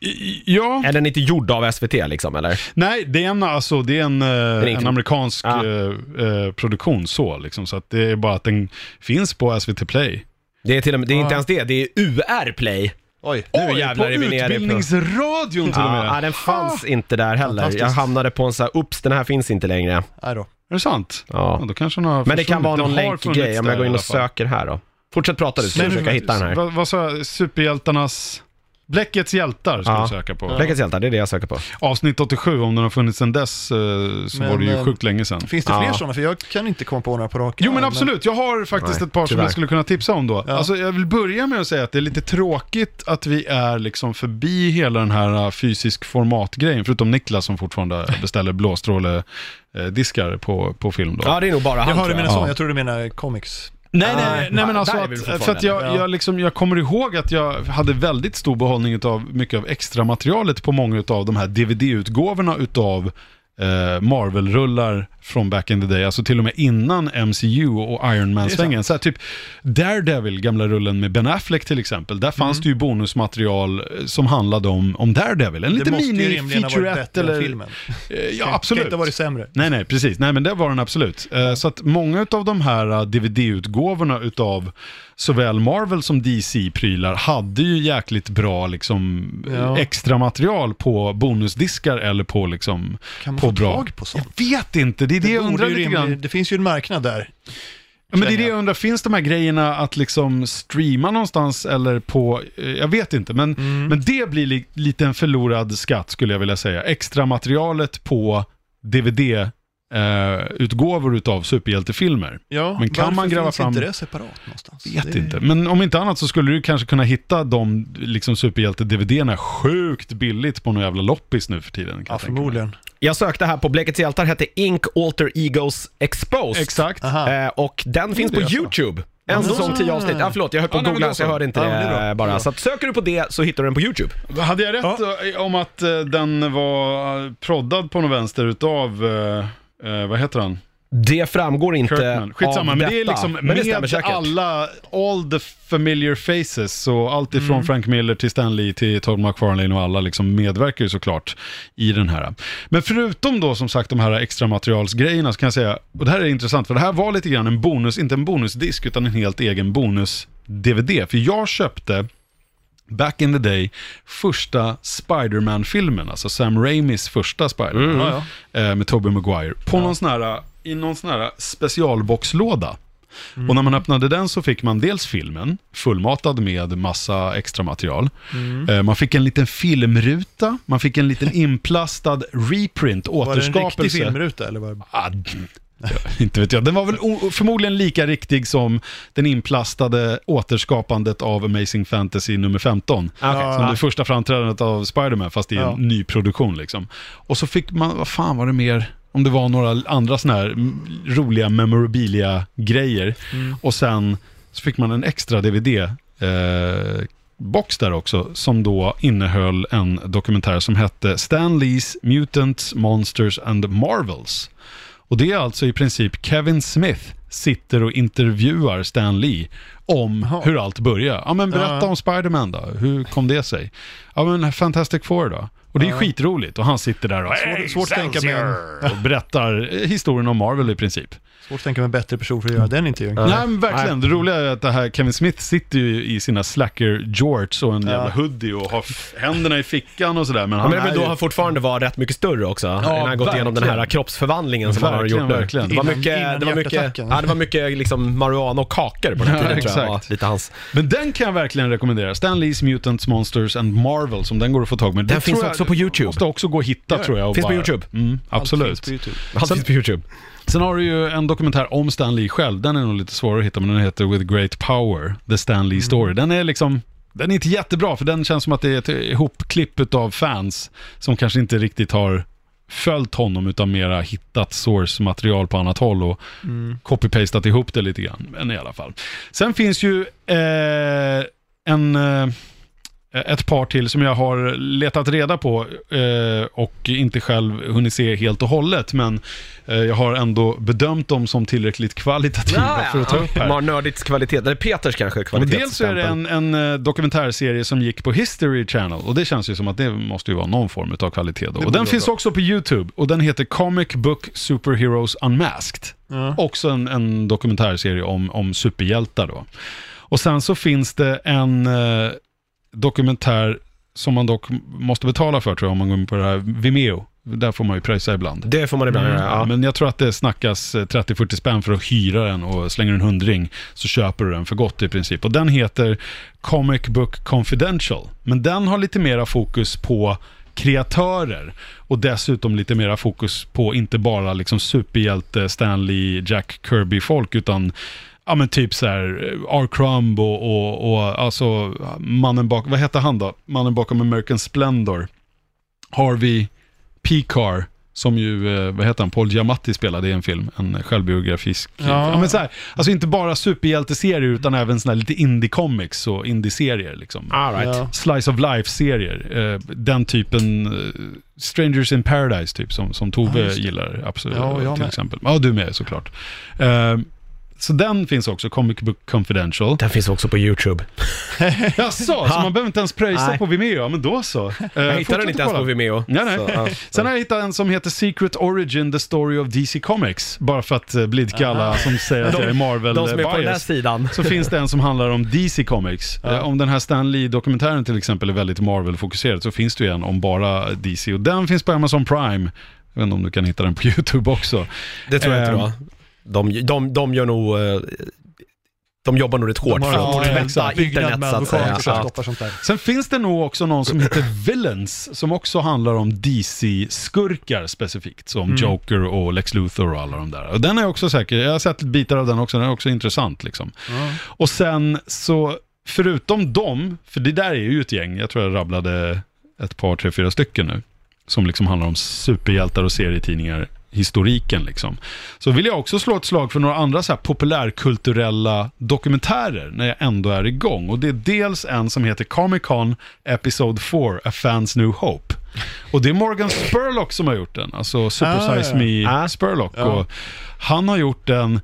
I- Ja.
Är den inte gjord av SVT liksom eller?
Nej, det är en, alltså, det är en, eh,
ingen
en
film.
amerikansk
Ah.
eh, eh, produktion så, liksom, så att det är bara att den finns på SVT Play.
Det är, till och med, det är inte
Ja.
ens det, det är UR Play.
Oj!
Nu jävlar är vi
på
nere på-
utbildningsradion till och med.
Ja, nej, den fanns inte där heller.
Fantastiskt.
Jag hamnade på en så här, ups den här finns inte längre.
Nej då.
Är det sant? Ja,
Ja.
då kanske den har
Men det kan
försvunnit.
vara någon
Den har
länkgrej
funnits
om jag
där
går in
i alla
och
fall.
söker här då. Fortsätt prata du, så ska jag
Men-
försöka hitta den här.
Vad, vad sa jag? Superhjältarnas... Bläckets hjältar ska
Ja.
du söka på.
Läckans hjältar, det är det jag söker på.
Avsnitt 87, om den har funnits sedan dess eh, så
Men,
var det ju
eh,
sjukt länge sedan.
Finns det
Ja.
fler sådana? För jag kan inte komma på några på rak
Jo
arm,
men absolut, jag har faktiskt
Nej,
ett par som
tyvärr.
jag skulle kunna tipsa om då.
Ja.
Alltså, jag vill börja med att säga att det är lite tråkigt att vi är liksom förbi hela den här uh, fysisk formatgrejen, förutom Niklas som fortfarande beställer blåstrålediskar på, på film då.
Ja, det är nog bara han
Jag hörde
tror jag.
mina sådana,
Ja.
jag tror du menar comics.
Nej,
Nej,
Ah,
nej, nej, nej men
där
alltså
är vi fortfarande.
att, för att jag,
Ja.
jag, liksom, jag kommer ihåg att jag hade väldigt stor behållning av mycket av extra materialet på många av de här DVD-utgåvorna utav eh, Marvel-rullar från back in the day, alltså till och med innan MCU och Iron Man-svängen. Så här, typ Daredevil, gamla rullen med Ben Affleck till exempel, där fanns
Mm.
det ju bonusmaterial eh, som handlade om, om Daredevil. En
Det
liten
måste ju rimligen ha varit
mini-featurette
bättre än
eller...
filmen.
Eh,
Kan-
Ja,
Kan
absolut.
inte ha varit sämre.
Nej, nej, precis. Nej, men det var den absolut. Eh, Så att många av de här eh, DVD-utgåvorna utav såväl Marvel som DC-prylar hade ju jäkligt bra liksom, eh,
Ja.
extra material på bonusdiskar eller på liksom...
Kan man
på
få
bra.
tag på sånt?
Jag vet inte, det är det, jag
borde
undrar
ju
lite
rimligen-
grann.
Det finns ju en marknad där.
Ja, men det är det jag undrar, finns de här grejerna att liksom streama någonstans eller på, eh, jag vet inte, men,
Mm.
men det blir li, lite en förlorad skatt skulle jag vilja säga. Extra materialet på DVD-utgåvor eh, utav superhjältefilmer.
Ja,
Men kan
varför
man gräva
finns
fram-
inte det separat någonstans?
Vet
det...
inte, men om inte annat så skulle du kanske kunna hitta de liksom, superhjälte-DVD-erna sjukt billigt på någon jävla loppis nu för tiden. Kan
Ja,
jag tänka mig.
förmodligen.
Jag sökte här på Bläckets hjältar, hette Ink Alter Egos Exposed.
Exakt.
Aha.
Eh, och den finns
Ah. det
på
är så.
YouTube. En säsong, tio avsnitt. Ja, förlåt, jag höll på
Ja,
att
nej, men
googla
då
så jag
så.
hörde inte
Ja,
det,
men det är bra.
eh, bara. Så att söker du på det så hittar du den på YouTube.
Hade jag rätt eh, om att eh, den var eh, proddad på något vänster utav, eh, eh, vad heter han?
Det framgår inte
Kirkman. Skitsamma,
av
men
detta.
det är liksom
men det stämmer
med
säkert.
alla, all the familiar faces, så allt ifrån
Mm.
Frank Miller till Stan Lee till Todd McFarlane och alla liksom medverkar ju såklart i den här. Men förutom då som sagt de här extra materialsgrejerna så kan jag säga, och det här är intressant, för det här var lite grann en bonus, inte en bonusdisk utan en helt egen bonus-DVD. För jag köpte Back in the day, första Spider-Man-filmen, alltså Sam Raimis första Spider-Man,
Mm. Ja,
eh, med Tobey Maguire, på någon sån här, i någon sån här specialboxlåda. Och
Mm.
när man öppnade den så fick man dels filmen, fullmatad med massa extra material.
Mm.
Eh, Man fick en liten filmruta, man fick en liten inplastad reprint,
Var det en riktig
återskapelse.
filmruta eller var det...
Ah, d- ja, inte vet jag. Den var väl o- förmodligen lika riktig som den inplastade återskapandet av Amazing Fantasy nummer 15.
Okej.
Som det första framträdandet av Spider-Man, fast i en
Ja.
ny produktion liksom. Och så fick man, vad fan var det mer, om det var några andra sådana här mm, roliga memorabilia-grejer.
Mm.
Och sen så fick man en extra DVD-box eh, där också, som då innehöll en dokumentär som hette Stan Lees Mutants, Monsters and Marvels. Och det är alltså i princip Kevin Smith sitter och intervjuar Stan Lee om hur allt börjar. Ja men berätta
Ja.
om Spiderman då, hur kom det sig? Ja men Fantastic Four då? Och det är skitroligt och han sitter där och,
Svårt- svårt att tänka mig en-
och berättar eh, historien om Marvel i princip.
Svårt att tänka mig en bättre person för att göra den intervjun.
Nej men verkligen, det roliga är att det här Kevin Smith sitter ju i sina slacker jorts och en
Ja.
jävla hoodie och har f- händerna i fickan och sådär. Men han
men det
är
vill då
ju...
han fortfarande var rätt mycket större också, innan han gått igenom den här
verkligen.
kroppsförvandlingen som han har
Verkligen,
gjort nu.
verkligen.
Det var
Innan-
mycket,
innan
det var mycket,
hjärtattacken.
ja, det var mycket liksom marijuana och kakor på den
Ja,
tiden tror jag. var
exakt.
Lite hans.
Men den kan jag verkligen rekommendera. Stan Lees Mutants, Monsters and Marvel, som den går att få tag med.
Den finns
tror jag-
också på YouTube.
Måste också gå att hitta tror jag. och
Finns på YouTube.
Mm,
Allt finns
absolut.
på YouTube.
Han finns på YouTube.
Sen har du ju en dokumentär om Stan Lee själv. Den är nog lite svårare att hitta, men den heter With Great Power, The Stan Lee Story. Den är liksom... Den är inte jättebra, för den känns som att det är ett ihopklipp av fans som kanske inte riktigt har följt honom utan mera hittat source-material på annat håll och
Mm.
copy-pastat ihop det lite grann. Men i alla fall. Sen finns ju eh, en... Eh, ett par till som jag har letat reda på eh, och inte själv hunnit se helt och hållet, men eh, jag har ändå bedömt dem som tillräckligt kvalitativa för att ta upp här.
Man har nördits kvalitet, eller Peters kanske
Och
kvalitet.
dels så är det en, en eh, dokumentärserie som gick på History Channel och det känns ju som att det måste ju vara någon form av kvalitet då. Och den finns också på YouTube och den heter Comic Book Superheroes Unmasked.
Ja.
Också en, en dokumentärserie om, om superhjältar då. Och sen så finns det en eh, dokumentär som man dock måste betala för tror jag om man går in på det här Vimeo. Där får man ju pröjsa ibland.
Det får man ibland göra, ja.
Mm. Men jag tror att det snackas eh, 30-40 spänn för att hyra den och slänger du en hundring så köper du den för gott i princip. Och den heter Comic Book Confidential. Men den har lite mera fokus på kreatörer och dessutom lite mera fokus på inte bara liksom superhjälte Stanley, Jack Kirby-folk utan Ja men typ så här, eh, R. Crumb och, och, och alltså mannen bakom, vad hette han då? Mannen bakom American Splendor. Harvey Picar, som ju, eh, vad heter han, Paul Giamatti spelade i en film, en självbiografisk. Ja.
Ja.
men så här, alltså inte bara superhjälteserier utan även såna här lite indie-comics och indie-serier liksom.
All right.
Ja.
Slice of Life-serier, eh, den typen, eh, Strangers in Paradise typ, som, som Tove
Ja, just det.
gillar absolut,
Ja, och jag
till
med.
exempel. Ja, du med såklart. Eh, så den finns också, Comic Book Confidential.
Den finns också på
Eh,
YouTube.
Jaså, så man behöver inte ens pröjsa
Nej.
på Vimeo? Ja, men då så. Eh,
Jag
fortsätt
hittade den
att
inte ens på
kolla.
Vimeo.
Nej, nej.
Så, ja.
Sen har jag hittat en som heter Secret Origin, The Story of DC Comics. Bara för att eh, blidka alla som säger att jag är
De som är på den här
Marvel-bias.
sidan.
Så finns det en som handlar om DC Comics. Eh, Om den här Stan Lee-dokumentären till exempel är väldigt Marvel-fokuserad så finns det ju en om bara DC. Och den finns på Amazon Prime. Jag vet inte om du kan hitta den på YouTube också.
Det tror jag inte
Ehm.
va? De, de, de gör nog... eh, De jobbar nog rätt hårt
har
för att
en
tvätta
exakt. Byggnad
internet
med
så att säga.
advokater som
Ja.
stoppar sånt där.
Sen finns det nog också någon som heter Villains, som också handlar om DC-skurkar specifikt, som
Mm.
Joker och Lex Luthor och alla de där. Och den är också säker, jag har sett bitar av den också, den är också intressant liksom. Och sen så, förutom dem, för det där är ju ett gäng, jag tror jag rabblade ett par, tre, fyra stycken nu, som liksom handlar om superhjältar och serietidningar, historiken liksom. Så vill jag också slå ett slag för några andra så här populärkulturella dokumentärer när jag ändå är igång. Och det är dels en som heter Comic Con Episode 4, A Fans New Hope. Och det är Morgan Spurlock som har gjort den. Alltså Super
Ah,
Size
ja.
Me
Ah.
Spurlock.
Ja.
Och han har gjort den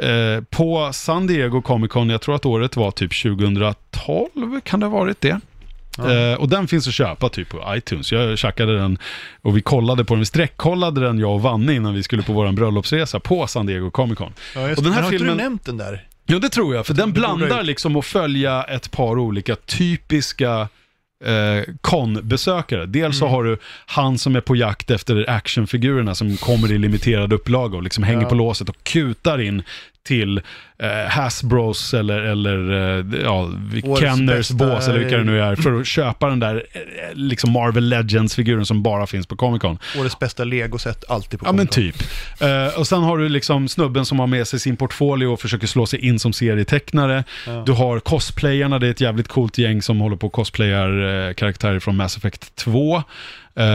eh, på San Diego Comic Con, jag tror att året var typ 2012, kan det ha varit det? Eh, och den finns att köpa typ på iTunes. Jag tjackade den och vi kollade på den, vi sträckkollade den jag och Vanne innan vi skulle på vår bröllopsresa på San Diego Comic Con.
Ja, just,
Och den här
men har
filmen-
inte du nämnt den där?
Jo, det tror jag, för den
Det borde jag
blandar
gjort.
liksom att följa ett par olika typiska eh, konbesökare. Dels
Mm.
så har du han som är på jakt efter actionfigurerna som kommer i limiterad upplaga och liksom hänger
Ja.
på låset och kutar in till eh, Hasbros eller, eller eh, ja,
Årets
Kenners
bästa-
bås eller vilka det nu är för att köpa den där eh, liksom Marvel Legends-figuren som bara finns på Comic Con.
Årets bästa legosätt, alltid på
Ja men
kontot.
typ. Eh, och sen har du liksom snubben som har med sig sin portfolio och försöker slå sig in som serietecknare. Du har cosplayarna, det är ett jävligt coolt gäng som håller på och cosplayar eh, karaktärer från Mass Effect 2. Eh,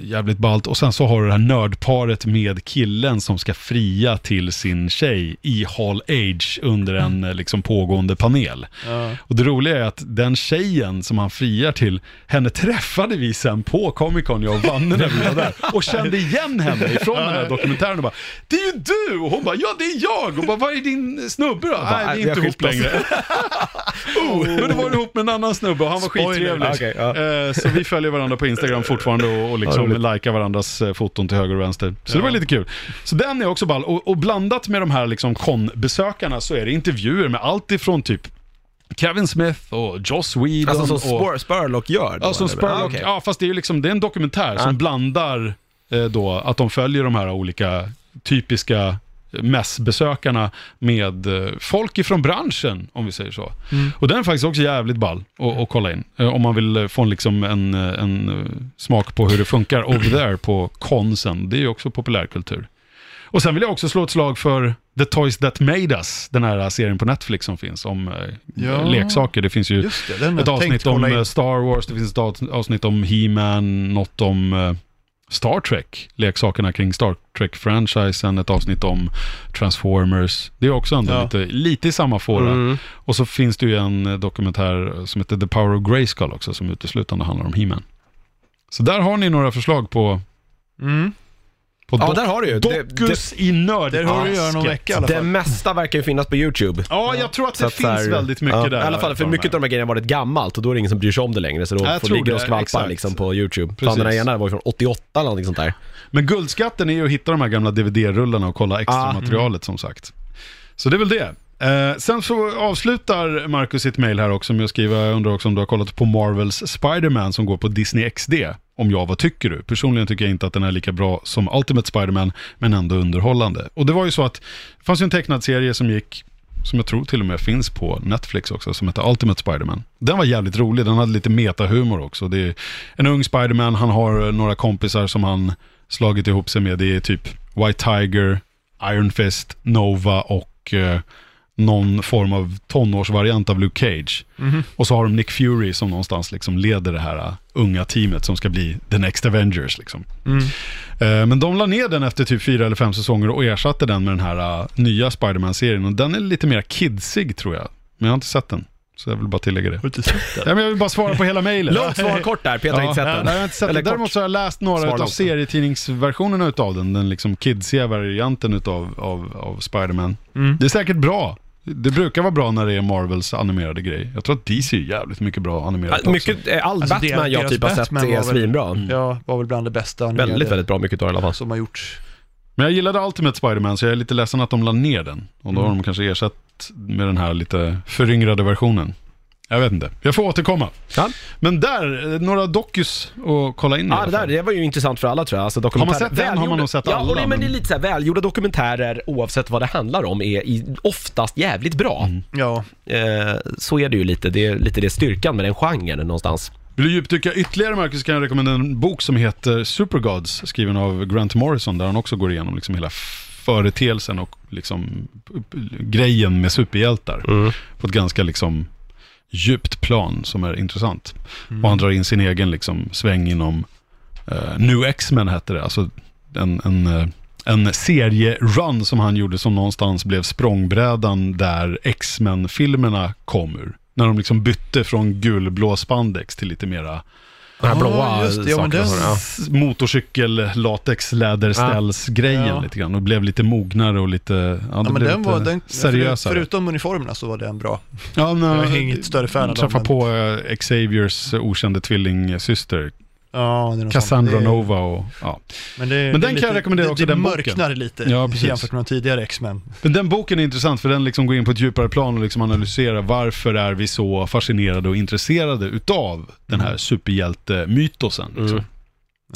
jävligt ballt. Och sen så har du det här nördparet med killen som ska fria till sin tjej i Hall Age under en eh, liksom pågående panel.
Ja.
Och det roliga är att den tjejen som han friar till, henne träffade vi sen på Comic Con, jag och Vanne när vi var där. Och kände igen henne ifrån den här dokumentären och bara, det är ju du! Och hon bara, ja det är jag! Och bara, vad är din snubbe då?
bara,
Nej,
"Nej,
vi
vi
är
har
inte ihop
skilt oss."
längre. oh, men då var du ihop med en annan snubbe och han var
Spoiler.
skittrevlig.
Ah, Okej, ja.
Eh, Så vi följer varandra på Instagram fortfarande och, och liksom likar varandras eh, foton till höger och vänster. Så det var lite kul. Så den är också ball. Och, och blandat med de här liksom konbesökarna så är det intervjuer med allt ifrån typ Kevin Smith och Joss Whedon.
Alltså som
och,
Spur, Spurlock gör? då,
ja, som
eller?
Spurlock.
Ah, okej. Ah.
Ja, fast det är ju liksom, det är en dokumentär
Ja.
som blandar eh, då att de följer de här olika typiska mässbesökarna med eh, folk ifrån branschen, om vi säger så.
Mm.
Och den är faktiskt också jävligt ball att att kolla in. Eh, om man vill eh, få en, liksom en, eh, en eh, smak på hur det funkar over there på konsen. Det är ju också populärkultur. Och sen vill jag också slå ett slag för The Toys That Made Us, den här eh, serien på Netflix som finns om eh,
Ja.
leksaker. Det finns ju
Just det, den har
ett
jag tänkt
avsnitt om
kolla in.
eh, Star Wars, det finns ett avs- avsnitt om He-Man, något om eh, Star Trek, leksakerna kring Star Trek-franchisen, ett avsnitt om Transformers. Det är också ändå
Ja.
lite, lite i samma fåra.
Mm.
Och så finns det ju en eh, dokumentär som heter The Power of Grayskull också, som uteslutande handlar om He-Man. Så där har ni några förslag på,
Mm.
på
Ja,
dok-
där har du ju. Det, det,
dokus i nörd.
Det har du att göra någon vecka i alla
det
fall.
mesta verkar ju finnas på YouTube.
Ja, jag tror att det
Så att
finns
så här-
väldigt mycket
ja,
där.
I alla fall, för mycket av de här grejerna har varit gammalt och då är det ingen som bryr sig om det längre. Så då
Jag
får
tror
ligga och
det,
skvalpa
exakt.
liksom på YouTube.
Precis.
Fan den här ena var ju från 88 eller någonting sånt där.
Men guldskatten är ju att hitta de här gamla DVD-rullarna och kolla extra
Ah.
materialet som sagt. Så det är väl det. Eh, sen så avslutar Marcus sitt mail här också med att skriva, jag undrar också om du har kollat på Marvels Spider-Man som går på Disney XD. Om ja, vad tycker du? Personligen tycker jag inte att den är lika bra som Ultimate Spider-Man, men ändå underhållande. Och det var ju så att, det fanns ju en tecknad serie som gick, som jag tror till och med finns på Netflix också, som heter Ultimate Spider-Man. Den var jävligt rolig, den hade lite metahumor också. Det är en ung Spider-Man, han har eh, några kompisar som han slagit ihop sig med. Det är typ White Tiger, Iron Fist, Nova och eh, någon form av tonårsvariant av Luke Cage. Och så har de Nick Fury som någonstans liksom leder det här eh, unga teamet som ska bli The Next Avengers. Liksom. Eh, men de la ner den efter typ fyra eller fem säsonger och ersatte den med den här eh, nya Spider-Man-serien. Och den är lite mer kidsig tror jag. Men jag har inte sett den. Så jag vill bara tillägga det.
Har du inte sett den?
Ja, men jag vill bara svara på hela mejlet.
Långt svar kort där, Peter har inte sett
Nej,
den.
jag har inte sett
Eller
den.
kort.
Däremot så har jag läst några
Svar
av
långt.
serietidningsversionerna utav den. Den liksom kidsiga varianten utav, av, av Spider-Man.
Mm.
Det är säkert bra. Det brukar vara bra när det är Marvels animerade grej. Jag tror att DC är jävligt mycket bra animerat
All- Mycket, eh, all
Alltså, det-
Batman jag
deras
typ har sett
Batman
är
var väl-
svinbra.
Mm.
Ja, var väl bland det bästa animerade
Väldigt, väldigt bra mycket av det i alla fall.
som har gjorts.
Men jag gillade Ultimate Spider-Man så jag är lite ledsen att de la ner den. Och då har
Mm.
de kanske ersatt med den här lite föryngrade versionen. Jag vet inte. Jag får återkomma.
Ja.
Men där, eh, några dokus att kolla in i
Ja,
alla
Ah, det
fall.
där det var ju intressant för alla tror jag. Alltså, dokumentär...
Har man sett den har man
Välgjorda-
nog sett
Ja,
alla,
och det, men
men-
det är lite så här, välgjorda dokumentärer oavsett vad det handlar om är i, oftast jävligt bra.
Mm.
Ja,
Eh, så är det ju lite. Det är lite det styrkan med den genren någonstans.
Vill du djupdyka ytterligare Marcus kan jag rekommendera en bok som heter Supergods skriven av Grant Morrison där han också går igenom liksom hela företeelsen och liksom grejen med superhjältar på ett ganska liksom djupt plan som är intressant. Och han drar in sin egen liksom sväng inom eh, New X-Men hette det, alltså en, en, eh, en serierun som han gjorde som någonstans blev språngbrädan där X-Men-filmerna kom ur. När de liksom bytte från gulblå spandex till lite mera
Den här
Ja,
blåa
just det. Ja, men
saken.
den-
Ja.
S- Motorcykel, latex, läderställsgrejen
Ja.
lite grann. Och blev lite mognare och lite, ja, det
Ja, men
blev
den
lite
var, den,
seriösare.
Förutom uniformerna så var den bra.
ja, men,
jag är inget större fan av dem,
Träffa
men-
på eh, Xaviers okände tvillingsyster,
Ja, det är något
Cassandra
sånt. Mm. Det är-
Nova och ja.
Men, det,
Men
det är
den kan jag rekommendera
det,
också,
Det
den boken.
mörknar lite
Ja, precis.
jämfört med de tidigare X-Men.
Men den boken är intressant för den liksom går in på ett djupare plan och liksom analyserar varför är vi så fascinerade och intresserade utav den här superhjältemytosen. Liksom.
Mm.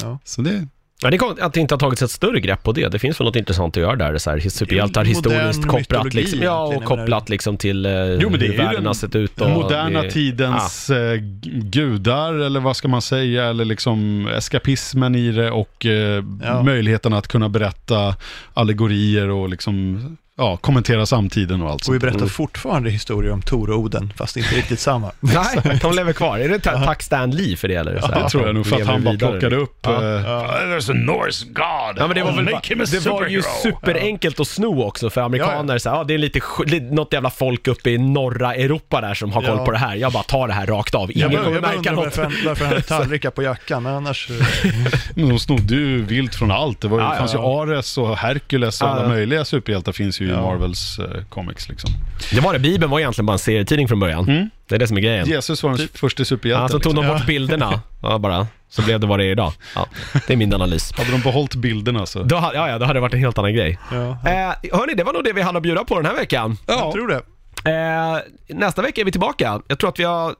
Ja.
Så det,
Ja, det är konstigt att det inte har tagits ett större grepp på det. Det finns väl något intressant att göra där, så här, superhjältar
Det är ju modern
historiskt kopplat,
mytologi
liksom, ja, och
egentligen, jag menar.
kopplat liksom till eh,
Jo, men det är
hur
ju
världen
den
har sett ut. Och
den moderna
det-
tidens eh, g- gudar, eller vad ska man säga, eller liksom eskapismen i det och eh,
Ja.
möjligheten att kunna berätta allegorier och liksom, ja, kommentera samtiden och allt
Och vi
sånt.
berättar fortfarande historier om Tor och Oden, fast inte riktigt samma.
Nej, de lever kvar. Är det ta- Tack Stan Lee för det eller? Så här,
Det
att
tror jag
de
nog för att
lever
han bara
vidare.
plockade upp...
Ja.
eh,
There's a Norse god.
Ja, men det var,
Oh,
I'll
väl,
make him a
det var ju
superhero.
superenkelt att sno också för amerikaner. Så här, ja, det är lite, sk- li- något jävla folk uppe i norra Europa där som har koll
Ja.
på det här. Jag bara tar det här rakt av. Ingen
jag
kommer
bara
märka
undrar
något.
varför, han- varför han hade tallrikar på jackan, men annars... eh,
Men de snodde ju vilt från allt. Det, var, ju-
Ja,
det fanns
ja.
ju Ares och Hercules och
Ja,
alla
ja.
möjliga superhjältar finns ju i
Ja.
Marvels eh, comics. Liksom.
Det var det, Bibeln var egentligen bara en serietidning från början.
Mm.
Det är det som är grejen.
Jesus var den första
Ja,
superhjälten.
så tog
liksom.
de bort bilderna, ja, bara. Så blev det vad det är idag. Ja, det är min analys.
Hade de behållit alltså? bilderna så...
Då, ha- ja, ja, då hade det varit en helt annan grej.
Ja,
Eh, hörni, det var nog det vi hade att bjuda på den här veckan.
jag tror det.
Eh, nästa vecka är vi tillbaka. Jag tror att vi har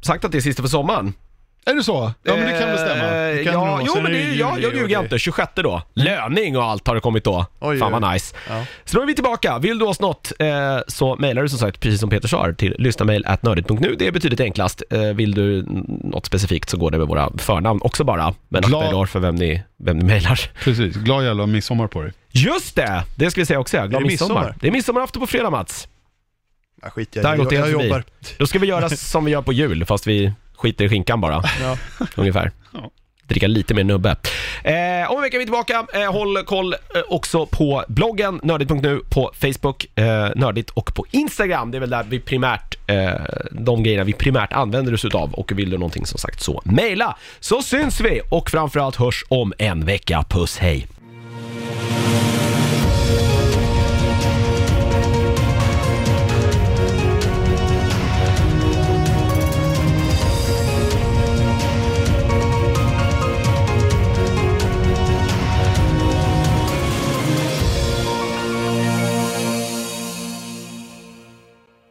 sagt att det är sista för sommaren.
Är det så? Ja, men det kan väl stämma.
Eh,
kan det
ja,
nog.
jo
Sen
men
är
det,
det ju
jag,
juli
jag
och
ljuger
det-
inte. 26 då. Löning och allt har det kommit då.
Oj,
Fan vad
oj.
nice.
Ja.
Så då är vi tillbaka. Vill du oss något eh, så mejlar du som sagt, precis som Peter sa, till lyssnamail.nördigt.nu. Det är betydligt enklast. Eh, vill du n- något specifikt så går det med våra förnamn också bara. Men akta
Glad-
er då för vem ni, vem ni mejlar.
Precis, glad jävla midsommar på dig.
Just det! Det ska vi säga också. Glad
det
midsommar.
midsommar?
Det är midsommarafton på fredag Mats.
Ja, skit jag,
Där har gått
jag, jag
helt förbi.
jobbar.
Då ska vi göra som vi gör på jul, fast vi skiter i skinkan bara.
Ja.
Ungefär.
Ja.
Dricka lite mer nubbe. Eh, om en vecka är vi tillbaka. Eh, håll koll eh, också på bloggen nördigt.nu, på Facebook eh, nördigt och på Instagram. Det är väl där vi primärt, eh, de grejerna vi primärt använder oss utav. Och vill du någonting som sagt så mejla. Så syns vi och framförallt hörs om en vecka. Puss hej!